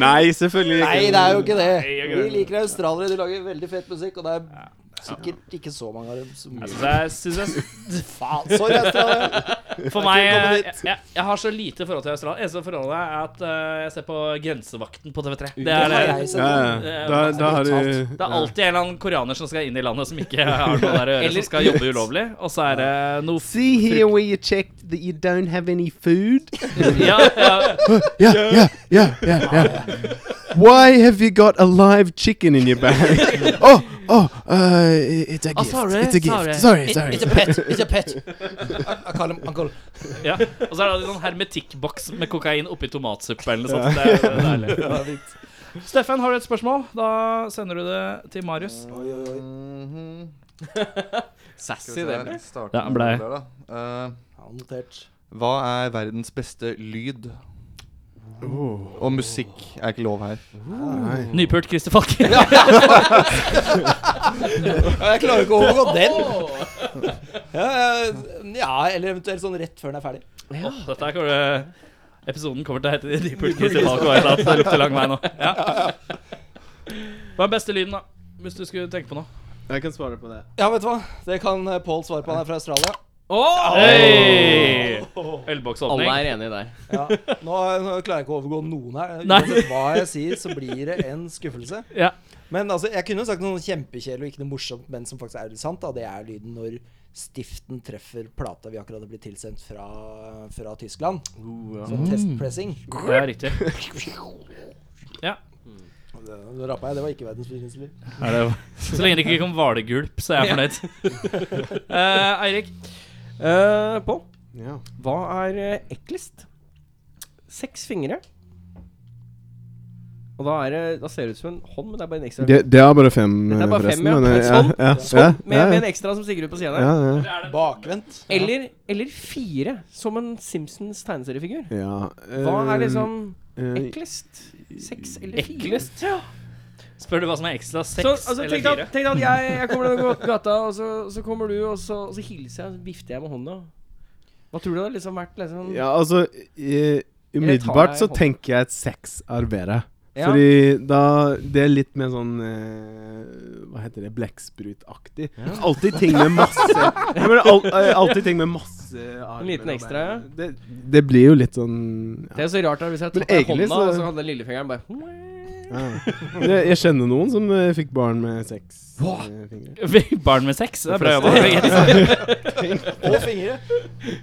Speaker 6: Nei, selvfølgelig ikke.
Speaker 5: Nei, det er jo ikke
Speaker 2: Nei, jeg
Speaker 5: det.
Speaker 2: gjør
Speaker 5: Vi
Speaker 2: det.
Speaker 5: liker australiere. De lager veldig fet musikk, og det er sikkert ikke så mange av dem som
Speaker 2: Jeg synes jeg, Altså, [laughs] synes jeg,
Speaker 5: Faen, sorry, Australia.
Speaker 2: for meg eh, jeg, jeg, jeg har så lite forhold til Australia. Eneste forholdet er at eh, jeg ser på Grensevakten på TV3. Det er,
Speaker 5: har
Speaker 2: det,
Speaker 5: jeg sett.
Speaker 6: Ja, ja. altså, Da, da har du
Speaker 2: det er alltid en eller annen koreaner som skal inn i landet, som ikke [laughs] har noe der å gjøre, som skal jobbe ulovlig. Og så er det noe f... [laughs]
Speaker 6: See here where you checked that you don't have any food.
Speaker 2: Ja, ja.
Speaker 6: Yeah, yeah, yeah, yeah, yeah. Why have you got a live chicken in your bag? [laughs] oh, oh, uh, it's a gift.
Speaker 2: Oh, sorry,
Speaker 6: it's a gift.
Speaker 2: sorry.
Speaker 6: sorry,
Speaker 5: It-
Speaker 6: sorry.
Speaker 5: It's a pet. It's a pet. I, I call him uncle.
Speaker 2: Ja. Og så er det en sånn hermetikkboks med kokain oppi tomatsuppe eller noe sånt. Det er, [laughs] det er deilig. Steffen, har du et spørsmål? Da sender du det til Marius.
Speaker 3: Mhm. Skal vi
Speaker 2: Sassy,
Speaker 3: se her, starte
Speaker 2: Ja,
Speaker 3: med
Speaker 2: blei.
Speaker 3: noe der, da. Eh,
Speaker 5: Ja, notert.
Speaker 3: hva er verdens beste lyd? Og musikk er ikke lov her.
Speaker 2: Nypult Christer Falk. [laughs]
Speaker 5: Jeg klarer ikke å overgå den. Ja, eh, ja, eller eventuelt sånn rett før den er ferdig.
Speaker 2: Åh, dette her kommer det Episoden kommer til å hete Nypult Christer Falk. og et eller annet. Det lukter lang vei nå. Ja. Hva er beste lyden, da? Hvis du skulle tenke på noe.
Speaker 6: Jeg kan svare på det.
Speaker 5: Ja, vet du hva? Det kan eh, Paul svare på. Han er fra Australia.
Speaker 2: Hey!
Speaker 1: Alle
Speaker 2: Ølboksåpning.
Speaker 1: er enige der.
Speaker 5: Ja. [laughs] Nå, nå klarer jeg ikke å overgå noen her.
Speaker 2: Nei.
Speaker 5: Uansett hva jeg sier, så blir det en skuffelse.
Speaker 2: Ja.
Speaker 5: Men altså, jeg kunne jo sagt noe kjempekjedelig og ikke noe morsomt, men som faktisk er litt sant, da. Det er lyden når stiften treffer plata vi akkurat har blitt tilsendt fra, fra Tyskland. Sånn testpressing.
Speaker 2: Det er riktig.
Speaker 5: Det, det rappa jeg. Det var ikke verdens fineste lyd.
Speaker 2: Er det, så lenge det ikke kom hvalegulp, så er jeg fornøyd. Eh, Eirik,
Speaker 1: Eh, Pål,
Speaker 6: Ja.
Speaker 1: hva er eh, eklest? Seks fingre. Og da, er det, da ser det ut som en hånd, men det er bare en ekstra.
Speaker 6: Det, det er bare fem,
Speaker 1: Dette er bare fem,
Speaker 6: forresten.
Speaker 1: ja.
Speaker 6: men, eh,
Speaker 1: Sånn,
Speaker 6: ja, ja,
Speaker 1: sånn,
Speaker 6: ja,
Speaker 1: med,
Speaker 6: ja,
Speaker 1: med en ekstra som stikker ut på siden der.
Speaker 6: ja, ja.
Speaker 5: Bakvendt.
Speaker 1: Eller, eller fire, som en Simpsons tegneseriefigur.
Speaker 6: ja.
Speaker 1: Hva
Speaker 6: eh,
Speaker 1: er liksom
Speaker 6: eh,
Speaker 1: eklest? Seks eller fire?
Speaker 2: Eklest?
Speaker 1: Ja.
Speaker 2: spør du hva som er ekstra? Seks
Speaker 1: Så, altså,
Speaker 2: eller
Speaker 1: tenk, deg
Speaker 2: fire?
Speaker 1: at, tenk deg at jeg, jeg kommer nedover gå- gata, og så, så kommer du, og så, og så hilser jeg, og så vifter jeg med hånda. Hva tror du det har liksom vært? Liksom?
Speaker 6: Ja, altså i- Umiddelbart så
Speaker 1: hånden.
Speaker 6: tenker jeg at sex er bedre.
Speaker 1: Ja.
Speaker 6: Fordi da Det er litt mer sånn eh, Hva heter det? Blekksprutaktig. Alltid ting med
Speaker 1: [laughs]
Speaker 6: masse ja, men al, eh, Alltid ting med masse armer.
Speaker 1: En liten
Speaker 6: og
Speaker 1: ekstra,
Speaker 6: bein.
Speaker 1: ja.
Speaker 6: Det, det blir jo litt sånn ja.
Speaker 1: Det er så rart da, hvis jeg
Speaker 6: Men
Speaker 1: tok deg i
Speaker 6: egentlig
Speaker 1: hånda, og
Speaker 6: så-
Speaker 1: så hadde lillefingeren bare
Speaker 6: ja. Men Jeg, jeg kjenner noen som eh, fikk barn med seks eh, fingre.
Speaker 2: Barn med sex? Det er bra jobba.
Speaker 5: Og fingre.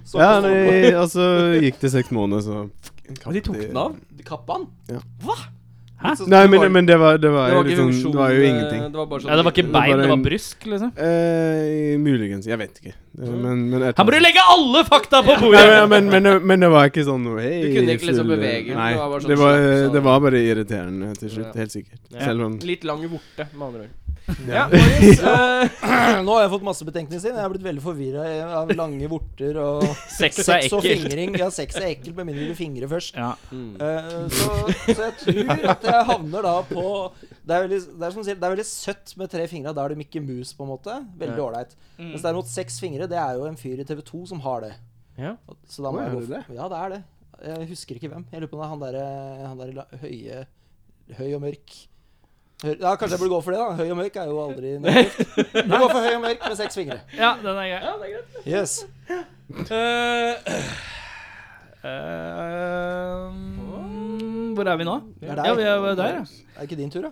Speaker 5: Så
Speaker 6: Ja, nei, altså Gikk det seks måneder, så
Speaker 1: Og de tok den av.
Speaker 5: Kappa han.
Speaker 6: Nei, men, men det var, det var,
Speaker 1: Det var
Speaker 6: jo
Speaker 1: ikke
Speaker 6: litt sånn,
Speaker 1: funksjon,
Speaker 6: det var jo
Speaker 1: eh,
Speaker 6: ingenting.
Speaker 1: Det var bare sånn
Speaker 2: Ja, det var ikke
Speaker 6: Det var
Speaker 2: bein,
Speaker 6: bare
Speaker 2: det var
Speaker 6: en-
Speaker 2: bryst, liksom.
Speaker 6: Eh, muligens. Jeg vet ikke. Eh,
Speaker 1: Mm.
Speaker 6: Men, men jeg
Speaker 2: Her må
Speaker 6: tror-
Speaker 2: du legge alle fakta på
Speaker 6: Nei,
Speaker 2: bordet!
Speaker 6: men, men, men, det- men det var ikke sånn noe hei,
Speaker 1: Du kunne ikke liksom
Speaker 6: full-
Speaker 1: bevege den,
Speaker 6: Nei,
Speaker 1: det var bare sånn
Speaker 6: det var,
Speaker 1: slaps av-
Speaker 6: det var bare irriterende til slutt.
Speaker 1: Ja.
Speaker 6: Helt sikkert.
Speaker 1: Ja.
Speaker 6: Selv om
Speaker 1: Litt lang vorte, med andre ord. Ja, Marius, eh,
Speaker 6: [laughs]
Speaker 5: Nå har jeg fått masse betenkninger siden. Jeg har blitt veldig forvirra av lange vorter og
Speaker 2: Sex er
Speaker 5: Sex og
Speaker 2: ekkelt.
Speaker 5: fingring. Ja, sex er ekkelt med mindre du fingrer først.
Speaker 2: Ja.
Speaker 1: mm.
Speaker 5: Eh, så, så jeg tror at jeg havner da på Det er veldig, det er som du sier, det er veldig søtt med tre fingre. Da er du Mickey Mouse, på en måte. Veldig
Speaker 1: Ja.
Speaker 5: ålreit. Mens derimot seks fingre, det er jo en fyr i TV2 som har det.
Speaker 1: Ja.
Speaker 5: Og- Så da
Speaker 6: Å,
Speaker 5: må
Speaker 6: er
Speaker 5: jeg gå
Speaker 6: det
Speaker 5: for Ja, det er det. Jeg husker ikke hvem. Jeg lurer på om det er han derre der la- høye Høy og mørk. Høy, ja, Kanskje jeg burde gå for det, da. Høy og mørk er jo aldri
Speaker 2: [laughs]
Speaker 5: negativt. Vi går for høy og mørk med seks fingre.
Speaker 2: ja, den er grei.
Speaker 5: Yes.
Speaker 2: Eh, hvor er vi nå?
Speaker 5: Det er
Speaker 2: Ja, vi
Speaker 5: deg.
Speaker 2: er der, ja.
Speaker 5: Er ikke din tur, da?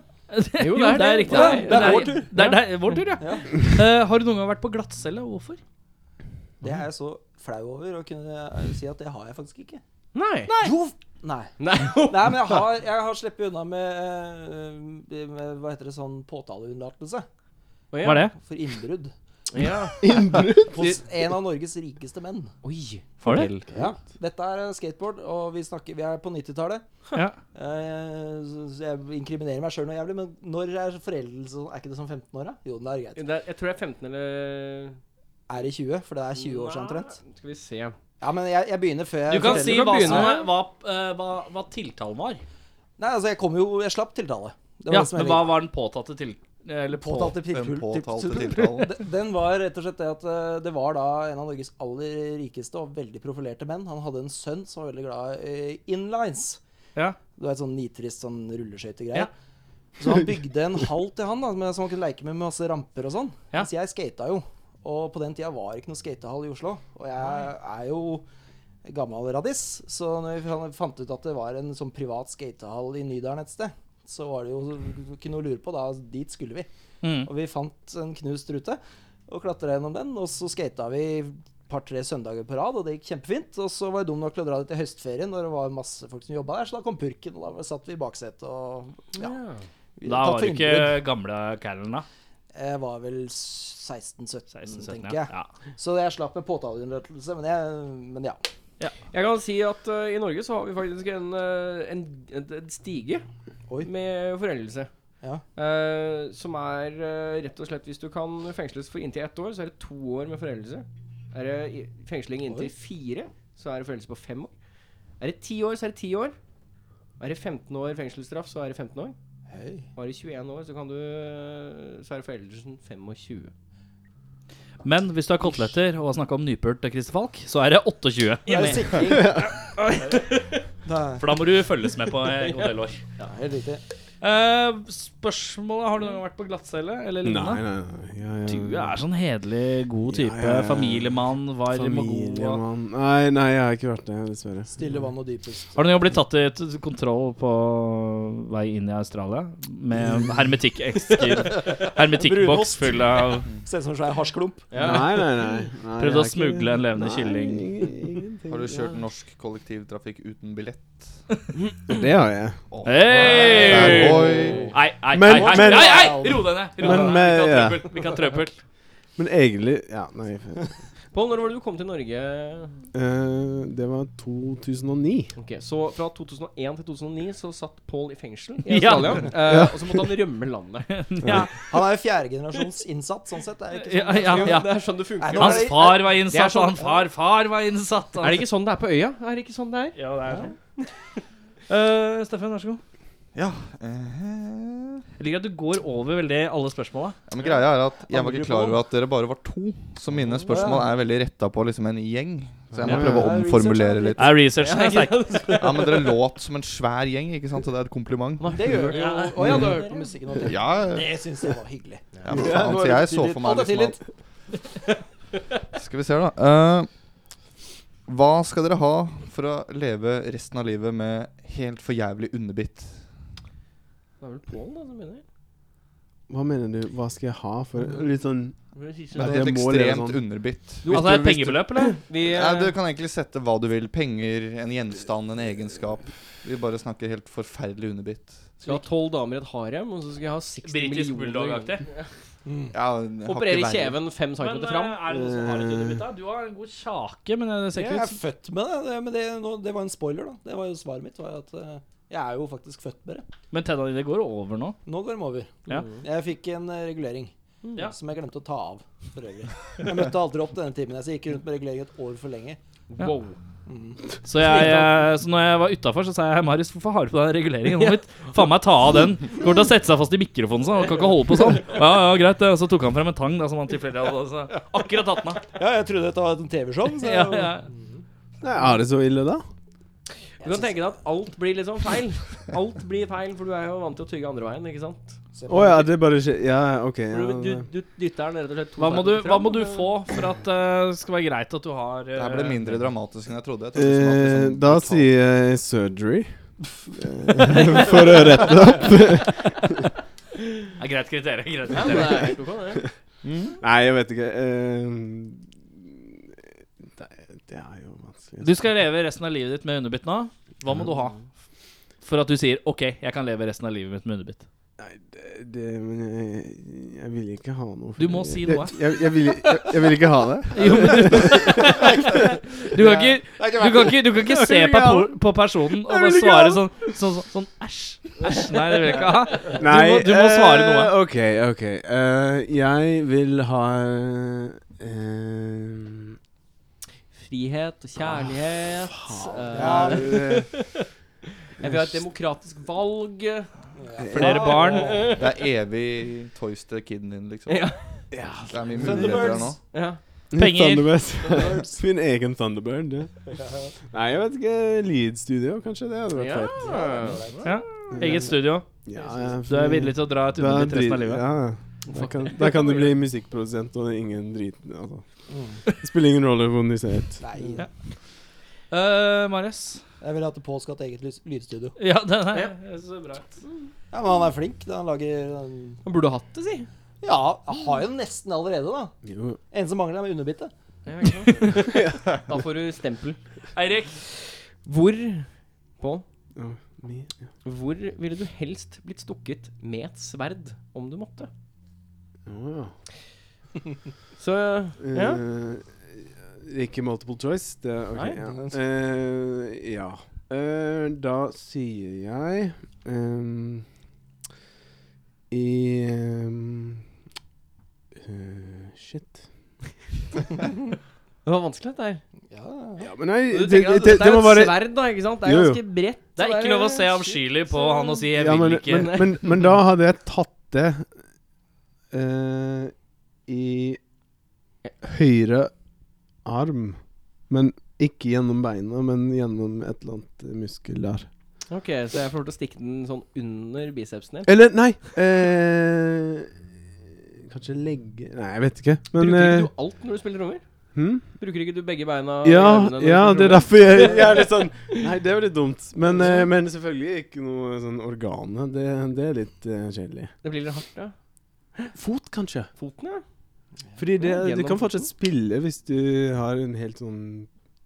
Speaker 2: Jo, det er, det er riktig.
Speaker 5: Ja, det er vår tur.
Speaker 2: Det er, det er vår tur, ja.
Speaker 5: Ja.
Speaker 2: Eh, har du noen gang vært på glattcelle? og Hvorfor?
Speaker 5: Det
Speaker 2: Mhm.
Speaker 5: er jeg så flau over å kunne eh, si at det har jeg faktisk ikke.
Speaker 1: Nei.
Speaker 5: Jo! Nei.
Speaker 2: [laughs]
Speaker 1: Nei.
Speaker 5: Nei, men jeg har, jeg har sluppet unna med, eh, med Hva heter det sånn påtaleunnlatelse
Speaker 1: Å, ja.
Speaker 2: Hva er det?
Speaker 5: for innbrudd
Speaker 2: [laughs]
Speaker 1: Ja.
Speaker 5: hos en av Norges rikeste menn.
Speaker 1: Oi.
Speaker 2: Var det?
Speaker 5: Ja. Dette er eh, skateboard, og vi, snakker, vi er på 90-tallet.
Speaker 2: Ja.
Speaker 5: Eh, så- så jeg inkriminerer meg sjøl noe jævlig, men når er foreldelse Er ikke det som 15 år, da? Jo, det er greit.
Speaker 1: Det er, jeg tror det er 15 eller
Speaker 5: Er det 20? For det er 20 år siden omtrent.
Speaker 1: Nei, Skal vi se.
Speaker 5: Ja, men jeg, jeg begynner før jeg
Speaker 2: Du kan
Speaker 5: forteller.
Speaker 2: si
Speaker 1: Du kan
Speaker 2: hva,
Speaker 1: begynne.
Speaker 2: som, er- hva, eh, hva, hva tiltalen var.
Speaker 5: Nei, altså, jeg kom jo Jeg slapp tiltale. Det var
Speaker 2: Ja,
Speaker 5: det som
Speaker 2: men
Speaker 5: jeg
Speaker 2: hva
Speaker 5: likte.
Speaker 2: var den påtatte til, Eller på.
Speaker 5: Påtalte
Speaker 3: Den
Speaker 5: til-
Speaker 3: påtalte
Speaker 5: til-
Speaker 3: tiltalen.
Speaker 5: Den- Den var rett og slett det at eh, det var da en av Norges aller rikeste og veldig profilerte menn. Han hadde en sønn som var veldig glad i eh, inlines.
Speaker 2: Ja.
Speaker 5: Du vet, sånn nitrist sånn rulleskøytegreie.
Speaker 2: Ja.
Speaker 5: Så han bygde en hall til han da, med- som han kunne leke med med masse ramper og sånn.
Speaker 2: Ja.
Speaker 5: Mens jeg skata jo. Og på den tida var det ikke noe skatehall i Oslo. Og jeg er jo gammel radis, så når vi fan- fant ut at det var en sånn privat skatehall i Nydalen et sted, så var det jo ikke noe å lure på. Da dit skulle vi.
Speaker 2: Mm.
Speaker 5: Og vi fant en knust rute og klatra gjennom den. Og så skata vi et par-tre søndager på rad, og det gikk kjempefint. Og så var jeg dum nok til å dra dit i høstferien når det var masse folk som jobba der, så da kom purken, og da satt vi i baksetet og ja. Vi
Speaker 2: Da
Speaker 5: hadde tatt
Speaker 2: var
Speaker 5: for
Speaker 2: det
Speaker 5: innbrudd.
Speaker 2: ikke gamle Callen, da.
Speaker 5: Jeg var vel 16-17,
Speaker 2: 16-17,
Speaker 5: tenker
Speaker 2: ja.
Speaker 5: jeg.
Speaker 2: ja.
Speaker 5: Så jeg slapp med påtaleunnlatelse, men, jeg- men ja.
Speaker 1: Jeg kan si at eh, i Norge så har vi faktisk en, eh, en, en, en stige
Speaker 5: Oi.
Speaker 1: med foreldelse.
Speaker 5: Ja.
Speaker 1: Eh, som er eh, rett og slett Hvis du kan fengsles for inntil ett år, så er det to år med foreldelse. Er det i- fengsling inntil
Speaker 5: Oi.
Speaker 1: fire, så er det foreldelse på fem år. Er det ti år, så er det ti år. Er det 15 år fengselsstraff, så er det 15 år.
Speaker 5: Hei.
Speaker 1: Var det 21 år, så, kan du, eh, så er det foreldelsen 25.
Speaker 2: Men hvis du har koteletter og har snakka om nypult til Christer Falk, så er det 28.
Speaker 5: Det er
Speaker 2: [laughs]
Speaker 5: jo sikring. [laughs] Det er-
Speaker 2: For da må du følges med på en god del år.
Speaker 5: Ja, helt riktig.
Speaker 2: Eh, spørsmålet Har du noen gang vært på glattcelle eller
Speaker 6: Nei,
Speaker 2: lignende?
Speaker 6: nei, nei. Jeg,
Speaker 2: Du er sånn hederlig god type.
Speaker 6: Ja, ja, ja.
Speaker 2: Familiemann, varm og god. Og...
Speaker 6: familiemann Nei, nei, jeg har ikke vært det, dessverre.
Speaker 5: Stille vann og dypest.
Speaker 2: Har du noen gang blitt tatt i t- kontroll på vei inn i Australia? Med
Speaker 6: [laughs]
Speaker 2: hermetikk-eksker Hermetikkboks
Speaker 5: Brunost.
Speaker 2: full av
Speaker 5: Ser ut som en svær hasjklump.
Speaker 6: Nei, nei, nei. nei
Speaker 2: Prøvde
Speaker 6: jeg
Speaker 2: å
Speaker 6: er ikke-
Speaker 2: smugle en levende
Speaker 6: Nei,
Speaker 2: kylling.
Speaker 6: ingen- ingenting.
Speaker 3: Har du kjørt
Speaker 6: Ja.
Speaker 3: norsk kollektivtrafikk uten billett?
Speaker 6: Det har jeg.
Speaker 2: Hei!
Speaker 3: Der,
Speaker 2: Nei,
Speaker 3: oi.
Speaker 2: nei, nei,
Speaker 6: Men-
Speaker 2: nei,
Speaker 6: men-
Speaker 2: nei, nei! Ro deg ned! Ro
Speaker 6: Men-
Speaker 2: deg
Speaker 6: men-
Speaker 2: ned. Vi kan
Speaker 6: ja.
Speaker 2: trøbbel. Vi kan trøbbel.
Speaker 6: Men egentlig Ja, nei. f-
Speaker 1: Pål, når var det du kom til Norge?
Speaker 6: Eh, det var 2009.
Speaker 1: Ok, Så fra 2001 til 2009 så satt Pål i fengsel i
Speaker 2: [laughs] Ja.
Speaker 1: Australia. eh, og så måtte han rømme landet.
Speaker 2: Ja,
Speaker 5: Han er jo fjerdegenerasjons innsatt, sånn sett. Det er jo
Speaker 2: [laughs]
Speaker 5: ikke
Speaker 2: ja, ja, ja.
Speaker 1: Det er sånn det funker.
Speaker 5: Nei, nå-
Speaker 2: Hans far var
Speaker 1: Det er
Speaker 2: innsatt,
Speaker 1: sånn-
Speaker 2: og han far, far var innsatt.
Speaker 1: Er det ikke sånn det er på øya? Er det ikke sånn det er?
Speaker 2: Ja, det er sånn. Eh, Steffen, vær så god.
Speaker 3: Ja. eh,
Speaker 2: Jeg liker at du går over veldig alle spørsmåla.
Speaker 3: Ja, men greia er at Jeg var ikke klar over at dere bare var to, så mine spørsmål er veldig retta på liksom en gjeng. Så jeg må
Speaker 6: Ja.
Speaker 3: prøve å omformulere litt.
Speaker 2: Er researchen er sterk.
Speaker 3: Ja, Men dere låt som en svær gjeng, ikke sant? så det er et kompliment.
Speaker 5: Det gjør jo Å ja, du har hørt på musikken og det.
Speaker 3: Ja,
Speaker 5: Det syns jeg var hyggelig.
Speaker 3: ja men faen, så jeg så for
Speaker 5: Ta
Speaker 3: meg
Speaker 5: deg
Speaker 3: liksom at Skal vi se, da. Eh, hva skal dere ha for å leve resten av livet med helt for jævlig underbitt?
Speaker 1: Det er vel Pål, da, som begynner.
Speaker 6: Hva mener du? Hva skal jeg ha for Litt sånn
Speaker 1: Det er
Speaker 6: Nei,
Speaker 3: Et
Speaker 1: det.
Speaker 6: det må leve
Speaker 3: ekstremt
Speaker 6: sånn.
Speaker 3: underbitt.
Speaker 2: Altså, det er et pengebeløp, eller?
Speaker 1: Vi,
Speaker 3: Nei, du
Speaker 1: eh,
Speaker 3: kan egentlig sette hva du vil. Penger, en gjenstand, en egenskap. Vi bare snakker helt forferdelig underbitt.
Speaker 1: skal ha tolv damer i et harem, og så skal jeg ha 60
Speaker 2: Britisk
Speaker 1: millioner
Speaker 2: bulldog-aktig.
Speaker 5: Mm.
Speaker 3: Ja, jeg har ikke
Speaker 1: Operere i
Speaker 3: verre.
Speaker 1: kjeven fem
Speaker 2: Men
Speaker 1: centimeter
Speaker 2: eh,
Speaker 1: fram.
Speaker 2: er det noen som har et underbitt, da? Du har en god kjake, men eh, det ser
Speaker 5: Jeg
Speaker 2: ikke
Speaker 5: er
Speaker 2: ut
Speaker 5: født med det, det, men det, nå- det var en spoiler, da. Det var jo svaret mitt. Var jo at eh, jeg er jo faktisk født med det.
Speaker 2: Men tenna dine går over nå.
Speaker 5: Nå går de over.
Speaker 2: Ja.
Speaker 5: Jeg fikk en eh, regulering
Speaker 2: Ja.
Speaker 5: som jeg glemte å ta av, for øvrig. Jeg møtte aldri opp til denne timen. Jeg gikk rundt med regulering et år for lenge. Mm.
Speaker 1: Wow.
Speaker 2: Så, jeg, eh, så når jeg var utafor, så sa jeg Marius, hvorfor har du på deg reguleringen? Nå [laughs] må vi faen meg ta av den. Går til å sette seg fast i mikrofonen sånn. Han kan ikke holde på [laughs] sånn. Ja, ja, greit. det. Og så tok han frem en tang da, som han tilfeldig hadde. Så akkurat tatt den av.
Speaker 5: Ja, jeg trodde dette var et TV-show. så-
Speaker 2: [laughs] Ja, ja.
Speaker 6: Nei, Er det så ille, da?
Speaker 1: Du kan tenke deg at alt blir litt sånn feil. Alt blir feil, for du er jo vant til å tygge andre veien, ikke sant?
Speaker 5: Se
Speaker 6: Å
Speaker 5: på
Speaker 6: ja,
Speaker 5: meg.
Speaker 6: det bare skjer Ja, OK.
Speaker 1: For Du, du,
Speaker 6: Ja,
Speaker 1: du dytter den rett og slett to
Speaker 2: Hva må, du,
Speaker 1: centimeter
Speaker 2: hva
Speaker 1: fram,
Speaker 2: må du
Speaker 1: og-
Speaker 2: få for at det skal være greit at du har eh,
Speaker 3: Det her ble mindre dramatisk enn jeg trodde. Jeg trodde liksom at
Speaker 6: Eh,
Speaker 3: liksom
Speaker 6: da
Speaker 3: totalt-
Speaker 6: sier jeg surgery. Eh, For å rette det opp.
Speaker 2: Ja, greit kriterium.
Speaker 1: Ja,
Speaker 2: Greit kriterium.
Speaker 1: men det er helt ok, det.
Speaker 3: Mhm.
Speaker 6: Nei, jeg vet ikke. Eh, det, er- det er jo vanskelig.
Speaker 2: Du skal leve resten av livet ditt med underbitt nå. Hva må du ha for at du sier OK, jeg kan leve resten av livet mitt med underbitt?
Speaker 6: Nei, det, det Men jeg, jeg vil ikke ha noe
Speaker 2: Du må si noe.
Speaker 6: Jeg, jeg, jeg, vil, jeg, jeg vil ikke ha
Speaker 2: [laughs]
Speaker 6: det.
Speaker 2: [laughs] Jo, men du, du kan ikke Du kan ikke, du kan ikke se
Speaker 6: ikke
Speaker 2: på,
Speaker 6: ha
Speaker 2: por- på personen og
Speaker 6: Jeg
Speaker 2: bare
Speaker 6: vil ikke ha
Speaker 2: svare
Speaker 6: den.
Speaker 2: sånn Sånn, sånn, sånn æsj. Æsj, nei, det vil jeg ikke ha.
Speaker 6: Nei,
Speaker 2: må- du må svare
Speaker 6: eh,
Speaker 2: noe.
Speaker 6: OK, OK. Eh, jeg vil ha eh,
Speaker 1: Frihet og
Speaker 2: Ah,
Speaker 1: kjærlighet.
Speaker 6: faen,
Speaker 1: eh,
Speaker 6: det er, eh,
Speaker 1: Jeg vil ha et demokratisk valg.
Speaker 2: Flere barn.
Speaker 3: Det er evig toys til kiden din, liksom.
Speaker 1: Ja.
Speaker 3: Det er mye muligheter der nå.
Speaker 1: Ja.
Speaker 2: Penger.
Speaker 6: [laughs] Thunderbird. Min egen Thunderbird. Ja. Nei, jeg vet ikke. Lydstudio, kanskje? Det hadde vært
Speaker 1: Ja.
Speaker 6: fett.
Speaker 2: Ja. Eget studio.
Speaker 6: Ja, ja.
Speaker 2: Du er villig til å dra et
Speaker 6: Da
Speaker 2: underbitt resten av
Speaker 6: dri-
Speaker 2: livet.
Speaker 6: Ja, ja. Da kan, da kan du bli musikkprodusent, og det er ingen drit altså. Det spiller ingen rolle hvordan de ser ut.
Speaker 5: [laughs] Nei.
Speaker 2: Ja. Uh, Marius.
Speaker 5: Jeg ville hatt Pål skulle hatt eget lys- lydstudio.
Speaker 2: Ja, den er så bra.
Speaker 5: Ja, Men han er flink. da Han lager han-
Speaker 1: Han burde hatt det, si.
Speaker 5: Ja, han har jo nesten allerede, da.
Speaker 6: Jo.
Speaker 5: En som mangler, er underbittet.
Speaker 1: Da
Speaker 2: [laughs]
Speaker 1: får du stempel.
Speaker 2: Eirik.
Speaker 1: Hvor Pål,
Speaker 6: Ja, mi- ja.
Speaker 1: hvor ville du helst blitt stukket med et sverd om du måtte?
Speaker 6: Å, ja.
Speaker 1: Så ja.
Speaker 6: Eh, ikke multiple choice? Det, ok,
Speaker 1: Nei.
Speaker 6: ja. Eh, ja. Eh, da sier jeg ehm, I ehm, eh, Shit.
Speaker 1: Det var vanskelig, dette her.
Speaker 5: Ja,
Speaker 6: Ja, men nei,
Speaker 1: Du
Speaker 6: det, det,
Speaker 1: tenker at
Speaker 6: det,
Speaker 1: det er jo
Speaker 6: må
Speaker 1: et
Speaker 6: være
Speaker 1: sverd, da, ikke sant? Det er
Speaker 6: Jo, jo.
Speaker 1: ganske bredt.
Speaker 2: Det er
Speaker 1: så
Speaker 2: ikke lov å se avskyelig på han og si 'jeg
Speaker 6: ja, men,
Speaker 2: vil ikke'.
Speaker 6: men, men, men da hadde jeg tatt det eh, i høyre arm. Men ikke gjennom beina, men gjennom et eller annet muskel der.
Speaker 1: Ok, Så jeg får lov til å stikke den sånn under bicepsen din?
Speaker 6: Eller, nei eh, Kanskje legge Nei, jeg vet ikke. Men
Speaker 1: Bruker
Speaker 6: eh,
Speaker 1: ikke du alt når du spiller trommer?
Speaker 6: hm?
Speaker 1: Bruker ikke du begge beina?
Speaker 6: ja,
Speaker 1: og armene når du
Speaker 6: ja,
Speaker 1: spiller
Speaker 6: det er
Speaker 1: trommer?
Speaker 6: derfor jeg,
Speaker 1: [laughs]
Speaker 6: jeg er litt sånn Nei, det var litt dumt. Men, eh, men selvfølgelig ikke noe sånn organ. Det, det er litt eh, kjedelig.
Speaker 1: Det blir litt hardt, ja.
Speaker 6: Fot, kanskje.
Speaker 1: Foten, ja.
Speaker 6: Fordi det,
Speaker 1: Ja,
Speaker 6: du
Speaker 1: gjennom
Speaker 6: kan fortsatt spille hvis du har en helt sånn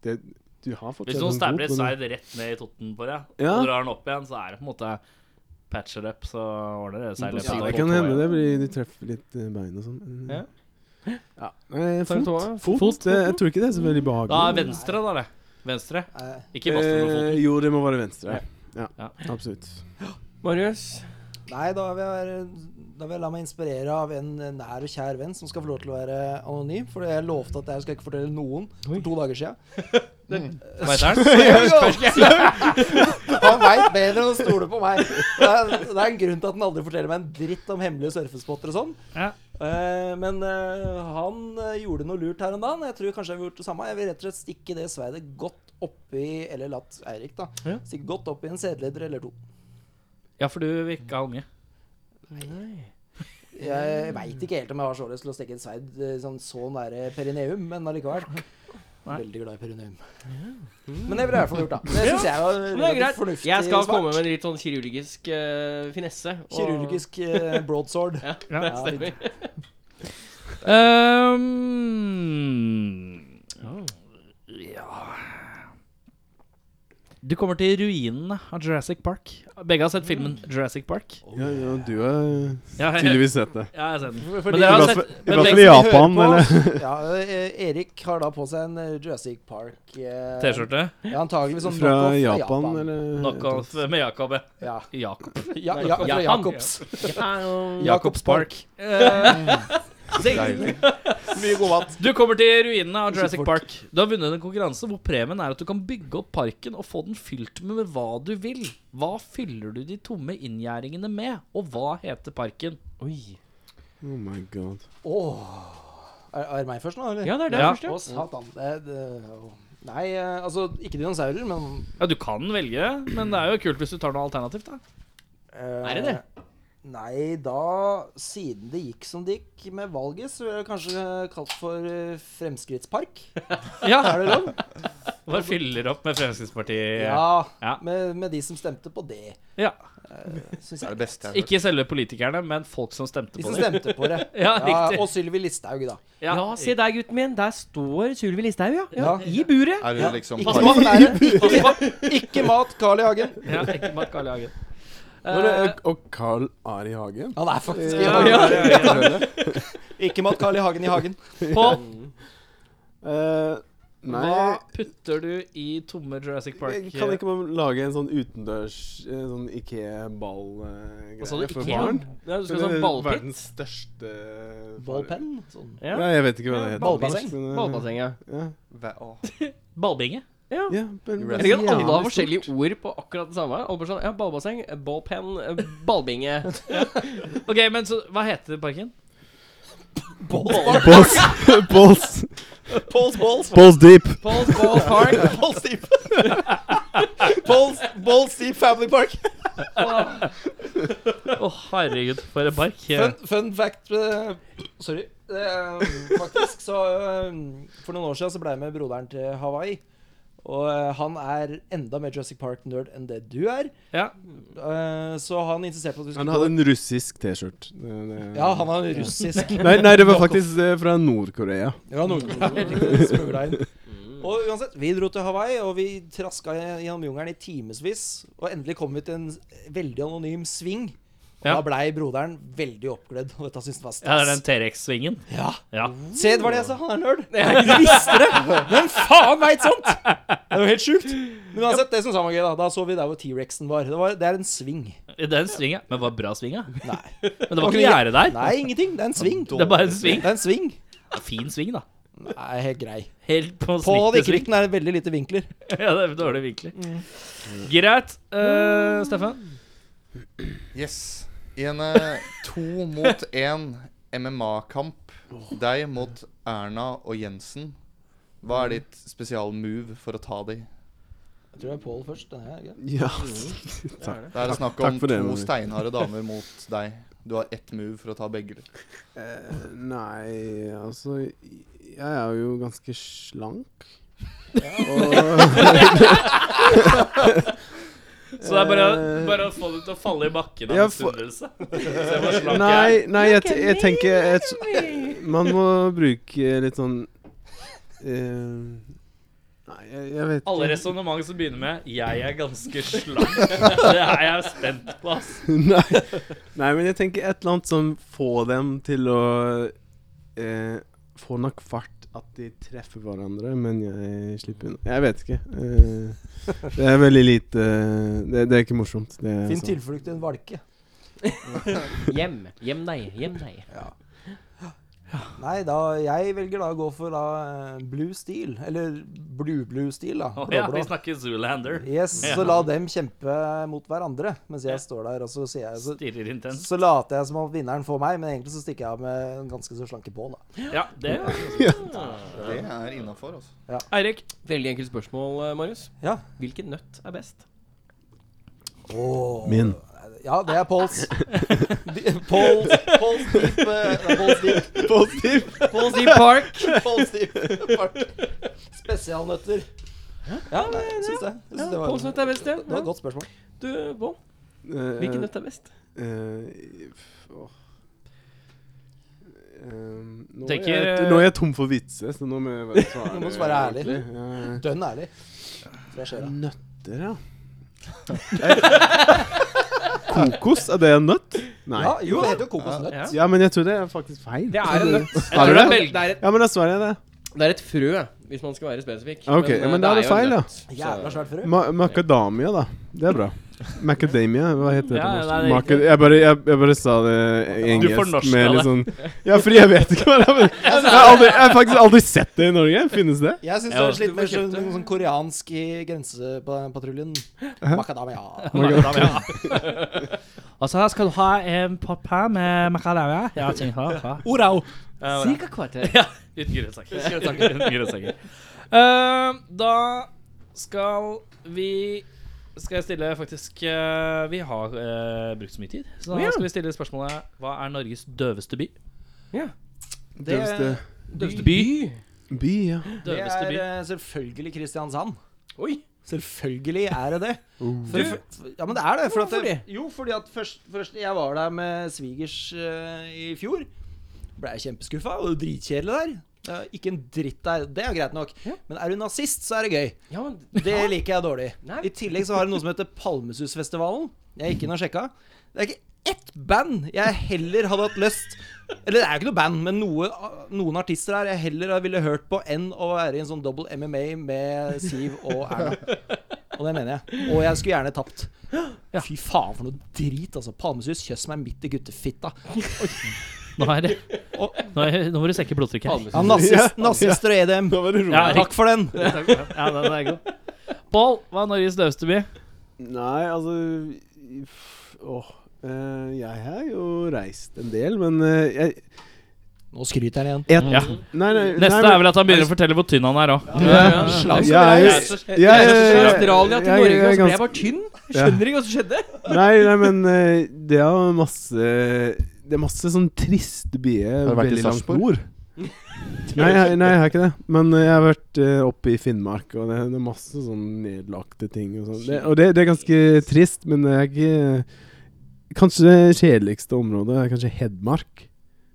Speaker 6: det, Du har fortsatt
Speaker 2: Hvis noen
Speaker 6: en
Speaker 2: stabber et
Speaker 6: fot, men-
Speaker 2: sverd rett ned i totten på deg,
Speaker 6: Ja.
Speaker 2: og drar den opp igjen, så er det på en måte patcher up, så ordner det seg. i løpet
Speaker 6: Ja,
Speaker 2: av
Speaker 6: det
Speaker 2: tolv
Speaker 6: kan
Speaker 2: år,
Speaker 6: hende
Speaker 2: ja.
Speaker 6: det blir du treffer litt eh, bein og sånn. Mm.
Speaker 1: Ja.
Speaker 6: Ja. Eh,
Speaker 1: Tar du
Speaker 6: fot.
Speaker 1: tåa?
Speaker 6: Fot, det, jeg tror ikke det er så veldig behagelig.
Speaker 2: Da er venstre, da, det. Venstre.
Speaker 5: Eh,
Speaker 2: Ikke basten på foten.
Speaker 6: Eh, jo, det må være venstre. Ja,
Speaker 2: Ja.
Speaker 6: absolutt.
Speaker 1: Marius?
Speaker 5: Nei, da vil, jeg være, da vil jeg la meg inspirere av en nær og kjær venn som skal få lov til å være anonym. For jeg lovte at jeg skal ikke fortelle noen for to dager sia.
Speaker 6: Eh,
Speaker 2: Hva heter
Speaker 6: [laughs]
Speaker 2: den?
Speaker 5: Han veit bedre enn å stole på meg. Det er, det er en grunn til at han aldri forteller meg en dritt om hemmelige surfespotter og sånn.
Speaker 2: Ja.
Speaker 5: Eh, men eh, han eh, gjorde noe lurt her om dagen. Jeg tror kanskje jeg vil gjort det samme. Jeg vil rett og slett stikke det sverdet godt oppi Eller latt Eirik, da.
Speaker 1: Ja.
Speaker 5: Stikke godt oppi en sædleder eller to.
Speaker 2: ja, for du vil ikke ha unge.
Speaker 5: Jeg veit ikke helt om jeg har så lyst til å stikke et sverd eh, sånn, så nære perineum, men allikevel. Veldig glad i perineum. Men det ville jeg i hvert fall gjort, da. Det syns jeg var
Speaker 1: Men det er
Speaker 5: relativt
Speaker 1: greit.
Speaker 5: fornuftig.
Speaker 1: Jeg skal
Speaker 5: svar.
Speaker 1: komme med en litt sånn kirurgisk eh, finesse. og-
Speaker 5: Kirurgisk eh, broadsword.
Speaker 1: Ja,
Speaker 2: Ja.
Speaker 1: det
Speaker 5: Ja,
Speaker 1: stemmer.
Speaker 2: Ehm, ja Du kommer til ruinene av Jurassic Park. Begge har sett filmen Jurassic Park.
Speaker 6: Ja, ja, du har
Speaker 2: Ja, jeg,
Speaker 6: tydeligvis sett det.
Speaker 2: jeg har sett den.
Speaker 5: For-
Speaker 2: Men
Speaker 5: fordi-
Speaker 2: dere
Speaker 6: I
Speaker 2: har
Speaker 6: hvert
Speaker 2: sett
Speaker 6: fall- i
Speaker 2: men
Speaker 6: hvert fall
Speaker 2: begge-
Speaker 6: i
Speaker 5: som hører
Speaker 6: Japan,
Speaker 5: på-
Speaker 6: eller?
Speaker 5: Ja, eh, Erik har da på seg en eh, Jurassic Park eh,
Speaker 2: T-skjorte.
Speaker 5: Ja, antagelig sånn
Speaker 6: Fra
Speaker 5: knockoff
Speaker 6: Japan, eller?
Speaker 2: Knockoff med Jacob. ja.
Speaker 5: Ja.
Speaker 2: Jacob.
Speaker 5: Ja, ja, fra
Speaker 1: Japan.
Speaker 5: Jacobs.
Speaker 1: Ja, [laughs]
Speaker 2: Jacobs Park.
Speaker 3: Deilig.
Speaker 5: Mye god mat.
Speaker 2: Du kommer til ruinene av Jurassic Park. Du har vunnet en konkurranse hvor premien er at du kan bygge opp parken og få den fylt med, med hva du vil. Hva fyller du de tomme inngjerdingene med, og hva heter parken?
Speaker 1: Oi.
Speaker 6: Oh my god.
Speaker 5: Er, er det meg først nå, eller?
Speaker 1: ja, det er det
Speaker 2: Ja.
Speaker 1: første.
Speaker 5: Å, satan. Det, det, å. Nei, eh, altså ikke dinosaurer, men
Speaker 2: Ja, du kan velge, men det er jo kult hvis du tar noe alternativt, da.
Speaker 5: Er
Speaker 1: det det?
Speaker 5: eh, Nei, da Siden det gikk som det gikk med valget, så ville jeg kanskje kalt for eh, Fremskrittspark.
Speaker 2: Ja,
Speaker 5: Er det
Speaker 2: [laughs]
Speaker 5: lov?
Speaker 2: Bare fyller opp med Fremskrittspartiet.
Speaker 5: Ja.
Speaker 2: Ja.
Speaker 5: Med, med de som stemte på det,
Speaker 2: Ja.
Speaker 5: syns
Speaker 3: Det er
Speaker 5: jeg.
Speaker 3: det beste jeg har hørt.
Speaker 2: Ikke selve politikerne, men folk som stemte
Speaker 5: De
Speaker 2: på
Speaker 5: som
Speaker 2: det.
Speaker 5: stemte på det.
Speaker 2: Ja, riktig.
Speaker 5: og Sylvi Listhaug, da.
Speaker 1: Ja, se der, gutten min. Der står Sylvi Listhaug, ja.
Speaker 5: Ja.
Speaker 1: I buret.
Speaker 3: Er
Speaker 5: Ja.
Speaker 3: du liksom
Speaker 5: Ikke mat, [laughs] nære. Ikke, ikke mat Carl I. Hagen.
Speaker 2: Ja, ikke Mark Carl I. Hagen.
Speaker 6: Var det,
Speaker 2: Eh,
Speaker 6: og Carl Ari Hagen?
Speaker 5: Han er faktisk
Speaker 2: Ja,
Speaker 5: i Hagen.
Speaker 2: ja, ja.
Speaker 5: Ikke mat Carl I. Hagen i Hagen.
Speaker 2: Pål,
Speaker 6: Eh, nei
Speaker 2: hva putter du i tomme Jurassic Park?
Speaker 6: jeg- Kan ikke man lage en sånn utendørs eh, sånn Ikea-ball-greie
Speaker 2: Hva sa du?
Speaker 6: for
Speaker 2: Ikea?
Speaker 6: barn?
Speaker 1: Ja, du skal
Speaker 6: Det
Speaker 1: ha
Speaker 6: er
Speaker 1: sånn ballpit.
Speaker 6: Verdens største eh,
Speaker 5: Ballpenn? Sånn.
Speaker 1: Ja.
Speaker 6: Nei, jeg vet ikke hva det heter.
Speaker 1: Ballbasseng.
Speaker 6: Men, eh,
Speaker 1: Ballbasseng, ja.
Speaker 6: Ja.
Speaker 3: Hva- å.
Speaker 2: Ballbinge.
Speaker 1: Ja.
Speaker 6: Ja, men,
Speaker 1: Jeg liker at alle har forskjellige ord på akkurat det samme. Alle bare sånn, ja, Ballbasseng, ballpen, eh,
Speaker 6: [laughs]
Speaker 1: ballbinge.
Speaker 2: Ok, men så Hva heter parken?
Speaker 3: Balls, balls,
Speaker 5: Pols, Pols,
Speaker 3: balls deep.
Speaker 1: Balls, ball
Speaker 5: [laughs]
Speaker 1: park.
Speaker 5: Pols Deep. Pols, Pols Deep Family Park.
Speaker 2: Å, herregud, for en park.
Speaker 5: Fun, fun fact eh, Sorry. Eh, faktisk så eh, For noen år siden så ble jeg med broderen til Hawaii. Og eh, han er enda mer Jurassic Park-nerd enn det du er.
Speaker 2: Ja.
Speaker 5: Eh, så han insisterte på at vi
Speaker 6: Han
Speaker 5: skulle
Speaker 6: hadde
Speaker 5: gå
Speaker 6: en russisk T-skjort. Det- det-
Speaker 5: Ja, han har en russisk
Speaker 6: Nei, nei, det var faktisk eh, fra Nord-Korea.
Speaker 5: [laughs] Ja,
Speaker 2: Mm.
Speaker 5: Nord-Korea. Smugla inn. Og uansett, vi dro til Hawaii, og vi traska gjennom jungelen i timevis. Og endelig kom vi til en veldig anonym sving. Og
Speaker 2: Ja.
Speaker 5: da blei broderen veldig oppglødd, og dette syntes han var
Speaker 2: Ja, det er
Speaker 5: stas.
Speaker 2: den T-rex-svingen.
Speaker 5: Ja.
Speaker 2: Ja.
Speaker 5: Se, det var det jeg sa, han er nerd. Jeg visste det! Hvem faen veit sånt?! Det er jo helt sjukt. Men uansett, det syns han var gøy, da. Da så vi der hvor T-rexen var. Det, var. det er en sving.
Speaker 2: Det er en sving, ja. Men var det bra sving, ja?
Speaker 5: Nei.
Speaker 2: Men det var ikke noe gjerde der.
Speaker 5: Nei, ingenting. Det er en sving.
Speaker 2: Det er bare en sving.
Speaker 5: Det er en sving.
Speaker 2: Fin sving, da.
Speaker 5: Nei, helt grei.
Speaker 2: Helt på
Speaker 5: På
Speaker 2: snittet sving.
Speaker 5: vikkerikten er det veldig lite vinkler.
Speaker 2: [laughs] Ja, det er dårlig vinkler. Greit. eh, Steffen?
Speaker 3: Yes. I en eh, to mot én MMA-kamp, deg mot Erna og Jensen, hva er ditt spesialmove for å ta de?
Speaker 5: Jeg tror det er Pål først. Den er grei.
Speaker 6: Ja.
Speaker 1: Mm.
Speaker 3: Det er snakk
Speaker 6: [laughs] takk
Speaker 3: om
Speaker 6: for det,
Speaker 3: to
Speaker 6: Mami.
Speaker 3: steinharde damer mot deg. Du har ett move for å ta begge.
Speaker 6: Eh, nei, altså Jeg er jo ganske slank.
Speaker 2: Så det er bare, bare å få det til å falle i bakken av
Speaker 6: Ja, for-
Speaker 2: misunnelse. Se hvor slank jeg er.
Speaker 6: Nei, nei jeg, te- jeg tenker jeg, t- Man må bruke litt sånn eh, Nei, jeg, jeg vet
Speaker 2: Alle resonnement som begynner med 'jeg er ganske [laughs] slank', det er jeg spent på, ass.
Speaker 6: [laughs] Nei. Nei, men jeg tenker et eller annet som får dem til å eh, Få nok fart at de treffer hverandre, men jeg slipper unna. Jeg vet ikke. Eh, det er veldig lite Det, det er ikke morsomt. Det er
Speaker 5: Finn
Speaker 6: sånn.
Speaker 5: tilflukt i en valke.
Speaker 1: Hjem. Hjem deg. Hjem deg.
Speaker 5: Nei, da, jeg velger da å gå for da, eh, blue steel. Eller blue-blue steel, da.
Speaker 2: Å ja,
Speaker 5: Blå-blå.
Speaker 2: vi snakker Zoolander.
Speaker 5: Yes,
Speaker 2: Ja.
Speaker 5: Så la dem kjempe mot hverandre mens
Speaker 2: Ja.
Speaker 5: jeg står der. Og så, sier jeg, så,
Speaker 2: Stirrer intenst.
Speaker 5: så later jeg som om vinneren får meg, men egentlig så stikker jeg av med en ganske så slanke Pål. da.
Speaker 2: Ja, det
Speaker 3: Det er innafor, altså.
Speaker 2: Eirik.
Speaker 1: Veldig enkelt spørsmål, eh, Marius.
Speaker 5: Ja.
Speaker 1: Hvilken nøtt er best?
Speaker 6: Min.
Speaker 5: Ja, det er Påls.
Speaker 6: [laughs]
Speaker 5: De- Påls Påls deep. eh, nei, Påls deep.
Speaker 3: [laughs]
Speaker 1: Pål Steve Park.
Speaker 5: Påls deep. Park. Spesialnøtter. Ja, nei, jeg syns det.
Speaker 1: Ja,
Speaker 5: Jeg syns det, var,
Speaker 1: Påls nøtt er best, ja.
Speaker 5: det var et
Speaker 1: ja.
Speaker 5: godt spørsmål.
Speaker 1: Du, Pål.
Speaker 6: Eh,
Speaker 1: Hvilken nøtt er best?
Speaker 6: eh, f- åh. Eh, nå,
Speaker 2: Tenker-
Speaker 6: er jeg, nå er jeg tom for vitser, så nå må jeg
Speaker 2: [laughs]
Speaker 6: bare svare.
Speaker 5: Nå må du svare ærlig.
Speaker 6: ordentlig. Ja.
Speaker 5: Dønn ærlig. Fra sjela.
Speaker 6: Nøtter, ja. [laughs] Kokos, er det en nøtt? Nei.
Speaker 5: Ja, jo, det heter jo kokosnøtt.
Speaker 1: Ja.
Speaker 6: Ja, men jeg tror det er faktisk feil.
Speaker 1: Det er en nøtt.
Speaker 6: Er det
Speaker 1: Det er, et,
Speaker 6: Ja, men da svarer jeg det.
Speaker 1: det er et frø, hvis man skal være spesifikk.
Speaker 6: Ok,
Speaker 1: eh,
Speaker 6: men da er det
Speaker 1: jo en
Speaker 6: feil, da.
Speaker 1: nøtt, så-
Speaker 5: Jævla svært frø.
Speaker 6: Ma macadamia, da. Det er bra. Macadamia, hva heter det?
Speaker 2: Ja,
Speaker 6: på norsk?
Speaker 2: nei, det er
Speaker 6: Maca- jeg, bare, jeg, jeg bare sa det i
Speaker 2: Du
Speaker 6: engelsk
Speaker 2: fornorska
Speaker 6: med
Speaker 2: det.
Speaker 6: litt sånn
Speaker 2: [laughs]
Speaker 6: Ja, fordi jeg vet ikke hva det er. Men jeg, har aldri, jeg har faktisk aldri sett det i Norge. Finnes det?
Speaker 5: Jeg syns det
Speaker 2: Ja.
Speaker 5: høres litt
Speaker 1: Du
Speaker 5: mer
Speaker 1: får kjøpt
Speaker 5: sånn,
Speaker 1: det.
Speaker 5: sånn koreansk i grensepatruljen. Macadamia.
Speaker 2: Macadamia. Og så skal du ha en pop her med macadamia. Ja, ting her.
Speaker 5: Orao.
Speaker 1: Cirka kvarter.
Speaker 2: Ja, uten grønnsaker. [laughs] Uten grønnsaker. Eh, da skal vi Skal jeg stille faktisk eh, Vi har eh, brukt så mye tid, så
Speaker 1: Å,
Speaker 2: da
Speaker 1: ja.
Speaker 2: skal vi stille spørsmålet Hva er Norges døveste by?
Speaker 1: Ja.
Speaker 6: Det er
Speaker 1: Døvste by.
Speaker 6: by, ja.
Speaker 5: Det
Speaker 2: Døveste
Speaker 5: er
Speaker 2: by.
Speaker 5: eh, selvfølgelig Kristiansand.
Speaker 1: Oi.
Speaker 5: Selvfølgelig er det
Speaker 6: [laughs]
Speaker 5: det.
Speaker 6: Oh.
Speaker 5: For,
Speaker 1: Du-
Speaker 5: for- ja, men det er det. For at
Speaker 1: Hvorfor
Speaker 5: det jo, fordi at først, først Jeg var der med svigers eh, i fjor. Ble jeg kjempeskuffa. Og det var dritkjedelig der. Det er ikke en dritt der. Det er greit nok.
Speaker 1: Ja.
Speaker 5: Men er du nazist, så er det gøy.
Speaker 1: Ja, men
Speaker 5: Det liker jeg dårlig.
Speaker 1: Nei.
Speaker 5: I tillegg så har det noe som heter Palmesusfestivalen. Jeg gikk inn og sjekka. Det er ikke ett band jeg heller hadde hatt lyst Eller det er jo ikke noe band, men noe, noen artister her jeg heller ville hørt på enn å være i en sånn double MMA med Siv og Erna. Og det mener jeg. Og jeg skulle gjerne tapt. Fy faen for noe drit, altså. Palmesus, kjøss meg midt i guttefitta.
Speaker 2: Nå, er det. Nå, er, nå må du senke blodtrykket.
Speaker 5: Ja, nazist, nazister og E EDM.
Speaker 6: Da var det
Speaker 2: Ja,
Speaker 6: rolig.
Speaker 5: Takk for den.
Speaker 2: Ja, den er god. Pål, hva er Norges døveste by?
Speaker 6: Nei, altså i- f- Åh. eh, jeg har jo reist en del, men eh, jeg,
Speaker 5: Nå skryter han igjen.
Speaker 6: jeg
Speaker 2: Ja.
Speaker 6: Nei, nei,
Speaker 2: Neste
Speaker 6: nei,
Speaker 2: er vel at han begynner å fortelle hvor tynn han er òg.
Speaker 1: Ja, slags for deg.
Speaker 6: Ja, jeg-
Speaker 1: Jeg-
Speaker 6: jeg-
Speaker 1: jeg reiste fra Australia til
Speaker 6: jeg-
Speaker 1: Norge, og
Speaker 6: jeg-
Speaker 1: så ble
Speaker 6: ganske-
Speaker 1: jeg bare tynn. Jeg
Speaker 6: Ja.
Speaker 1: Skjønner ikke hva som skjedde.
Speaker 6: [laughs] nei, nei, men eh, det er masse Det er masse sånn triste byer
Speaker 3: du vært i
Speaker 6: veldig langt
Speaker 3: Sarpsborg?
Speaker 6: nord. Nei, jeg- nei, jeg har ikke det. Men eh, jeg har vært eh, oppe i Finnmark, og det, det er masse sånn nedlagte ting. Og, sånn. det, og det, det er ganske trist, men det er ikke Kanskje det kjedeligste området er kanskje Hedmark,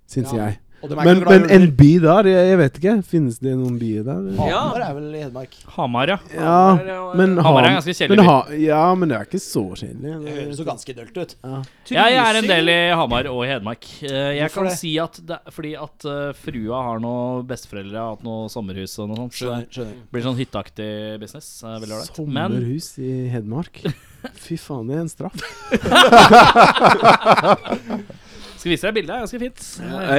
Speaker 6: syns
Speaker 5: Ja.
Speaker 6: jeg.
Speaker 5: Og de er
Speaker 6: Men,
Speaker 5: ikke
Speaker 6: men
Speaker 5: glad i
Speaker 6: en
Speaker 5: ulver.
Speaker 6: by der, jeg, jeg vet ikke. Finnes det noen byer der? eller?
Speaker 1: Ja.
Speaker 5: Hamar er vel i Hedmark.
Speaker 2: Hamar, ja.
Speaker 1: Hamar,
Speaker 6: Ja,
Speaker 1: ja,
Speaker 6: men
Speaker 1: ja.
Speaker 2: Hamar er en
Speaker 6: Ham-
Speaker 2: ganske
Speaker 6: men
Speaker 2: kjedelig by.
Speaker 6: ha, ja, men det er ikke så kjedelig.
Speaker 5: Det høres jo ganske dølt ut.
Speaker 2: Jeg er en del i Hamar og i Hedmark. Eh, Jeg
Speaker 5: Hvorfor
Speaker 2: kan
Speaker 5: det?
Speaker 2: si at det, fordi at eh, frua har noe besteforeldre har hatt noe sommerhus og noe sånt. Så det
Speaker 5: skjønner.
Speaker 2: blir sånn hytteaktig business. eh, Veldig ålreit. Men
Speaker 6: Sommerhus i Hedmark. [laughs] Fy faen, det er en straff.
Speaker 2: skal vise deg bildet. Det er ganske fint.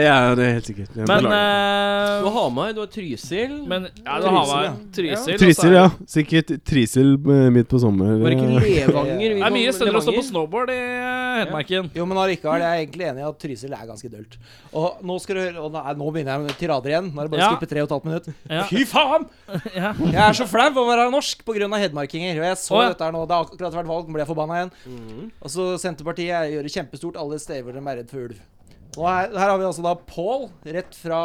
Speaker 6: Ja, det er helt sikkert. Jeg
Speaker 2: Men,
Speaker 6: beklager.
Speaker 1: Du har
Speaker 2: eh,
Speaker 1: Hamar, du har Trysil.
Speaker 2: men ja, det har vært Trysil. altså. og så er
Speaker 6: Trysil,
Speaker 2: det-
Speaker 6: ja. Sikkert Trysil eh, midt på sommer.
Speaker 1: Var det
Speaker 2: Mm.
Speaker 1: ikke
Speaker 6: Ja.
Speaker 1: Levanger?
Speaker 2: Det er mye steder å stå på snowboard i eh, Hedmarken.
Speaker 5: [laughs] Jo, men allikevel, jeg er egentlig enig i at Trysil er ganske dølt. Og nå skal du høre og nei, Nå begynner jeg med tirader igjen. Nå er det bare å
Speaker 2: Ja.
Speaker 5: skippe tre og et halvt minutt.
Speaker 2: Ja.
Speaker 5: Fy faen!
Speaker 2: [laughs] Ja.
Speaker 5: Jeg er så flau over å være norsk pga. hedmarkinger. Og jeg så
Speaker 2: Å, ja.
Speaker 5: dette her nå. Det har akkurat vært valg, nå ble jeg forbanna igjen.
Speaker 6: Mhm.
Speaker 5: Og så Senterpartiet gjør det kjempestort alle steder hvor de er redd for ulv. Og her, her har vi altså da Paul, rett fra,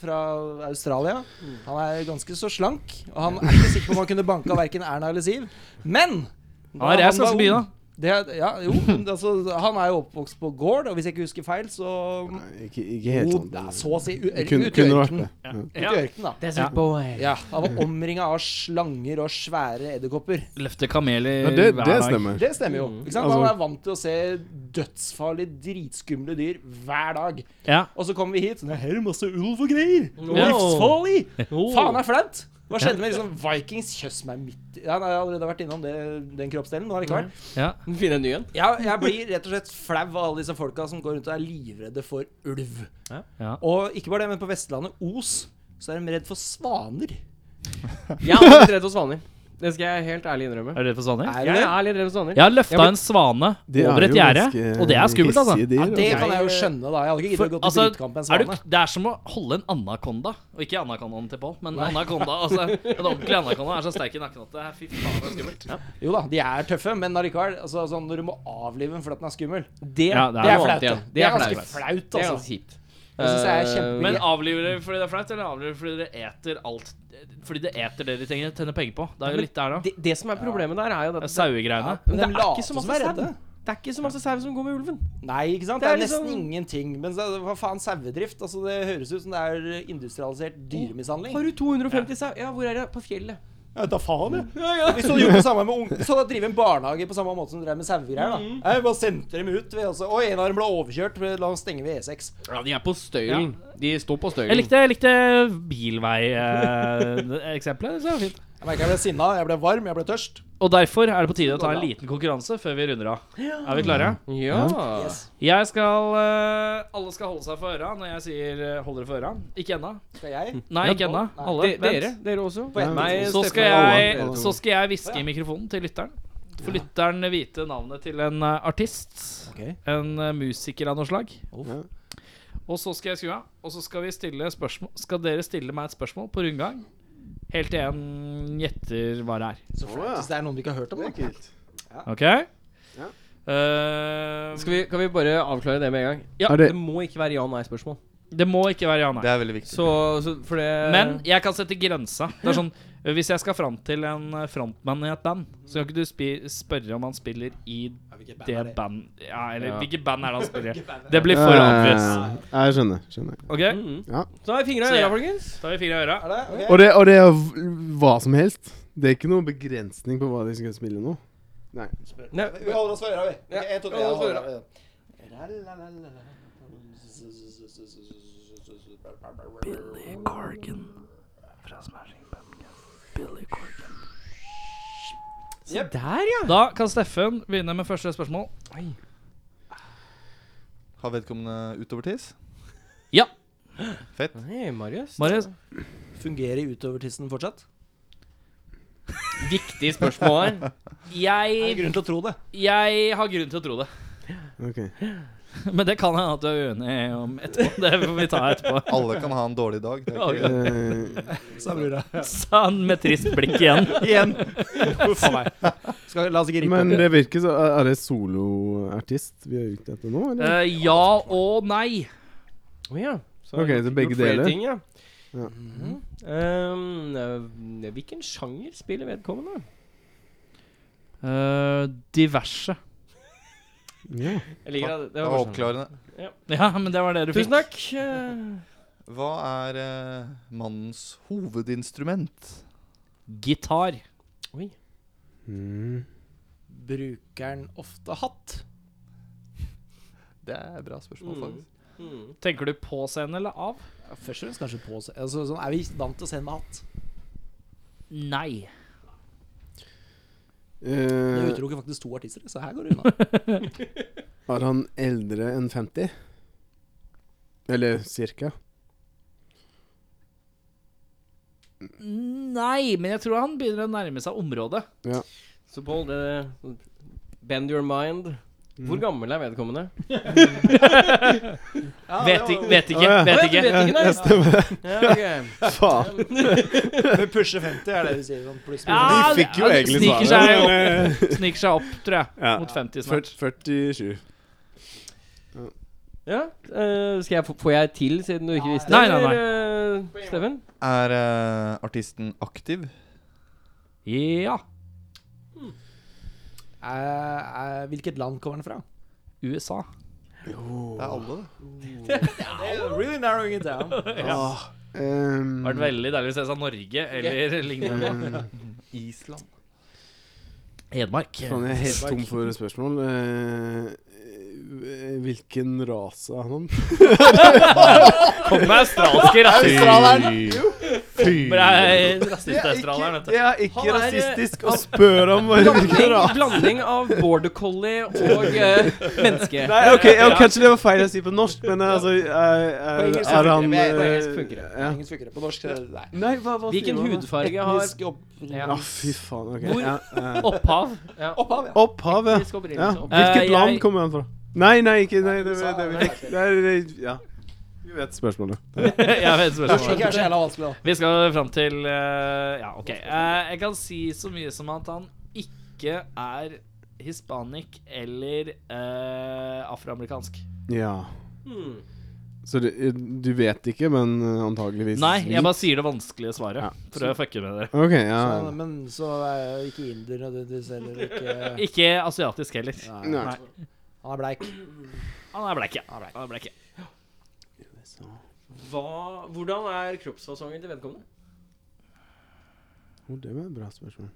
Speaker 5: fra Australia.
Speaker 6: Mm.
Speaker 5: Han er ganske så slank, og han er ikke sikker på om han kunne banka verken Erna eller Siv. Men
Speaker 2: Han
Speaker 5: da
Speaker 2: har reist
Speaker 5: var
Speaker 2: ganske mye, da.
Speaker 5: ung- det, er- ja, jo, men altså, han er jo oppvokst på gård, og hvis jeg ikke husker feil, så
Speaker 6: Ikke, ikke helt
Speaker 5: Jo,
Speaker 6: sånn.
Speaker 5: det er så å si u-
Speaker 6: Det
Speaker 5: ut
Speaker 6: kunne,
Speaker 5: i
Speaker 6: kunne vært
Speaker 5: ørkenen.
Speaker 6: det. Ja.
Speaker 5: Ut i ørkenen, da.
Speaker 2: Ja.
Speaker 5: Ja, han var omringa av slanger og svære edderkopper.
Speaker 2: Løfte kamel i
Speaker 6: Men det,
Speaker 2: hver
Speaker 6: det
Speaker 2: dag.
Speaker 6: stemmer.
Speaker 5: Det stemmer jo. ikke sant?
Speaker 6: Altså-
Speaker 5: Han er vant til å se dødsfarlige, dritskumle dyr hver dag.
Speaker 2: Ja.
Speaker 5: Og så kommer vi hit, sånn Her er masse ulv og greier! Og
Speaker 2: Ja.
Speaker 5: Livsfarlig! Faen, det er flaut! Hva skjedde med liksom Vikings? Kjøss meg midt i Ja, nei, Jeg har allerede vært innom det, den kroppsdelen. Men allikevel.
Speaker 2: Ja.
Speaker 1: Finne en ny en.
Speaker 5: Jeg, jeg blir rett og slett flau av alle disse folka som går rundt og er livredde for ulv.
Speaker 2: Ja.
Speaker 5: Og ikke bare det, men på Vestlandet, Os, så er de redd for svaner.
Speaker 1: Jeg er litt redd for svaner. Det skal jeg helt ærlig innrømme.
Speaker 2: Er du redd for svaner?
Speaker 5: Er
Speaker 1: Jeg
Speaker 5: det?
Speaker 1: er litt redd for svaner.
Speaker 2: Jeg har løfta
Speaker 1: Jeg blir-
Speaker 2: en svane
Speaker 6: De
Speaker 2: over
Speaker 6: jo
Speaker 2: et gjerde,
Speaker 6: ganske
Speaker 2: og det er skummelt, altså.
Speaker 5: Ja,
Speaker 6: hissige Dyr,
Speaker 5: det
Speaker 6: altså.
Speaker 5: kan jeg jo skjønne, da. Jeg hadde
Speaker 2: For,
Speaker 5: ikke giddet å gå til
Speaker 2: altså
Speaker 5: dritkamp med en
Speaker 2: er du,
Speaker 5: svane.
Speaker 2: det er som å holde en anakonda. Og ikke anakondaen til Pål, men anakonda. Altså, en ordentlig anakonda er så sterk i nakken at det er fy faen, det er skummelt. Ja.
Speaker 5: Jo da, de er tøffe, men allikevel altså, sånn, Når du må avlive den fordi den er skummel
Speaker 1: Det,
Speaker 2: Ja,
Speaker 1: det er, noe
Speaker 2: det er
Speaker 5: flaut,
Speaker 1: annet
Speaker 5: ja.
Speaker 1: igjen.
Speaker 5: Det er
Speaker 1: flaut.
Speaker 5: ganske flaut,
Speaker 1: Det er
Speaker 5: altså.
Speaker 1: ganske kjipt.
Speaker 5: Jeg synes det er
Speaker 1: Eh,
Speaker 5: kjempegøy.
Speaker 2: Men avliver dere fordi det er flaut, eller avliver dere fordi dere eter alt Fordi det eter det de trenger tjener penger på? Det er jo litt der, da.
Speaker 1: det, det som er problemet der, er jo
Speaker 2: Det
Speaker 1: at
Speaker 2: er Sauegreiene.
Speaker 1: Men det
Speaker 5: Men de
Speaker 1: er ikke
Speaker 5: later
Speaker 1: så
Speaker 5: som
Speaker 1: masse
Speaker 5: de er
Speaker 1: sau.
Speaker 5: redde.
Speaker 1: Det er ikke så masse sau som går med ulven.
Speaker 5: Nei, ikke sant? Det
Speaker 1: Det
Speaker 5: er,
Speaker 1: er liksom-
Speaker 5: nesten ingenting. Men så, hva faen, sauedrift? Altså, det høres ut som det er industrialisert dyremishandling.
Speaker 1: Har du 250 sau? Ja, hvor er det? På fjellet.
Speaker 5: Jeg tar faen, jeg. Hvis du hadde gjort det samme med ung... Så hadde drevet en barnehage på samme måte som du drev med sauegreier, da. Jeg bare sendte dem ut. Vi, altså. Og en av dem ble overkjørt. men La oss stenge ved E E6.
Speaker 1: Ja, de er på støylen. De står på støylen.
Speaker 2: Jeg likte, jeg likte bilvei-eksempelet. det var fint.
Speaker 5: Jeg merka jeg ble sinna, jeg ble varm, jeg ble tørst.
Speaker 2: Og derfor er det på tide å ta en liten konkurranse før vi runder av. Er vi klare?
Speaker 1: Ja.
Speaker 5: Yes.
Speaker 2: Jeg skal eh, Alle skal holde seg for øra når jeg sier eh, 'hold dere for øra'. Ikke ennå.
Speaker 5: Skal jeg?
Speaker 2: Nei, ikke ennå. Alle.
Speaker 1: De,
Speaker 2: Vent.
Speaker 1: dere? Dere også?
Speaker 5: På ett
Speaker 1: Meg,
Speaker 2: Så
Speaker 1: Steffen
Speaker 2: skal
Speaker 1: og
Speaker 2: jeg,
Speaker 1: Alvar.
Speaker 2: så skal jeg hviske i mikrofonen til lytteren. Får lytteren vite navnet til en eh, artist.
Speaker 5: Ok.
Speaker 2: En eh, musiker av noe slag.
Speaker 6: Ja.
Speaker 2: Og så skal jeg skru av, og så skal vi stille spørsmål Skal dere stille meg et spørsmål på rundgang? Helt til en gjetter hva det er.
Speaker 5: Så flaut. Hvis det er noen du ikke har hørt om,
Speaker 6: Det
Speaker 5: da.
Speaker 6: er kult.
Speaker 2: OK?
Speaker 6: Ja.
Speaker 2: Eh,
Speaker 1: Skal vi, kan vi bare avklare det med en gang?
Speaker 2: Ja.
Speaker 6: Er
Speaker 1: Det
Speaker 6: det,
Speaker 1: må ikke være ja-nei-spørsmål.
Speaker 2: det må ikke være ja-nei.
Speaker 3: Det er veldig viktig.
Speaker 1: Så, så for det
Speaker 2: Men jeg kan sette grensa. Det er sånn eh, Hvis jeg skal fram til en eh, frontmann i et band, så kan ikke du spi spørre om han spiller i det band Ja, Eh. eller
Speaker 1: Ja.
Speaker 2: hvilket band er det han spiller i? Det blir for obvious.
Speaker 6: Ja, Eh, jeg skjønner. skjønner.
Speaker 2: OK,
Speaker 1: Mhm.
Speaker 6: Ja.
Speaker 1: Så har vi fingra
Speaker 2: Så
Speaker 1: i øra,
Speaker 2: jeg-
Speaker 1: folkens.
Speaker 2: da har vi fire i øra.
Speaker 5: Er det? Ok.
Speaker 6: Og det, og det er v- hva som helst. Det er ikke noen begrensning på hva de skal spille nå. Nei.
Speaker 1: Nei,
Speaker 5: Vi holder oss for øra, vi.
Speaker 1: Ja,
Speaker 5: En, to, tre,
Speaker 1: vi holder oss for
Speaker 5: holder
Speaker 1: øra.
Speaker 5: øra.
Speaker 1: se der, ja.
Speaker 2: Da kan Steffen begynne med første spørsmål.
Speaker 3: Har vedkommende utovertiss?
Speaker 2: Ja.
Speaker 1: Nei, Marius.
Speaker 2: Marius.
Speaker 5: Fungerer utovertissen fortsatt?
Speaker 2: Viktig spørsmål her.
Speaker 5: Det er
Speaker 2: Jeg,
Speaker 5: grunn til å tro det.
Speaker 2: jeg har grunn til å tro det.
Speaker 6: Ok. Eh,
Speaker 2: Men det kan hende at du er uenig om etterpå. Det får vi ta
Speaker 5: [laughs]
Speaker 2: etterpå.
Speaker 3: Alle kan ha en dårlig dag. Det er ikke,
Speaker 6: Eh,
Speaker 5: Sa brura.
Speaker 2: Sa han Sånn, med trist blikk igjen.
Speaker 5: Igjen. [laughs] Uff a meg. Skal, la oss ikke rippe
Speaker 6: men
Speaker 5: opp i det.
Speaker 6: det virker så Er det soloartist vi er ute etter nå, eller?
Speaker 2: Eh, ja og nei.
Speaker 1: Å ja. Så
Speaker 6: Ok,
Speaker 1: har
Speaker 6: så
Speaker 1: gjort-
Speaker 6: begge
Speaker 1: gjort flere
Speaker 6: deler.
Speaker 1: Ting, ja.
Speaker 6: Ja.
Speaker 1: Mhm. Ehm, eh, hvilken sjanger spiller vedkommende?
Speaker 2: Eh, diverse.
Speaker 6: Ja.
Speaker 1: Jeg liker at det
Speaker 3: det
Speaker 1: var
Speaker 3: var sånn.
Speaker 1: første.
Speaker 3: oppklarende.
Speaker 2: Ja, men det var det du fikk.
Speaker 1: Tusen takk. eh,
Speaker 3: Hva er eh, mannens hovedinstrument?
Speaker 2: Gitar.
Speaker 1: Oi.
Speaker 6: Mm.
Speaker 5: Bruker den ofte hatt?
Speaker 3: Det er et bra spørsmål,
Speaker 1: Mm.
Speaker 3: faktisk.
Speaker 1: Mm.
Speaker 2: Tenker du på scenen eller av?
Speaker 5: Ja, Først og fremst kanskje på seg. Altså, sånn, er vi vant til å se den med hatt?
Speaker 2: Nei.
Speaker 5: Det
Speaker 6: Eh,
Speaker 5: utelukker faktisk to artister, så her går det unna.
Speaker 6: var Eh, han eldre enn 50? Eller cirka?
Speaker 2: Nei, men jeg tror han begynner å nærme seg området.
Speaker 1: Så Pål, det Bend your mind.
Speaker 6: Mm.
Speaker 1: Hvor gammel er vedkommende?
Speaker 2: vet, ikke, vet ikke.
Speaker 6: Å, ja.
Speaker 1: Å, ja, du
Speaker 2: Vet
Speaker 1: vet
Speaker 2: ikke.
Speaker 1: ikke, nei. Ja, ok.
Speaker 6: Faen!
Speaker 5: Vi pusher 50, er [laughs] det du sier? Sånn, pluss,
Speaker 2: Ja,
Speaker 5: minus.
Speaker 6: Vi fikk jo
Speaker 2: ja, det
Speaker 6: egentlig
Speaker 2: sniker seg
Speaker 6: svaret.
Speaker 2: opp. [laughs] Sniker seg opp, tror jeg.
Speaker 6: Ja.
Speaker 2: Mot [laughs]
Speaker 6: [laughs]
Speaker 2: 50 snart.
Speaker 6: 47.
Speaker 1: Ja, eh, skal jeg, få- får jeg til siden du ikke visste?
Speaker 2: Nei, nei, nei.
Speaker 1: eller, eh, Steffen?
Speaker 3: Er eh, artisten aktiv?
Speaker 2: Ja.
Speaker 5: Eh, eh, hvilket land kommer den fra?
Speaker 2: USA.
Speaker 3: Det er alle.
Speaker 5: Really narrowing it down.
Speaker 6: Ah, ehm,
Speaker 2: Vært veldig deilig hvis jeg sa Norge eller [laughs] lignende.
Speaker 6: Mm.
Speaker 3: Island.
Speaker 2: Hedmark.
Speaker 6: faen, jeg er helt tom for spørsmål. Eh, eh, hvilken rase [laughs] er han?
Speaker 2: Kom med
Speaker 6: [laughs]
Speaker 2: australske rasister.
Speaker 3: Fy!
Speaker 2: Bare jeg er rasist australier, vet du.
Speaker 6: Det er ikke
Speaker 1: Han er-
Speaker 6: rasistisk å spørre om
Speaker 1: [laughs]
Speaker 6: hvilken
Speaker 1: Blanding,
Speaker 6: rase
Speaker 1: blanding av border collie og eh, menneske.
Speaker 6: Nei, ok, ja, Kanskje det var feil å si på norsk, men eh, altså Er, er,
Speaker 5: engelsk
Speaker 6: er han
Speaker 5: funker det,
Speaker 1: på engelsk funker
Speaker 6: eh,
Speaker 1: det.
Speaker 6: ja.
Speaker 5: Ingen funker det på norsk. det- Nei.
Speaker 6: Nei, hva, hva sier
Speaker 1: Hvilken
Speaker 6: man da?
Speaker 1: hudfarge har
Speaker 5: Etnisk opp-
Speaker 6: Ja, fy faen. ok
Speaker 2: Hvor-
Speaker 6: ja, eh.
Speaker 2: Opphav. [laughs] Ja.
Speaker 5: Opphav, ja.
Speaker 6: Opphavet.
Speaker 1: etnisk
Speaker 6: Ja.
Speaker 1: opprinnelse?
Speaker 2: Eh,
Speaker 6: Hvilket
Speaker 2: jeg-
Speaker 6: land kommer han fra? Nei, nei, ikke nei, det, det,
Speaker 5: USA,
Speaker 6: det,
Speaker 5: det
Speaker 6: vi
Speaker 5: er
Speaker 6: fikk det, er- det, Ja. Vi vet spørsmålet.
Speaker 2: Jeg vet
Speaker 5: Norsk er ikke så
Speaker 2: spørsmålet.
Speaker 5: jævla vanskelig, da.
Speaker 2: Vi skal fram til eh, Ja, OK. Eh, jeg kan si så mye som at han ikke er hispanic eller eh, afroamerikansk.
Speaker 6: Ja.
Speaker 1: Hmm.
Speaker 6: Så du, du vet ikke, men eh, antageligvis
Speaker 2: Nei, jeg bare sier det vanskelige svaret
Speaker 6: Ja.
Speaker 2: for å fucke med dere.
Speaker 6: Ok, ja.
Speaker 5: Så, men så er jo ikke inder nødvendigvis heller. Ikke
Speaker 2: Ikke asiatisk heller.
Speaker 5: Nei.
Speaker 6: Nei.
Speaker 5: Han er bleik.
Speaker 2: Han er bleik, ja. Han er bleik, ja.
Speaker 1: Hva, hvordan er kroppsfasongen til vedkommende?
Speaker 6: Oh, det var et bra spørsmål.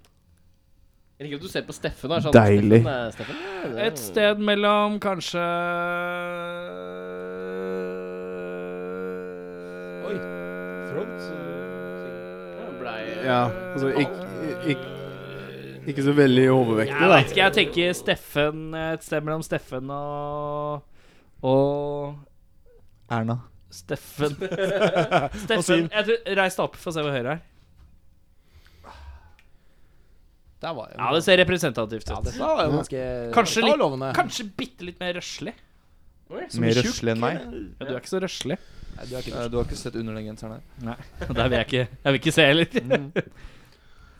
Speaker 1: Jeg liker at du ser på Steffen. da, Sånn,
Speaker 6: Deilig.
Speaker 1: Steffen, er- Steffen er- det er-
Speaker 2: Et sted mellom kanskje eh,
Speaker 1: Oi. Ja, blei-
Speaker 6: Ja, altså ikke, ikke, ikke så veldig overvektig,
Speaker 2: Jeg
Speaker 6: da.
Speaker 2: vet ikke, jeg tenker Steffen Et sted mellom Steffen og Og
Speaker 3: Erna.
Speaker 2: Steffen Steffen, jeg tror, reis deg opp for å se hvor høyre er
Speaker 5: Der var jeg.
Speaker 2: Ja, det ser representativt
Speaker 5: Ja,
Speaker 2: ut
Speaker 5: dette var jo ganske
Speaker 2: Kanskje
Speaker 5: dette var
Speaker 2: litt-
Speaker 5: lovende.
Speaker 2: Kanskje bittelitt mer røslig
Speaker 1: Oi, så
Speaker 3: Mer
Speaker 1: tjukk,
Speaker 3: røslig enn meg.
Speaker 2: Ja, du er ikke så røslig
Speaker 5: Nei, du er ikke
Speaker 3: Eh, Du har ikke sett under den genseren her?
Speaker 2: Der vil jeg ikke, jeg vil ikke se heller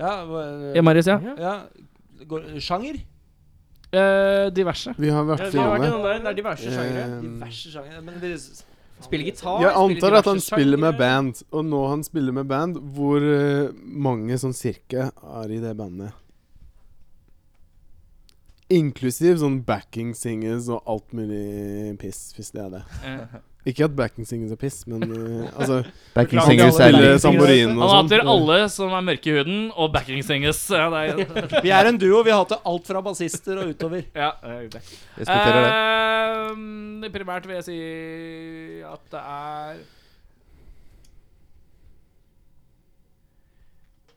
Speaker 5: Ja, hva- eh,
Speaker 2: Ja, Marius, ja
Speaker 5: ja. Går, sjanger?
Speaker 2: Eh, Diverse
Speaker 6: Vi har
Speaker 1: Ja,
Speaker 6: vært
Speaker 1: vi har vært
Speaker 6: finale.
Speaker 1: innom der. Det er diverse sjangere.
Speaker 5: Diverse sjanger Men det,
Speaker 1: Spiller gitar.
Speaker 6: Eh, Jeg antar
Speaker 1: spiller
Speaker 6: at han
Speaker 1: diverse
Speaker 6: spiller med
Speaker 1: sjangere.
Speaker 6: band, og nå han spiller med band, hvor eh, mange sånn cirka er i det bandet? Inklusiv sånn backing singers og alt mulig piss, hvis det er det.
Speaker 2: Eh.
Speaker 6: Ikke at backing singers er piss, men eh, altså
Speaker 3: Backing
Speaker 5: singers er
Speaker 6: Spille
Speaker 5: litt-
Speaker 6: tamburin og
Speaker 2: Han
Speaker 6: sånn.
Speaker 2: hater alle som er mørke i huden Og backing singers Ja, det er
Speaker 5: Vi er en duo. Vi har hatt det alt fra bassister og [laughs] utover.
Speaker 2: [laughs] ja, det er greit.
Speaker 3: Respekterer det.
Speaker 2: Ehm, primært vil jeg si at det er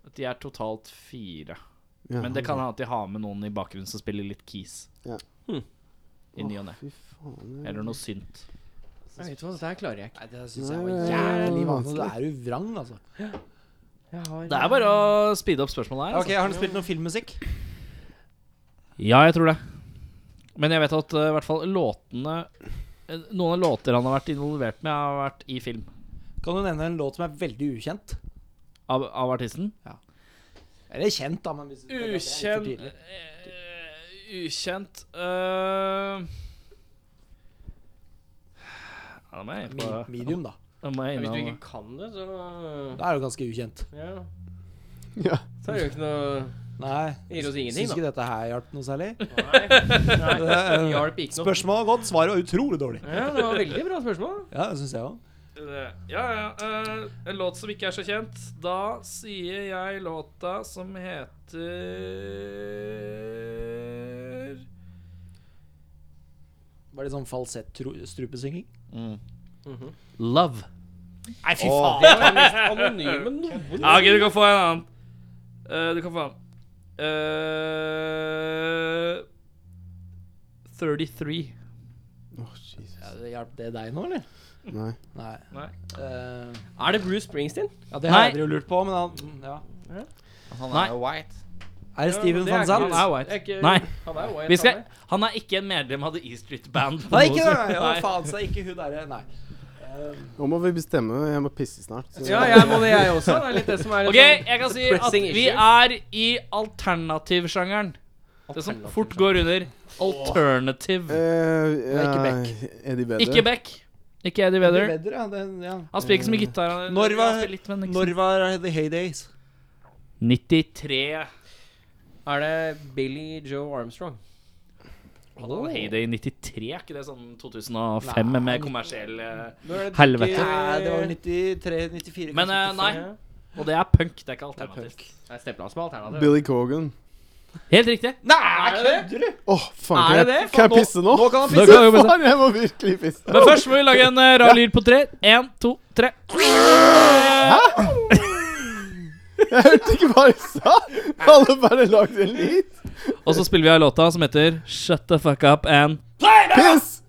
Speaker 2: At de er totalt fire.
Speaker 6: sånn. Ja.
Speaker 2: Men det kan hende at de har med noen i bakgrunnen som spiller litt keys.
Speaker 6: Ja.
Speaker 1: Hmm.
Speaker 2: I ny og ne.
Speaker 6: Fy faen.
Speaker 2: Eller noe synt.
Speaker 1: Jeg vet hva, dette her klarer jeg ikke.
Speaker 5: Nei, det
Speaker 6: jeg var jævlig vanskelig.
Speaker 5: Du er jo vrang, altså.
Speaker 1: Jeg har,
Speaker 2: Det er bare å speede opp spørsmålet
Speaker 1: altså.
Speaker 2: her. altså.
Speaker 5: Ok, Har du spilt noe filmmusikk?
Speaker 2: Ja, jeg tror det. Men jeg vet at eh, i hvert fall låtene eh, Noen av låter han har vært involvert med, har vært i film.
Speaker 5: Kan du nevne en låt som er veldig ukjent?
Speaker 2: Av, av artisten.
Speaker 5: Eller kjent, da, men hvis det er for
Speaker 2: Ukjent
Speaker 5: tidlig.
Speaker 2: eh, Ukjent eh, ja, Da må jeg inn på
Speaker 5: Mi- Medium, da.
Speaker 2: Da må jeg
Speaker 1: Hvis du
Speaker 2: innom
Speaker 1: ikke kan det, så
Speaker 5: Da er det jo ganske ukjent.
Speaker 1: Ja.
Speaker 6: Ja.
Speaker 1: Så er det jo ikke noe
Speaker 5: Nei.
Speaker 1: Det gir oss ingenting,
Speaker 5: Syns ikke dette her hjalp noe særlig.
Speaker 1: da. Nei. [laughs]
Speaker 5: Eh,
Speaker 1: Hjalp ikke noe.
Speaker 5: Spørsmålet var godt, svaret var utrolig dårlig.
Speaker 1: Ja, det var veldig bra spørsmål.
Speaker 5: Ja, det syns jeg òg.
Speaker 2: Ja, ja. eh, en låt som ikke er så kjent. Da sier jeg låta som heter
Speaker 5: Var det sånn falsett-strupesynging?
Speaker 2: Love.
Speaker 5: Nei, fy
Speaker 3: Åh.
Speaker 5: faen!
Speaker 1: Anonyme noen.
Speaker 2: Ja, ok, du kan få en annen. Eh, du kan få en annen. Eh, 33.
Speaker 6: Åh, Jesus.
Speaker 5: Ja, det Hjalp det deg nå, eller?
Speaker 6: Nei.
Speaker 5: Nei.
Speaker 2: Nei.
Speaker 5: Eh,
Speaker 1: Er det Bruce Springsteen?
Speaker 5: ja, det
Speaker 2: Nei.
Speaker 5: har jeg jo lurt på, men han mm, ja.
Speaker 3: Han
Speaker 2: Nei.
Speaker 3: jo white.
Speaker 5: Er det Steven
Speaker 1: det
Speaker 5: van
Speaker 1: er
Speaker 5: Sant?
Speaker 2: Han er white.
Speaker 1: Er ikke-
Speaker 2: Nei.
Speaker 1: Han er white,
Speaker 2: Vi skal,
Speaker 1: han er.
Speaker 2: han er ikke en medlem av The E Street Band. på
Speaker 5: Nei,
Speaker 2: noe
Speaker 5: ikke
Speaker 2: som-
Speaker 5: det! Ja,
Speaker 2: Nei.
Speaker 5: faen, så er ikke hun derre Nei. Eh,
Speaker 6: Nå må vi bestemme. Jeg må pisse snart. så-
Speaker 1: Ja, jeg må det, jeg også. Det er litt det som er litt
Speaker 2: Ok, jeg kan si at
Speaker 1: Pressing
Speaker 2: vi
Speaker 1: issue.
Speaker 2: er i alternativsjangeren. Det som fort går under alternative.
Speaker 6: Eh,
Speaker 5: er ikke
Speaker 6: ja,
Speaker 5: Beck.
Speaker 6: Eddie Vedder.
Speaker 2: Ikke Beck. Ikke Eddie
Speaker 5: det
Speaker 2: Vedder.
Speaker 5: er bedre, ja, det- ja.
Speaker 2: Han spiller ikke så mye gitar. han-
Speaker 5: Når
Speaker 2: han
Speaker 5: var-
Speaker 2: spiller litt, men ikke så-
Speaker 5: Når var The Heydays?
Speaker 2: 93.
Speaker 1: Er det Billy Joe Armstrong?
Speaker 2: Han hadde Heyday i 93, er ikke det sånn 2005
Speaker 5: Nei.
Speaker 2: med kommersiell eh,
Speaker 1: Helvete.
Speaker 2: Helvete.
Speaker 5: Nei, det var 93-94.
Speaker 2: Men eh, nei. Og det er punk, det er ikke alternativt.
Speaker 1: Jeg stempla som alternativ.
Speaker 6: Billy Corgan.
Speaker 2: Helt riktig.
Speaker 5: Nei,
Speaker 1: Er det
Speaker 5: kødder du?!
Speaker 6: Åh, faen,
Speaker 1: Er
Speaker 6: kan jeg,
Speaker 1: det det?
Speaker 6: Kan
Speaker 1: Faen,
Speaker 6: jeg
Speaker 1: nå-
Speaker 6: pisse nå?
Speaker 5: Nå kan han
Speaker 2: Da
Speaker 5: pisse!
Speaker 2: kan vi bare-
Speaker 6: Faen, jeg må virkelig pisse.
Speaker 2: Men først må vi lage en eh, rar lyd på tre. Én, to, tre.
Speaker 6: Jeg hørte ikke hva jeg sa! Alle bare lagde en lyd.
Speaker 2: Og så spiller vi av låta som heter Shut the fuck up and
Speaker 6: Piss!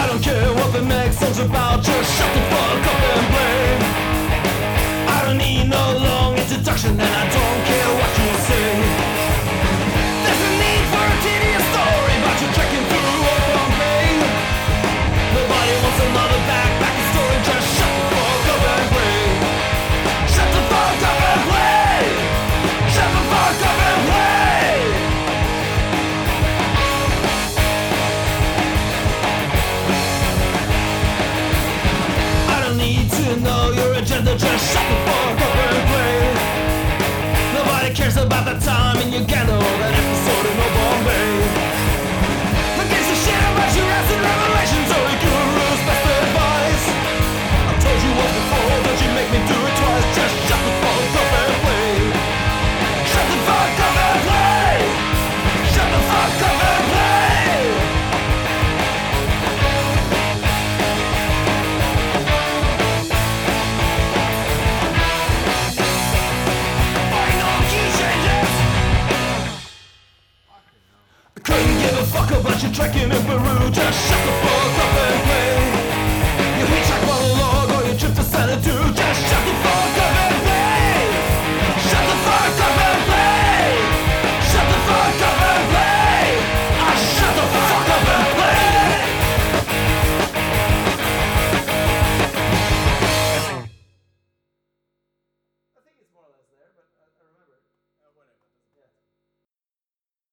Speaker 7: I don't care what the next song's about, just shut the fuck up and play. I don't need no long introduction, and I don't care what you say. There's a need for a tedious story, but you're trekking through a wrong lane. Nobody wants another backpacking story, just shut the fuck up and play. Shut the fuck up and play! Shut the fuck up and play! I don't need to know your agenda, just shut the fuck up and play. Nobody cares about the time in Uganda or that episode in Old Bombay. Who gives a shit about your ass and revelations or your guru's best advice? I told you once before that you make me do it twice, just shut the fuck up and play. Shut the fuck up and play! Shut the fuck up and play! Couldn't give a fuck about your trekking in Peru. Just shut the fuck up and play.